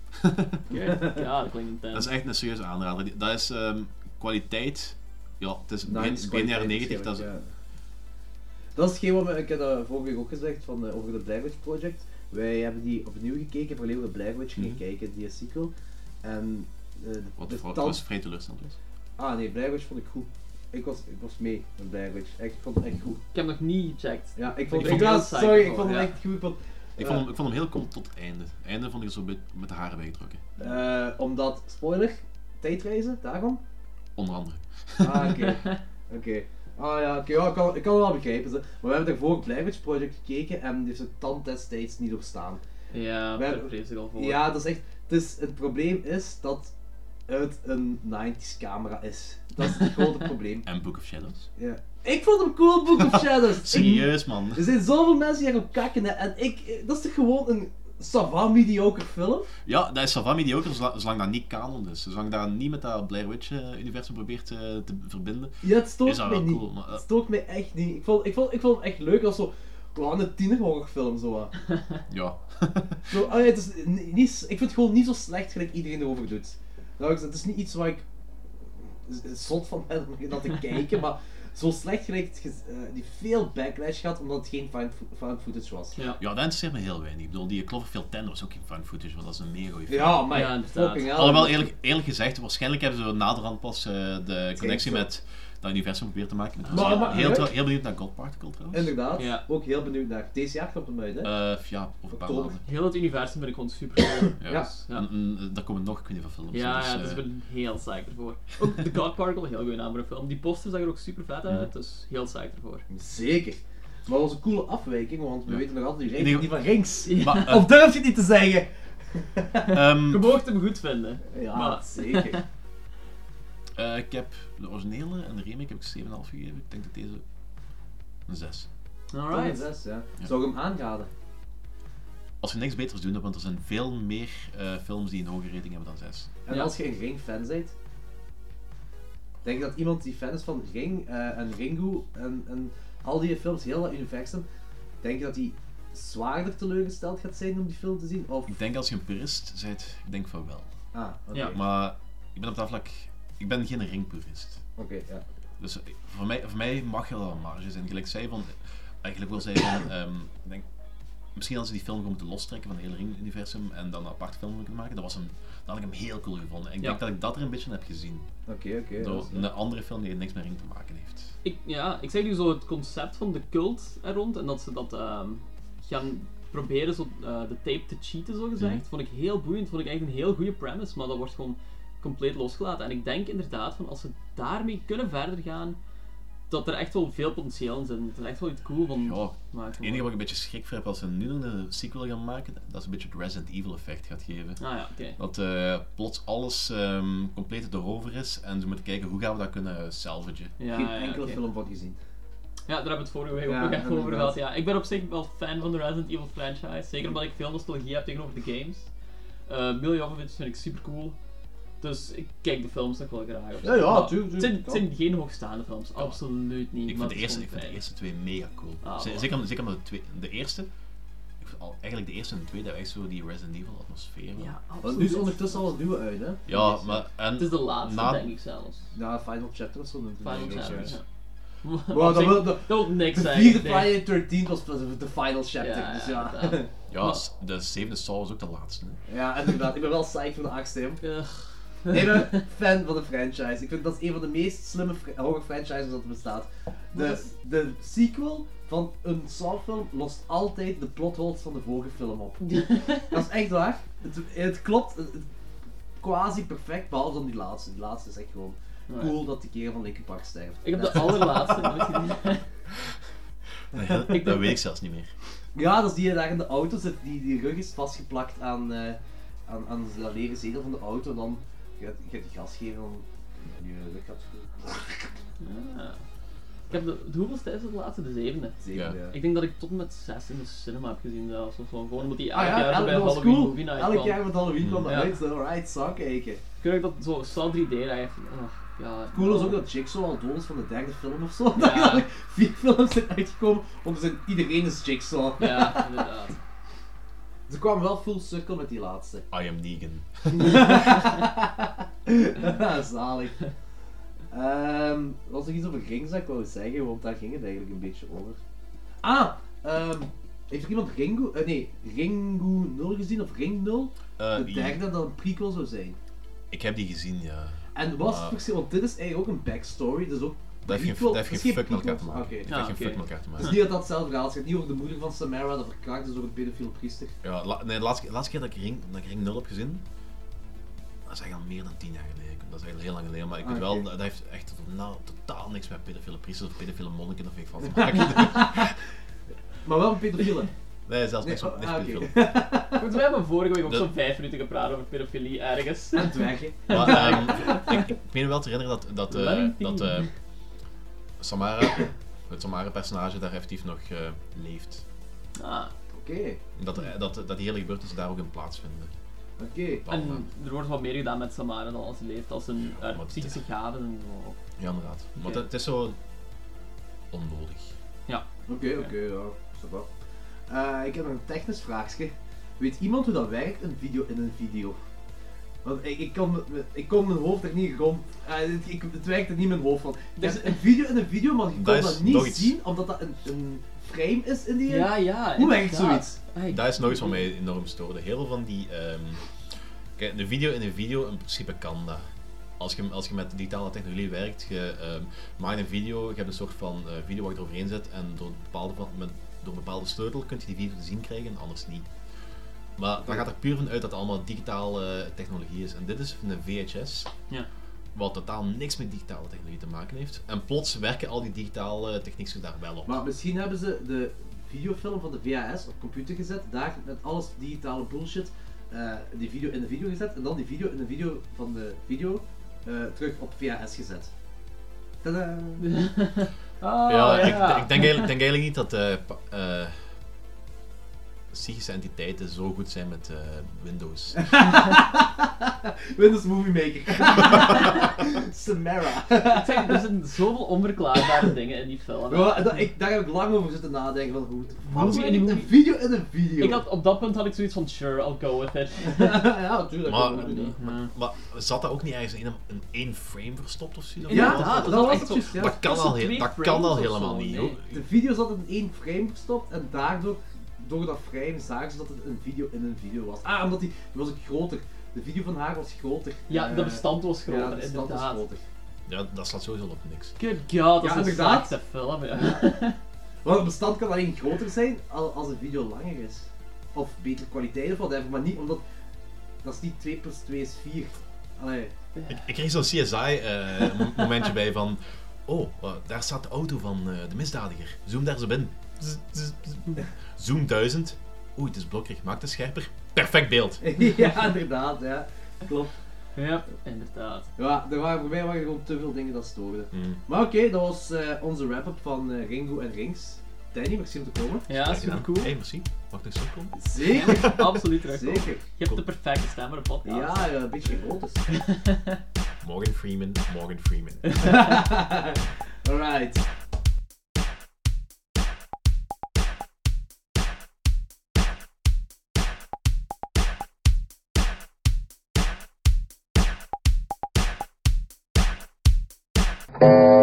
Speaker 8: Ja, dat klinkt
Speaker 9: Dat is
Speaker 8: intens.
Speaker 9: echt een serieuze aanrader. Die- Dat is ehm, kwaliteit. Ja, het is
Speaker 7: Nou,
Speaker 9: begin,
Speaker 7: het is
Speaker 9: begin jaren
Speaker 7: kwaliteit
Speaker 9: 90. Dat is,
Speaker 7: waarschijnlijk, ja. Dat is hetgeen wat we- ik heb dat vorige week ook gezegd van, eh, over de Blair Witch Project. Wij hebben die opnieuw gekeken, voor de Blair Witch gingen
Speaker 9: Mhm.
Speaker 7: kijken, die sequel. En eh, de,
Speaker 9: wat
Speaker 7: de
Speaker 9: voor-
Speaker 7: tal-
Speaker 9: was vrij teleurstellend was.
Speaker 7: Ah nee, Blair Witch vond ik goed. Ik was, ik was mee met Blair Witch. Ik vond het echt goed.
Speaker 8: Ik heb nog niet gecheckt.
Speaker 7: Ja, ik vond
Speaker 8: Ik
Speaker 7: het
Speaker 8: vond
Speaker 7: echt
Speaker 8: het
Speaker 7: ja,
Speaker 8: heel
Speaker 7: Sorry,
Speaker 8: psycho,
Speaker 7: ik vond het
Speaker 8: ja.
Speaker 7: echt goed. want,
Speaker 9: Ik
Speaker 7: eh,
Speaker 9: vond, hem, ik vond hem heel kom tot het einde. Het einde vond ik zo met, met de haren bijgetrokken.
Speaker 7: eh, omdat, spoiler, tijdreizen, daarom.
Speaker 9: Onder andere.
Speaker 7: Ah, oké. Oké. Ah ja, oké, ja, ik, kan, ik kan het wel begrijpen. Ze. Maar we hebben daarvoor het Blair Witch Project gekeken en die heeft zijn tand destijds niet doorstaan.
Speaker 8: Ja,
Speaker 7: Wel-
Speaker 8: daar vrees ik al voor.
Speaker 7: Ja, dat is echt. Het, is, het probleem is dat het een 90s camera is. Dat is het [laughs] grote probleem.
Speaker 9: [laughs] En Book of Shadows.
Speaker 7: Ja. Ik vond hem cool, Book
Speaker 9: [laughs]
Speaker 7: of Shadows. Ik-
Speaker 9: Serieus, man.
Speaker 7: er zijn zoveel mensen die erop kakken hè, en ik. eh, Dat is toch gewoon een savant mediocre film?
Speaker 9: Ja, dat is Savami die ook, zolang, zolang dat niet kanon is. Zolang dat niet met dat Blair Witch-universum probeert eh, te verbinden.
Speaker 7: Ja, het
Speaker 9: Is
Speaker 7: stoort
Speaker 9: dat
Speaker 7: mij
Speaker 9: wel
Speaker 7: niet.
Speaker 9: cool, maar, eh.
Speaker 7: Het stoort mij echt niet. Ik vond, ik vond, ik vond hem echt leuk als zo. Gewoon een tienerhorrorfilm zo. wat.
Speaker 9: Ja. [laughs]
Speaker 7: Zo, ah ja, het is ni- niet, s- ik vind het gewoon niet zo slecht gelijk iedereen erover doet. Nou, ik- het is niet iets waar ik z- zot van ben om naar te kijken, maar zo slecht gelijk het gez- eh, die veel backlash gehad omdat het geen found, fo- found footage was.
Speaker 8: Ja.
Speaker 9: ja, dat interesseert me heel weinig. Ik bedoel, die Cloverfield 10 was ook geen fun footage, want dat is een mega goeie film.
Speaker 7: Ja, maar
Speaker 8: Ja, inderdaad.
Speaker 7: fucking hell.
Speaker 9: Alhoewel, eerlijk, eerlijk gezegd, waarschijnlijk hebben ze naderhand pas eh, de connectie
Speaker 7: zo.
Speaker 9: met dat universum proberen te maken.
Speaker 7: Maar-
Speaker 9: heel,
Speaker 7: maar-
Speaker 9: heel, trouw- heel benieuwd naar God Particle trouwens.
Speaker 7: Inderdaad,
Speaker 8: Ja.
Speaker 7: ook heel benieuwd naar. Deze jaar komt hem uit, hè?
Speaker 9: Eh, ja, over een paar
Speaker 7: Oktober.
Speaker 9: maanden.
Speaker 8: Heel het universum ben ik gewoon super cool.
Speaker 9: Ja.
Speaker 7: Ja.
Speaker 8: Ja.
Speaker 9: En, en, daar komen nog, ik weet niet hoeveel films.
Speaker 8: Ja,
Speaker 9: dus,
Speaker 8: ja,
Speaker 9: eh,
Speaker 8: dus ik ben heel psyched ervoor. Ook The God Particle, heel goede naam voor een film. Die poster zag er ook super vet uit, dus heel psyched ervoor.
Speaker 7: Zeker. Maar dat was een coole afwijking, want we weten nog altijd die
Speaker 9: Ik
Speaker 7: rings,
Speaker 9: denk-
Speaker 7: die van rings. [laughs]
Speaker 9: Maar, eh,
Speaker 7: Of durf je het niet te zeggen?
Speaker 8: Je
Speaker 9: ehm,
Speaker 8: mocht hem goed vinden.
Speaker 7: Ja,
Speaker 8: maar...
Speaker 7: zeker.
Speaker 9: eh, ik heb de originele en de remake heb ik 7,5 gegeven. Ik denk dat deze een 6.
Speaker 7: Toch een
Speaker 8: Alright.
Speaker 7: zes, ja. Zou ik hem aanraden?
Speaker 9: Als we niks beters doen, want er zijn veel meer eh, films die een hogere rating hebben dan 6.
Speaker 7: En
Speaker 8: Ja.
Speaker 7: als je een Ring-fan bent, denk je dat iemand die fan is van Ring eh, en Ringu en, en al die films, heel dat universum, denk je dat die zwaarder teleurgesteld gaat zijn om die film te zien? Of...
Speaker 9: Ik denk als je een purist bent, ik denk van wel.
Speaker 7: Ah, oké.
Speaker 8: Ja.
Speaker 9: Maar ik ben op dat vlak, ik ben geen ringpurist.
Speaker 7: Oké, ja.
Speaker 9: Dus eh, voor mij, voor mij mag er wel een marge zijn. Gelijk zij van, eigenlijk wil zij van, ehm, ik denk, misschien als ze die film gewoon moeten lostrekken van het hele ring-universum en dan een apart film kunnen maken, dat, was hem, dat had ik hem heel cool gevonden. En ik
Speaker 8: Ja.
Speaker 9: denk dat ik dat er een beetje in heb gezien.
Speaker 7: Oké, oké.
Speaker 9: door
Speaker 7: dat is-
Speaker 9: een andere film die niks met ring te maken heeft.
Speaker 8: Ik, ja, ik zeg nu zo het concept van de cult er rond en dat ze dat ehm, gaan proberen zo, eh, de tape te cheaten, zo gezegd. Vond ik heel boeiend, vond ik echt een heel goede premise, maar dat wordt gewoon compleet losgelaten. En ik denk inderdaad van als ze daarmee kunnen verder gaan, dat er echt wel veel potentieel in zit. en Dat er echt wel iets cool van
Speaker 9: Ja,
Speaker 8: maken.
Speaker 9: Het enige wat ik een beetje schrik voor heb als ze nu nog een sequel gaan maken, dat is een beetje het Resident Evil effect gaat geven.
Speaker 8: Ah ja, oké.
Speaker 9: Dat eh, plots alles ehm, compleet erover is en ze moeten kijken hoe gaan we dat kunnen salvagen.
Speaker 8: Ja,
Speaker 7: Geen
Speaker 8: ja,
Speaker 7: enkele
Speaker 8: oké.
Speaker 7: film van gezien.
Speaker 8: Ja, daar hebben we het vorige week
Speaker 7: Ja,
Speaker 8: ook nog even over
Speaker 7: inderdaad.
Speaker 8: gehad. Ja. Ik ben op zich wel fan van de Resident Evil franchise. Zeker omdat ik veel nostalgie heb tegenover de games. Eh Mil Jovovich vind ik super cool. Dus ik kijk de films nog wel graag. op zich.
Speaker 7: Ja, ja,
Speaker 8: Maar
Speaker 7: tuurlijk,
Speaker 8: Het zijn,
Speaker 7: tuurlijk,
Speaker 8: het zijn geen hoogstaande films, absoluut niet.
Speaker 9: Ik
Speaker 8: maar
Speaker 9: vind, de
Speaker 8: het is
Speaker 9: eerste, ik vind
Speaker 8: gewoon
Speaker 9: de eerste twee mega cool.
Speaker 8: Ah,
Speaker 9: Ze-
Speaker 8: wow.
Speaker 9: zeker zeker omdat de, twee, de eerste, ik vond al, eigenlijk de eerste en de tweede hebben echt zo die Resident Evil atmosfeer.
Speaker 8: fijn. Ja,
Speaker 7: Want
Speaker 8: absoluut.
Speaker 7: nu is ondertussen al het nieuwe uit, hè?
Speaker 9: Ja, maar en,
Speaker 8: Het is de laatste,
Speaker 9: na-
Speaker 8: denk ik zelfs.
Speaker 7: Ja, Final Chapter of zo noemt het
Speaker 8: Final
Speaker 7: eigenlijk,
Speaker 8: [laughs] Chapter.
Speaker 7: zoiets.
Speaker 8: ja.
Speaker 7: Wow,
Speaker 8: Op
Speaker 7: dat
Speaker 8: zich-
Speaker 7: wil- dat-
Speaker 8: dat wil niks
Speaker 7: De
Speaker 8: zeggen.
Speaker 7: vierde
Speaker 8: nee.
Speaker 7: Friday 13 was pas de Final Chapter,
Speaker 8: Ja,
Speaker 7: dus
Speaker 8: ja,
Speaker 7: ja.
Speaker 8: inderdaad.
Speaker 9: ja, s- de zevende Saw was ook de
Speaker 8: [laughs]
Speaker 9: laatste. hè.
Speaker 7: [laughs] Ja, inderdaad. Ik ben wel psyched van de achtste. hè.
Speaker 8: Ugh.
Speaker 7: Ik
Speaker 8: [laughs]
Speaker 7: ben fan van de franchise. Ik vind dat is een van de meest slimme fr- horror franchises dat er bestaat. De, de sequel van een Saw-film lost altijd de plotholes van de vorige film op. [laughs] dat is echt waar. Het, het klopt het- het quasi perfect, behalve dan die laatste. Die laatste is echt gewoon cool dat de kerel van Linkin Park sterft.
Speaker 8: Ik heb de allerlaatste nooit gezien. [laughs]
Speaker 9: Dat, dat weet ik zelfs niet meer.
Speaker 7: Ja, dat is die daar in de auto zit. Die, die rug is vastgeplakt aan, eh, aan, aan de leren zegel van de auto. En dan gaat gaat die gas geven en dan... En je rug gaat...
Speaker 8: Ja. Ah. Ik heb de, de hoeveelste is het de laatste? De zevende.
Speaker 7: Zeker, ja.
Speaker 8: Ik denk dat ik tot en met zes in de cinema heb gezien zelfs. Of zo. Gewoon omdat die
Speaker 7: Ah
Speaker 8: elk
Speaker 7: ja,
Speaker 8: jaar zo
Speaker 7: elk,
Speaker 8: bij
Speaker 7: dat was
Speaker 8: Halloween
Speaker 7: cool.
Speaker 8: Movie Night
Speaker 7: Elk
Speaker 8: kwam.
Speaker 7: jaar met Halloween kwam dat
Speaker 8: Ja.
Speaker 7: uit. Alright, zou kijken.
Speaker 8: Ik denk dat zo Saw 3D eigenlijk. Oh, ja.
Speaker 7: Cool is ook dat Jigsaw al dood is van de derde film of zo. [laughs]
Speaker 8: Ja.
Speaker 7: Dat er eigenlijk vier films zijn uitgekomen, want er zijn, iedereen is Jigsaw.
Speaker 8: Ja, inderdaad.
Speaker 7: Ze kwamen wel full circle met die laatste.
Speaker 8: [laughs]
Speaker 7: [laughs]
Speaker 9: I am Negan.
Speaker 7: Zalig. Ehm was er iets over rings dat ik wou zeggen, want daar ging het eigenlijk een beetje over. Ah, ehm, heeft er iemand Ringu, eh, nee, Ringu 0 gezien of Ring 0?
Speaker 9: Eh,
Speaker 7: de
Speaker 9: die-
Speaker 7: derde dat een prequel zou zijn.
Speaker 9: ik heb die gezien, ja.
Speaker 7: En was
Speaker 9: Maar-
Speaker 7: het verschil, want dit is eigenlijk ook een backstory, dus ook.
Speaker 9: Dat heeft geen,
Speaker 7: prequel-
Speaker 9: dat heeft geen
Speaker 7: het is
Speaker 9: fuck met elkaar te
Speaker 7: prequel,
Speaker 9: maken.
Speaker 7: Oké.
Speaker 9: Dat
Speaker 8: Ah,
Speaker 9: heeft geen
Speaker 8: oké.
Speaker 9: fuck met elkaar te
Speaker 7: Het
Speaker 9: maken.
Speaker 8: [laughs]
Speaker 7: is niet dat dat hetzelfde verhaal is. Het gaat niet over de moeder van Samara dat verkracht is door een pedofiel priester.
Speaker 9: Ja, la- nee, de laatste, de laatste keer dat ik, ring, dat ik Ring 0 heb gezien, dat is eigenlijk al meer dan 10 jaar geleden. Dat is eigenlijk heel lang geleden, maar ik
Speaker 7: Ah,
Speaker 9: weet wel,
Speaker 7: oké.
Speaker 9: dat dat heeft echt totaal, totaal niks met pedofiele priesters of pedofiele monniken of weet ik wat te
Speaker 7: [laughs]
Speaker 9: maken. [laughs]
Speaker 7: Maar wel een pedofiele.
Speaker 9: nee, zelfs
Speaker 7: Nee,
Speaker 9: niks met
Speaker 7: oh,
Speaker 9: niks
Speaker 7: ah,
Speaker 9: pedofiel.
Speaker 7: [laughs] oké.
Speaker 8: Goed, we hebben vorige week ook
Speaker 9: Dat-
Speaker 8: zo'n vijf minuten gepraat over pedofilie ergens.
Speaker 7: En dwergen. [laughs]
Speaker 9: Maar ehm, ik, ik meen me wel te herinneren dat, dat, eh,
Speaker 8: Lang
Speaker 9: dat eh,
Speaker 8: tien.
Speaker 9: Samara, het Samara-personage daar effectief nog eh, leeft.
Speaker 8: Ah,
Speaker 7: Oké,
Speaker 9: En Dat,
Speaker 7: Hmm.
Speaker 9: er- dat, dat die hele gebeurtenissen daar ook in plaatsvinden. eh,
Speaker 7: oké.
Speaker 8: en er wordt wat meer gedaan met Samara dan als ze leeft, als een haar
Speaker 9: maar-
Speaker 8: psychische gaven en zo.
Speaker 9: Ja, inderdaad. Maar
Speaker 8: Oké.
Speaker 9: dat- het is zo onnodig.
Speaker 7: Oké, oké, ja, ça va. Eh, ik heb nog een technisch vraagje. Weet iemand hoe dat werkt, een video in een video? Want ik, ik, kom, ik kom mijn hoofd er niet rond. Eh, het, ik, het werkt er niet in mijn hoofd van.
Speaker 8: Dus-
Speaker 7: Dus een video in een video, maar je
Speaker 9: Dat
Speaker 7: kan
Speaker 9: is
Speaker 7: dat niet
Speaker 9: nog iets.
Speaker 7: zien omdat dat een, een frame is in die.
Speaker 8: Ja, ja.
Speaker 7: hoe werkt
Speaker 8: inderdaad.
Speaker 7: zoiets?
Speaker 8: Ah, ik-
Speaker 9: Daar is nog iets wat mij enorm stoorde. Heel veel van die. ehm, Kijk, de video in een video, in principe kan dat. Als je, als je met digitale technologie werkt, je ehm, maakt een video, je hebt een soort van eh, video waar je eroverheen zet en door een bepaalde, van- met, door een bepaalde sleutel kun je die video te zien krijgen en anders niet. Maar dat gaat er puur van uit dat het allemaal digitale eh, technologie is. En dit is een VHS,
Speaker 8: Ja.
Speaker 9: wat totaal niks met digitale technologie te maken heeft. En plots werken al die digitale technieken daar wel op.
Speaker 7: Maar misschien hebben ze de videofilm van de VHS op computer gezet, daar met alles digitale bullshit eh, die video in de video gezet en dan die video in de video van de video eh, terug op VHS gezet. Tadaa! [laughs]
Speaker 8: Ah,
Speaker 9: ja,
Speaker 8: ja.
Speaker 9: Ik, ik denk, eigenlijk, ik denk eigenlijk niet dat eh, pa- eh, psychische entiteiten zo goed zijn met eh, Windows.
Speaker 7: Windows Movie Maker. [laughs] Samara.
Speaker 8: Ik zeg, er zitten zoveel onverklaarbare [laughs] dingen in die film.
Speaker 7: Ja, dat, ik, daar heb ik lang over zitten nadenken. Van, hoe de fuck
Speaker 8: Movie
Speaker 7: zit
Speaker 8: in een
Speaker 7: een
Speaker 8: movie.
Speaker 7: video in een video?
Speaker 8: Ik had, op dat punt had ik zoiets van, sure, I'll go with it.
Speaker 7: [laughs] ja, natuurlijk.
Speaker 9: Maar-
Speaker 7: dat kan ik
Speaker 8: [laughs] Ja.
Speaker 9: maar zat dat ook niet ergens in, een, in één frame verstopt of zo?
Speaker 7: Ja,
Speaker 9: Dat-
Speaker 7: dat,
Speaker 8: was
Speaker 7: was
Speaker 8: echt
Speaker 7: het
Speaker 8: zo-
Speaker 7: juist, ja.
Speaker 9: dat kan
Speaker 8: tussen
Speaker 9: al, he-
Speaker 8: twee
Speaker 9: dat kan
Speaker 8: frames
Speaker 9: al
Speaker 8: of
Speaker 9: helemaal
Speaker 8: zo,
Speaker 9: niet,
Speaker 8: nee.
Speaker 9: hoor.
Speaker 7: De video zat in één frame verstopt en daardoor, door dat frame, zagen ze dat het een video in een video was. Ah, omdat die, die was ook groter. De video van haar was groter.
Speaker 8: Ja,
Speaker 7: Eh,
Speaker 8: dat bestand was
Speaker 7: ja,
Speaker 8: groter,
Speaker 7: dat bestand was
Speaker 8: inderdaad.
Speaker 7: groter.
Speaker 9: Ja, dat slaat sowieso op niks.
Speaker 8: Good god,
Speaker 7: Ja,
Speaker 8: dat is een
Speaker 7: inderdaad.
Speaker 8: slechte film, ja.
Speaker 7: [laughs] Want het bestand kan alleen groter zijn al- als een video langer is. Of betere kwaliteit of whatever, maar niet omdat... Dat is niet 2 plus 2 is 4. Allee. [laughs]
Speaker 9: Ik, ik kreeg zo'n CSI-momentje eh, bij van... Oh, eh, daar staat de auto van eh, de misdadiger. Zoom daar zo binnen. Zzz, zzz, zzz. Zoom 1000. Oei, het is blokkerig. Maak het scherper. Perfect beeld.
Speaker 7: ja, inderdaad, ja. Klopt.
Speaker 8: Ja, inderdaad.
Speaker 7: Ja, er waren, voor mij waren er gewoon te veel dingen dat stoorden.
Speaker 9: Hmm.
Speaker 7: Maar oké, dat was eh, onze wrap-up van eh, Ringo en Rings. Danny, merci om te komen.
Speaker 8: Ja, super cool.
Speaker 9: Hey, merci. Mag ik nog zo komen?
Speaker 7: Zeker,
Speaker 8: Absoluut terugkomen.
Speaker 7: zeker.
Speaker 8: Je hebt de perfecte stem voor een podcast.
Speaker 7: Ja, ja, een beetje groot [laughs] is.
Speaker 8: [laughs]
Speaker 9: Morgan Freeman, Morgan Freeman.
Speaker 7: Alright.
Speaker 13: 「